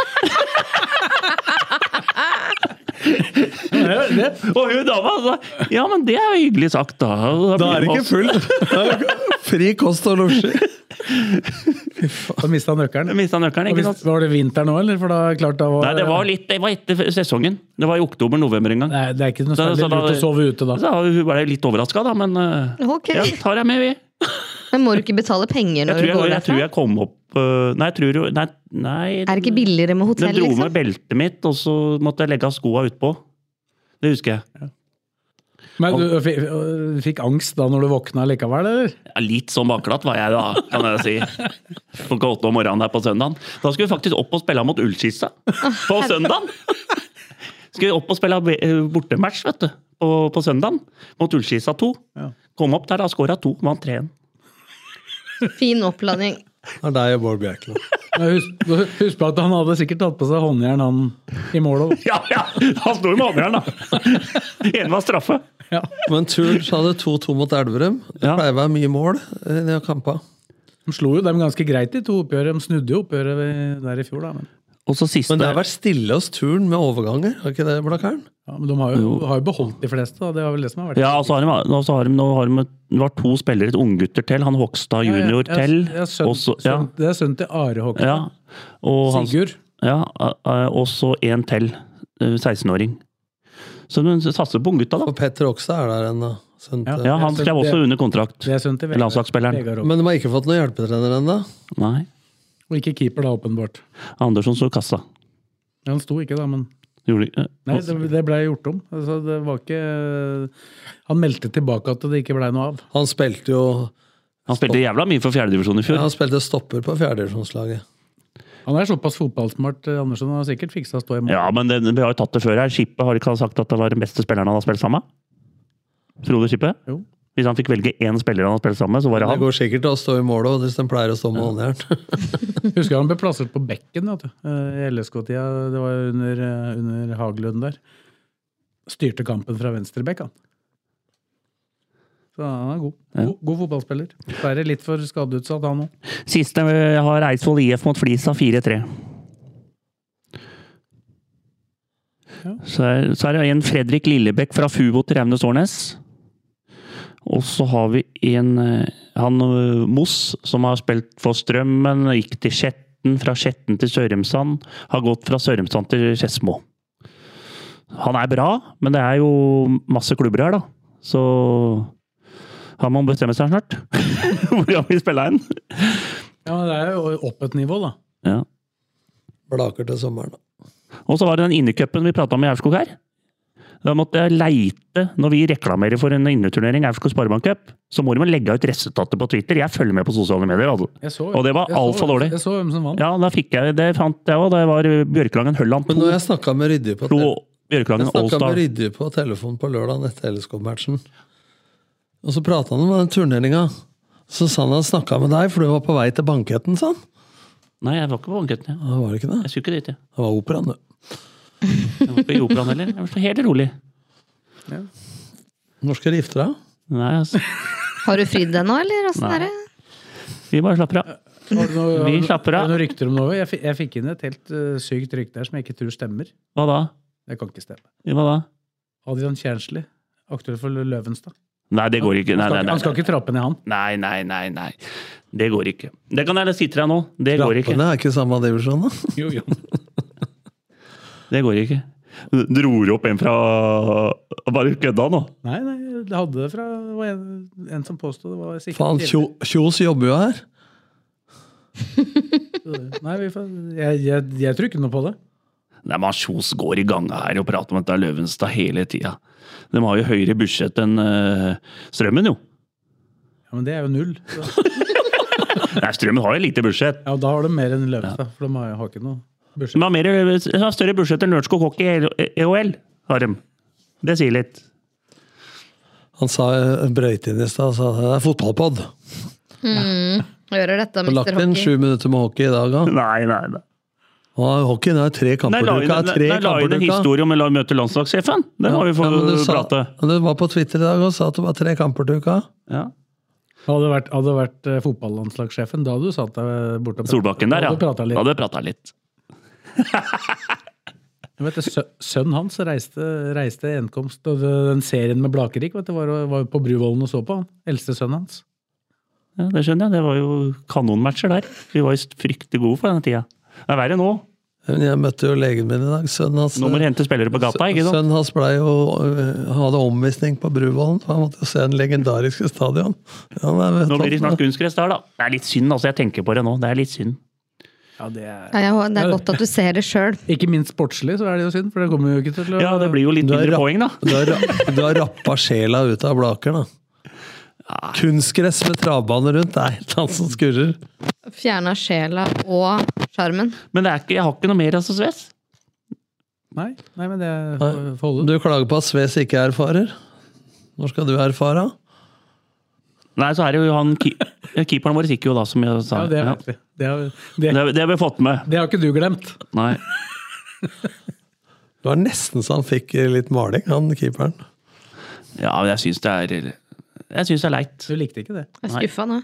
S3: (laughs) Og hun dama sa ja, men det er jo hyggelig sagt, da. Og
S5: Da er det
S3: blir
S5: ikke
S3: (laughs)
S5: fullt! (laughs) Fri kost og
S2: (laughs)
S5: losji.
S2: Da mista han nøkkelen.
S3: Mista nøkkelen,
S2: Og
S3: ikke
S2: hvis-
S3: sant?
S2: Var det vinteren òg, eller? For da, klart, da var,
S3: Nei, det var litt Det var etter sesongen. Det var i oktober-november en gang.
S2: Nei, det er ikke noe
S3: Så-
S2: særlig
S3: så da-
S2: lurt å sove ute da.
S3: Så hun ble litt overraska, da, men eh,
S4: Ok.
S3: ja, tar jeg med, vi.
S4: Men må du ikke betale penger
S3: Jeg
S4: når
S3: tror
S4: du
S3: jeg,
S4: går
S3: jeg, tror
S4: derfra?
S3: jeg kom opp eh, Nei, jeg tror jo Nei. nei
S4: Er det ikke billigere med
S3: Den
S4: hotell,
S3: dro med
S4: liksom?
S3: beltet mitt, og så måtte jeg legge av skoa utpå. Det husker jeg.
S2: Men du fikk, fikk angst da når du våkna likevel, eller?
S3: Ja, litt sånn bakglatt var jeg da, kan jeg si. Klokka åtte om morgenen her på søndagen. Da skulle vi faktisk opp og spille mot Ullskissa på søndagen! Skulle vi opp og spille be- eh, bortematch vet du, på, på søndagen mot Ullskissa 2. Kom opp der, da skåra to, vant 3-1.
S4: Fin oppladning.
S5: Det er deg og Bård Bjerkland.
S2: Men Husk, husk på at han hadde sikkert tatt på seg håndjern han i målet.
S3: Ja, ja! Han sto jo med håndjern, (laughs) da! Ene var straffe.
S5: Men Turn så hadde 2-2 mot Elverum. Det
S3: Ja.
S5: pleier å være mye mål eh, i de kampene.
S2: De slo jo dem ganske greit i to oppgjør. De snudde jo oppgjøret ved- der i fjor, da. Men,
S3: Og så siste
S5: Men det har vært stille hos Turn med overganger, har ikke det, Blakkaren?
S2: ja, men de har jo, har jo beholdt de fleste, da. Det var vel det som har vært
S3: Ja, og så har de, og så har de, nå har de, det var to spillere, et unggutter til. Han Hogstad
S2: Ja, ja,
S3: junior
S2: ja,
S3: til.
S2: ja, sønn-
S3: og så- ja,
S2: sønn- Det er sønnen til Are Håkon.
S3: ja, og han-
S2: Sigurd.
S3: Ja, eh, og så en til. eh, 16-åring. Så de satser på unggutta, da.
S5: Og Petter Okstad er der ennå. sønnen til-
S3: Ja, Han skrev også under kontrakt.
S2: Det er sønnen til Vegard.
S3: Landslagsspilleren.
S2: Vegard Håkon.
S5: Men de har ikke fått noen hjelpetrener ennå.
S3: Nei.
S2: Og ikke keeper, da, åpenbart.
S3: Andersson så i kassa.
S2: Ja, Han sto ikke, da, men
S3: Gjorde, eh,
S2: Nei, det, det blei gjort om. Altså, det var ikke Han meldte tilbake at det ikke blei noe av.
S5: Han spilte jo
S3: han spilte jævla mye for fjerdedivisjon i
S5: ja,
S3: fjor.
S5: han spilte stopper på fjerdedivisjonslaget.
S2: Han er såpass fotballsmart, eh, Andersen. Han har sikkert fiksa å stå i mål.
S3: Ja, men det, vi har jo tatt det før her. Skippe har ikke han sagt at det var den beste spilleren han har spilt sammen med? Frode Skippe?
S2: Jo.
S3: Hvis han fikk velge én spiller han har spilt sammen med, så var det
S5: Det
S3: han.
S5: går sikkert til å stå i mål òg, hvis de pleier å stå med håndjern. (laughs)
S2: Husker han ble plassert på bekken vet du, eh, i LSK-tida. Det var jo under, eh, under Haglund der. Styrte kampen fra venstrebekk, han. Så han er god. God, god fotballspiller. Dessverre litt for skadeutsatt, han òg.
S3: Siste eh, har Eidsvoll IF mot Flisa 4-3. Så, er- så er det en Fredrik Lillebekk fra Fubo til Raunes Årnes. Og så har vi en eh, han eh, Moss, som har spilt for Strømmen, gikk til Skjetten, fra Skjetten til Sørumsand. Har gått fra Sørumsand til Skedsmo. Han er bra, men det er jo masse klubber her, da. Så han må bestemme seg snart. (laughs) Hvor han vil spille hen.
S2: Ja, men det er jo opp et nivå, da.
S3: Ja.
S5: Blaker til sommeren.
S3: Og så var det den innecupen vi prata om i Aurskog her. Da måtte jeg leite når vi reklamerer for en inneturnering, Aurskog Sparebank Cup. Så må de legge ut resultatet på Twitter. Jeg følger med på sosiale medier. Altså.
S2: Jeg så-
S3: Og det var
S2: jeg så-
S3: altfor dårlig.
S2: Jeg så hvem som vant.
S3: Ja, da fikk jeg, det fant jeg òg. Det var Bjørkelangen Hølland
S5: Men
S3: 2.
S5: når jeg snakka med Rydje på,
S3: to
S5: te- jeg
S3: Bjørkelangen
S5: snakket med
S3: Allstar.
S5: Rydje på telefon på lørdag etter LSK-matchen, og så prata han om den turneringa. Så sa han han snakka med deg, for du var på vei til banketten, sa han.
S3: Nei, jeg var ikke på banketten. jeg.
S5: Ja, Var det ikke det?
S3: Jeg skulle ikke dit, jeg.
S5: Det var operaen, det.
S3: jeg var ikke i operaen heller. Jeg var så helt rolig.
S5: Når skal du gifte deg?
S3: Nei, altså.
S4: Har du fridd deg nå, eller åssen
S3: Nei.
S4: er det?
S3: Vi bare slapper av.
S2: Har du noe-
S3: Vi slapper av.
S2: har du Noen rykter om noe? Jeg, fi- jeg fikk inn et helt eh, sykt rykte her som jeg ikke tror stemmer.
S3: Hva da?
S2: Det kan ikke stemme.
S3: Hva da?
S2: Adrian Kjærnsli, aktuell for Løvenstad.
S3: Nei, det går ikke. Nei,
S2: Han skal,
S3: nei,
S2: ikke- han skal
S3: nei.
S2: ikke trappe ned
S3: (laughs)
S2: han.
S3: Nei, nei, nei, nei. Det går ikke. Det kan jeg si til deg nå. Det går ikke.
S5: Lappene er ikke i samme divisjon, da.
S2: Jo, jo.
S3: Det går ikke. Dro du opp en fra Bare kødda nå?
S2: Nei, nei, det hadde det fra det var en, en som påstod det var sikkert
S5: Faen,
S2: tidligere.
S5: Kjo- Kjos jobber jo her.
S2: Nei, vi får, jeg, jeg, jeg tror ikke noe på det.
S3: Nei, men Kjos går i ganga her og prater om dette Løvenstad hele tida. De har jo høyere budsjett enn eh, Strømmen, jo.
S2: Ja, Men det er jo null. Så-
S3: Nei, Strømmen har jo lite budsjett.
S2: Ja, og Da har de mer enn Løvenstad, for de har, har ikke noe
S3: De
S2: budsjett.
S3: har, mer, de har større budsjett enn Lørenskog Hockey i EOL, har de. Det sier litt.
S5: Han sa brøyte inn i stad og sa det er fotballpod.
S4: Hører dette,
S5: Og lagt
S4: mister
S5: inn
S4: hockey.
S5: sju minutter med hockey i dag òg.
S3: Nei, nei, nei.
S5: Hockey det er tre
S3: Nei,
S5: kamper
S3: la
S5: i
S3: inn
S5: uka.
S3: nei,
S5: er Tre
S3: nei, la inn
S5: kamper
S3: en
S5: i uka.
S3: historie om å møte landslagssjefen. Det må vi få
S5: Ja, men du sa-
S3: prate.
S5: men Du var på Twitter i dag og sa at det var tre kamper til uka.
S3: Ja.
S2: Hadde det vært, hadde det vært eh, fotballandslagssjefen, da hadde du satt deg borte og pratet.
S3: Solbakken der,
S2: Da
S3: ja.
S2: hadde du pratet litt.
S3: Da hadde jeg prata litt.
S2: Jeg Vet, du, sø- sønnen hans reiste, reiste enkomst og det- den serien med Blakerik. Vet du, var, var jo på Bruvollen og så på han. Eldste sønnen hans.
S3: Ja, det skjønner jeg. Det var jo kanonmatcher der. Vi var jo fryktelig gode på denne tida. Det er verre nå.
S5: Men jeg møtte jo legen min i dag. Sønnen hans,
S3: Nå må du hente spillere på gata, ikke sant?
S5: sønnen hans ble jo, øh, hadde omvisning på Bruvollen. for Han måtte jo se den legendariske stadion. Ja, men jeg vet
S3: Nå blir det
S5: at-
S3: snart kunstgress der, da. Det er litt synd, altså. Jeg tenker på det nå. Det er litt synd.
S2: Ja, det er...
S4: Ja, jeg har- det er godt at du ser det sjøl.
S2: Ikke minst sportslig, så er det jo synd, for det kommer jo ikke til å
S3: Ja, det blir jo litt
S5: Du er
S3: mindre
S5: rapp-
S3: poeng, da.
S5: Du har, ra- du har rappa sjela ut av Blaker, da. Kunstgress med travbane rundt, det er helt annet som skurrer.
S4: Fjerna sjela og sjarmen.
S3: Men det er ikke, jeg har ikke noe mer, altså, Sves.
S2: Nei, nei, men det
S5: Nei.
S2: får får holde.
S5: Du klager på at Sves ikke erfarer. Når skal du erfare?
S3: Nei, så er det jo han ki- (laughs) Keeperen vår gikk jo da, som jeg sa.
S2: Ja, det
S3: Ja.
S2: vet vi. Det har, det,
S3: Det, det har vi fått med.
S2: det har ikke du glemt.
S3: Nei.
S5: Det var nesten så han fikk litt maling, han keeperen.
S3: Ja, men jeg syns det er Jeg syns det er leit.
S2: Du likte ikke det.
S4: Jeg er skuffa nå.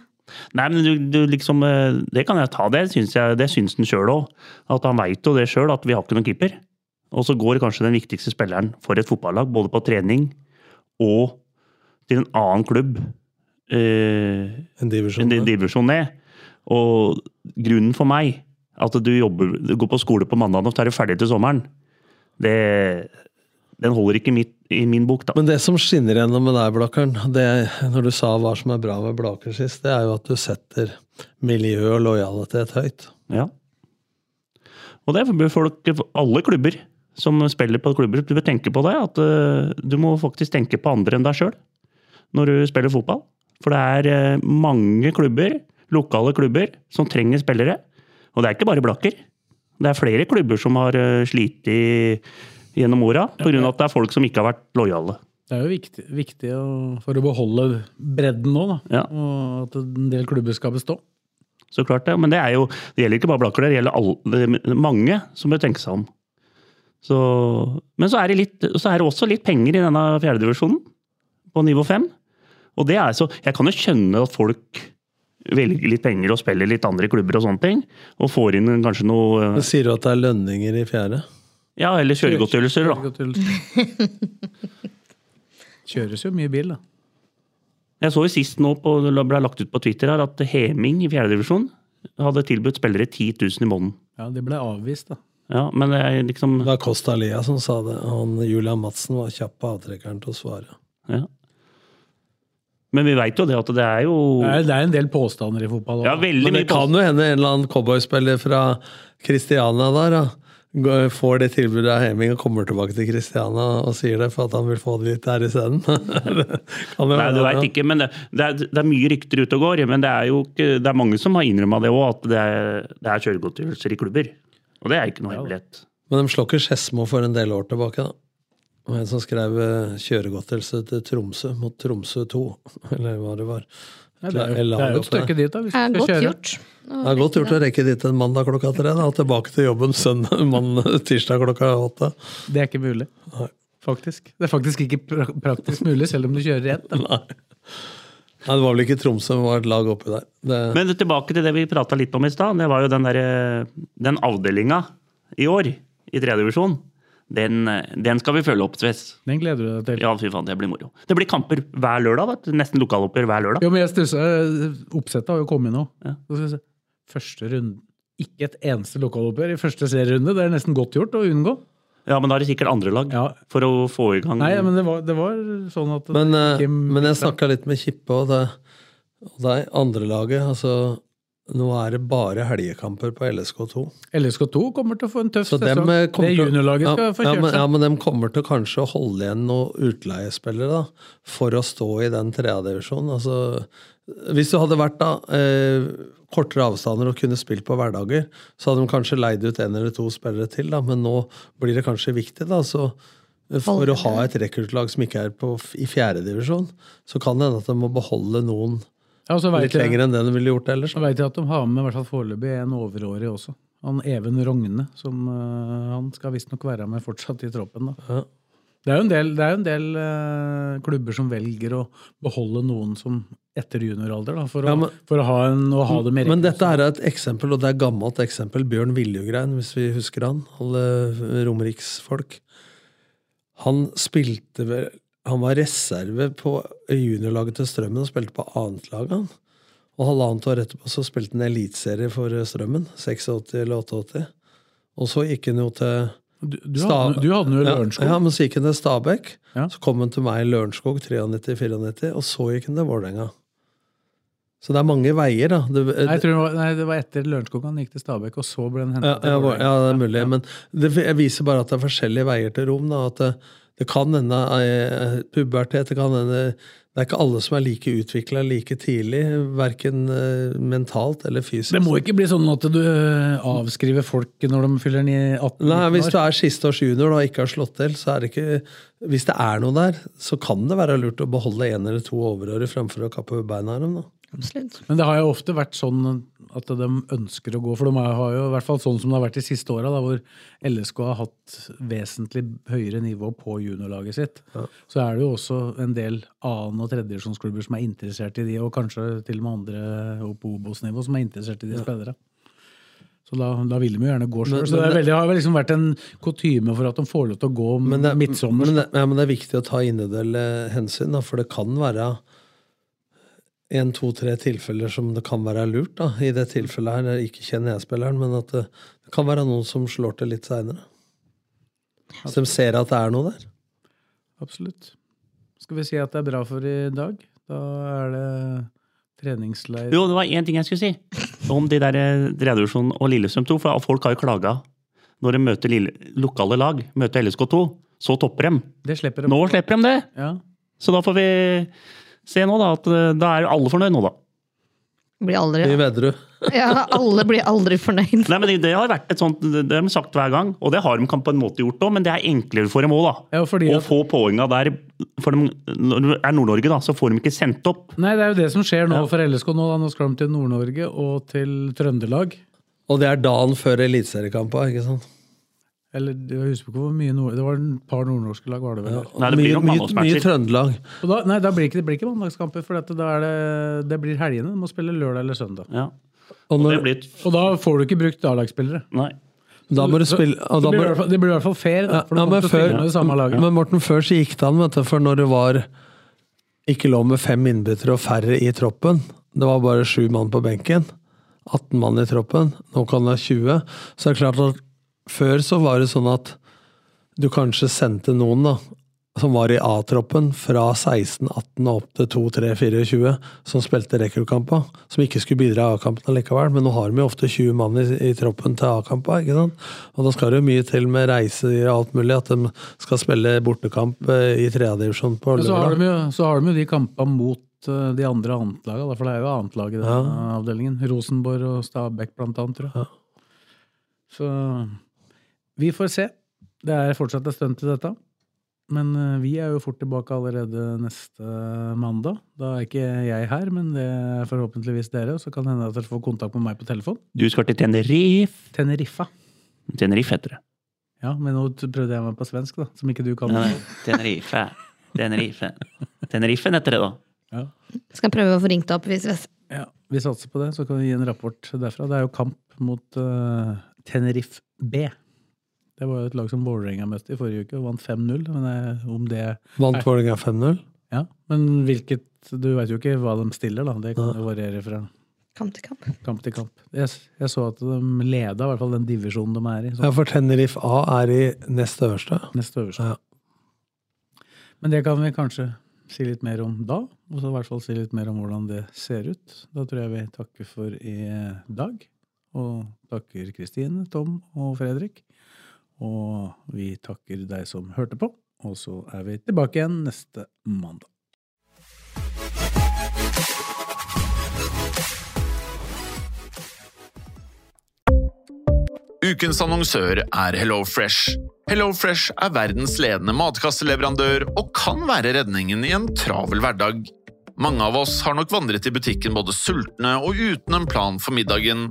S3: Nei, men du, du liksom eh, Det kan jeg ta, det syns, jeg, det syns den sjøl òg. At han veit jo det sjøl, at vi har ikke noen keeper. Og så går kanskje den viktigste spilleren for et fotballag, både på trening og til en annen klubb eh,
S5: En divisjon.
S3: enn din
S5: der.
S3: divisjon ned. Og grunnen for meg, at du jobber, du går på skole på mandag og så er du ferdig til sommeren, det, den holder ikke i mitt, i min bok, da.
S5: Men det som skinner gjennom med deg, Blakkeren, det når du sa hva som er bra med Blaker sist, det er jo at du setter miljø og lojalitet høyt.
S3: Ja. Og det bør folk, alle klubber som spiller på klubber, du bør tenke på det. At eh, du må faktisk tenke på andre enn deg sjøl når du spiller fotball. For det er eh, mange klubber, lokale klubber, som trenger spillere. Og det er ikke bare Blakker. Det er flere klubber som har eh, slitt i, gjennom åra pga. at det er folk som ikke har vært lojale.
S2: Det er jo viktig, viktig å, for å beholde bredden nå, da.
S3: Ja.
S2: Og at en del klubber skal bestå.
S3: Så klart det. Men det, er jo, det gjelder ikke bare Blakker, det gjelder alle, det er mange som bør tenke seg om. Så, men så er, det litt, så er det også litt penger i denne fjerdedivisjonen, på nivå fem. Og det er så, jeg kan jo skjønne at folk velger litt penger og spiller litt andre klubber og sånne ting, og får inn kanskje noe
S5: Men sier du at det er lønninger i fjerde?
S3: Ja, eller kjøregodtgjørelser, da.
S2: Kjøres jo mye bil, da.
S3: Jeg så jo sist nå på, det ble lagt ut på Twitter her, at Heming i fjerdedivisjon hadde tilbudt spillere 10 000 i måneden.
S2: Ja, De ble avvist, da.
S3: Ja, men det er liksom
S5: Det var Costa Lia som sa det. Han, Julian Madsen var kjapp på avtrekkeren til å svare.
S3: Ja. Men vi veit jo det at det er jo
S2: Det er, det er en del påstander i fotball.
S3: Oh. ja,
S2: også.
S3: veldig
S5: Men det
S3: mye
S5: kan jo hende en eller annen cowboyspiller fra Kristiania der da, går- får det tilbudet av Heming og kommer tilbake til Kristiania og sier det for at han vil få det litt der (laughs) isteden.
S3: Nei,
S5: Nei,
S3: du vet ikke, men det, det, er, det er mye rykter ute og går. Men det er jo ikke, det er mange som har innrømma det òg, at det er, det er kjøregodtgjørelser i klubber. Og det er ikke noe hemmelighet.
S5: Men de slår ikke Skedsmo for en del år tilbake, da. Det var en som skrev eh, kjøregodtgjørelse til Tromsø mot Tromsø 2, (laughs) eller hva det var.
S2: Ja, det, er jo, det er jo et stykke dit, da. Hvis
S4: Ja,
S2: du skal
S4: godt
S2: kjøre.
S4: gjort.
S5: Det er godt gjort å rekke dit en mandag klokka tre, da. og Tilbake til jobben søndag, (laughs) mann- tirsdag klokka åtte.
S2: Det er ikke mulig. Faktisk. Det er faktisk ikke pra praktisk mulig, selv om du kjører rett. da.
S5: Nei. Nei, det var vel ikke Tromsø, det var et lag oppi der. Det,
S3: Men tilbake til det vi prata litt om i stad. Det var jo den, der, den avdelinga i år i tredje divisjon. Den, den skal vi følge opp, Sves.
S2: Den gleder du deg til.
S3: Ja, fy faen, det blir moro. Det blir kamper hver lørdag. vet du. Nesten lokaloppgjør hver lørdag.
S2: Jo, men jeg stussa. Oppsettet har jo kommet nå.
S3: Ja.
S2: Så skal vi se. Første runde. Ikke et eneste lokaloppgjør i første serierunde. Det er nesten godt gjort å unngå.
S3: Ja, Men da er det sikkert andre lag
S2: Ja.
S3: for å få i gang
S2: Nei, men det var, det var sånn at
S5: Men, eh,
S2: ikke-
S5: men jeg snakka litt med Kippe og det, og det er andrelaget. Altså, nå er det bare helgekamper på LSK2.
S2: LSK2 kommer til å få en tøff
S5: Så dem,
S2: sesong.
S5: eh,
S2: Det
S5: kommer til-
S2: juniorlaget skal
S5: ja,
S2: få
S5: ja, men,
S2: kjørt
S5: ja,
S2: seg.
S5: men de kommer til kanskje å holde igjen noen utleiespillere da, for å stå i den tredjedivisjonen. Altså, hvis du hadde vært da, eh, kortere avstander og kunne spilt på hverdager, så hadde de kanskje leid ut en eller to spillere til, da, men nå blir det kanskje viktig. da, så eh, for å ha et rekruttlag som ikke er på, f- i fjerdedivisjon, så kan det hende at de må beholde noen
S2: Ja, og så vet
S5: litt
S2: jeg-
S5: lenger enn det de ville gjort ellers.
S2: Så veit jeg at de har med i hvert fall foreløpig en overårig også. Han Even Rogne, som øh, han skal visstnok være med fortsatt i troppen. da.
S5: Ja.
S2: Det er jo en del, det er jo en del øh, klubber som velger å beholde noen som etter junioralder, da, for,
S5: Ja, men-
S2: å, for å ha, en, å ha det altså. mer
S5: Men dette er et eksempel, og det er gammelt eksempel. Bjørn Viljugrein, hvis vi husker han. Alle romeriksfolk. Han spilte vel Han var reserve på juniorlaget til Strømmen og spilte på annetlaget, han. Og halvannet år etterpå så spilte han eliteserie for eh, Strømmen. 86 eller 88. Og så gikk han jo til
S2: du, du, hadde,
S5: Sta-
S2: du hadde den jo i
S5: Ja,
S2: Lørenskog.
S5: Ja, men så gikk han til Stabæk.
S2: Ja.
S5: Så kom han til meg i Lørenskog 93-94, og så gikk han til Vålerenga. Så det er mange veier, da. Det,
S2: Nei, jeg tror det var, nei, det var etter Lørenskog han gikk til Stabæk, og så ble han henta
S5: ja, ja, Vålerenga. ja, det er mulig. Men det jeg viser bare at det er forskjellige veier til rom. Da, at det, det kan hende eh, pubertet det kan hende, Det er ikke alle som er like utvikla like tidlig, verken eh, mentalt eller fysisk.
S2: Det må ikke bli sånn at du øh, avskriver folk når de fyller ni- 18
S5: Nei, Hvis du
S2: år.
S5: er siste års junior da, og ikke har slått til, så er det ikke Hvis det er noe der, så kan det være lurt å beholde en eller to overårer fremfor å kappe beina av dem. da.
S4: Absolutt.
S2: Men det har jo ofte vært sånn at de ønsker å gå, for de har jo i hvert fall sånn som det har vært de siste åra, hvor LSK har hatt vesentlig høyere nivå på juniorlaget sitt. Så er det jo også en del annen- og tredjevisjonsklubber som er interessert i de, og kanskje til og med andre opp på Obos-nivå som er interessert i de spillere. Så da, da vil de jo gjerne gå sjøl.
S5: Men-
S2: Så det, er
S5: men-
S2: veldig, har vel liksom vært en kutyme for at de får lov til å gå
S5: Men det,
S2: midtsommers.
S5: men, det, ja, men det er viktig å ta individuelle hensyn, da, for det kan være en, to, tre tilfeller som det kan være lurt. da, I det tilfellet her, ikke kjenner jeg spilleren, men at det, det kan være noen som slår til litt seinere. Så de ser at det er noe der.
S2: Absolutt. Skal vi si at det er bra for i dag? Da er det treningsleir
S3: Jo, det var én ting jeg skulle si. Om de der Reduksjon og Lillestrøm 2. For folk har jo klaga når de møter lille, lokale lag, møter LSK2. Så topper de.
S2: Det slipper de.
S3: Nå slipper de det!
S2: Ja.
S3: Så da får vi se nå, da. At eh, da er jo alle fornøyd nå, da.
S4: Blir
S5: I
S4: aldri,
S5: Vedderud.
S4: ja, alle blir aldri fornøyd.
S3: Nei, men det, det har vært et sånt, det har de sagt hver gang, og det har de kan på en måte gjort òg, men det er enklere for dem òg, da.
S2: Ja, fordi
S3: Å
S2: at-
S3: få poenga der for dem, Når det er Nord-Norge, da, så får de ikke sendt opp.
S2: Nei, det er jo det som skjer nå for LSK. Nå, da. nå skal de til Nord-Norge og til Trøndelag.
S5: Og det er dagen før eliteseriekampa, ikke sant?
S2: Eller jeg husker ikke hvor mye nord... Det var et par nordnorske lag, var det vel?
S3: Nei, det blir
S5: mye,
S3: nok
S5: mye, mye
S3: mandagsmatcher.
S5: Trøndelag.
S2: Og da, nei, da blir ikke, det blir ikke mandagskamper, for dette, da er det, det blir helgene. De må spille lørdag eller søndag.
S3: Ja. Det
S5: Og når,
S3: blir et-
S2: Og da får du ikke brukt A-lagsspillere.
S3: Nei.
S5: da må du
S2: Så-
S5: spille og
S2: Det
S5: da
S2: blir i
S5: må,
S2: hvert fall- det blir i hvert fall fair. Da,
S5: Ja,
S2: for du
S5: ja,
S2: kommer
S5: men,
S2: til å
S5: før,
S2: spille med det samme laget.
S5: men Morten, før så gikk det an, vet du, for når det var ikke lov med fem innbyttere og færre i troppen, det var bare sju mann på benken, 18 mann i troppen, nå kan det være 20, så er det klart at før så var det sånn at du kanskje sendte noen da, som var i A-troppen fra 16-18 og opp til 2-3-24, som spilte rekruttkampa, som ikke skulle bidra i A-kampen allikevel. Men nå har de jo ofte 20 mann i, i troppen til A-kampa, ikke sant? Og da skal det jo mye til med reiser og alt mulig, at de skal spille bortekamp eh, i tredjedivisjon på
S2: Men så har,
S5: lørdag.
S2: de jo, så har de jo de kampene mot eh, de andre annetlaga, da, for det er jo annetlag i denne avdelingen. Rosenborg og Stabæk blant annet, tror jeg.
S5: Ja.
S2: Så vi får se. Det er fortsatt et stunt til dette. Men eh, vi er jo fort tilbake allerede neste mandag. Da er ikke jeg her, men det er forhåpentligvis dere. Og så kan det hende at dere får kontakt med meg på telefon.
S3: Du skal til Tenerife.
S2: Teneriffa.
S3: Tenerife heter det.
S2: Ja, men nå prøvde jeg meg på svensk, da, som ikke du kan.
S3: Nei, nei, Tenerife. Tenerife. Tenerife heter det, da.
S2: Ja.
S4: Skal prøve å få ringt opp hvis vi
S2: Ja, vi satser på det, så kan vi gi en rapport derfra. Det er jo kamp mot eh, Tenerife B. Det var jo et lag som Vålerenga møtte i forrige uke og vant 5-0. Men eh, om det
S5: Vant Vålerenga 5-0?
S2: Ja, men hvilket Du veit jo ikke hva de stiller, da. Det kan jo variere fra
S4: kamp til kamp.
S2: kamp til kamp. Jeg, s- jeg så at de leda i hvert fall den divisjonen de er i. Så
S5: Ja, for Tenerife A er i nest øverste.
S2: neste øverste.
S5: Ja.
S2: Men det kan vi kanskje si litt mer om da. Og så i hvert fall si litt mer om hvordan det ser ut. Da tror jeg vi takker for i dag. Og takker Kristine, Tom og Fredrik. Og vi takker deg som hørte på. Og så er vi tilbake igjen neste mandag.
S6: Ukens annonsør er HelloFresh. HelloFresh er verdens ledende matkasseleverandør og kan være redningen i en travel hverdag. Mange av oss har nok vandret i butikken både sultne og uten en plan for middagen,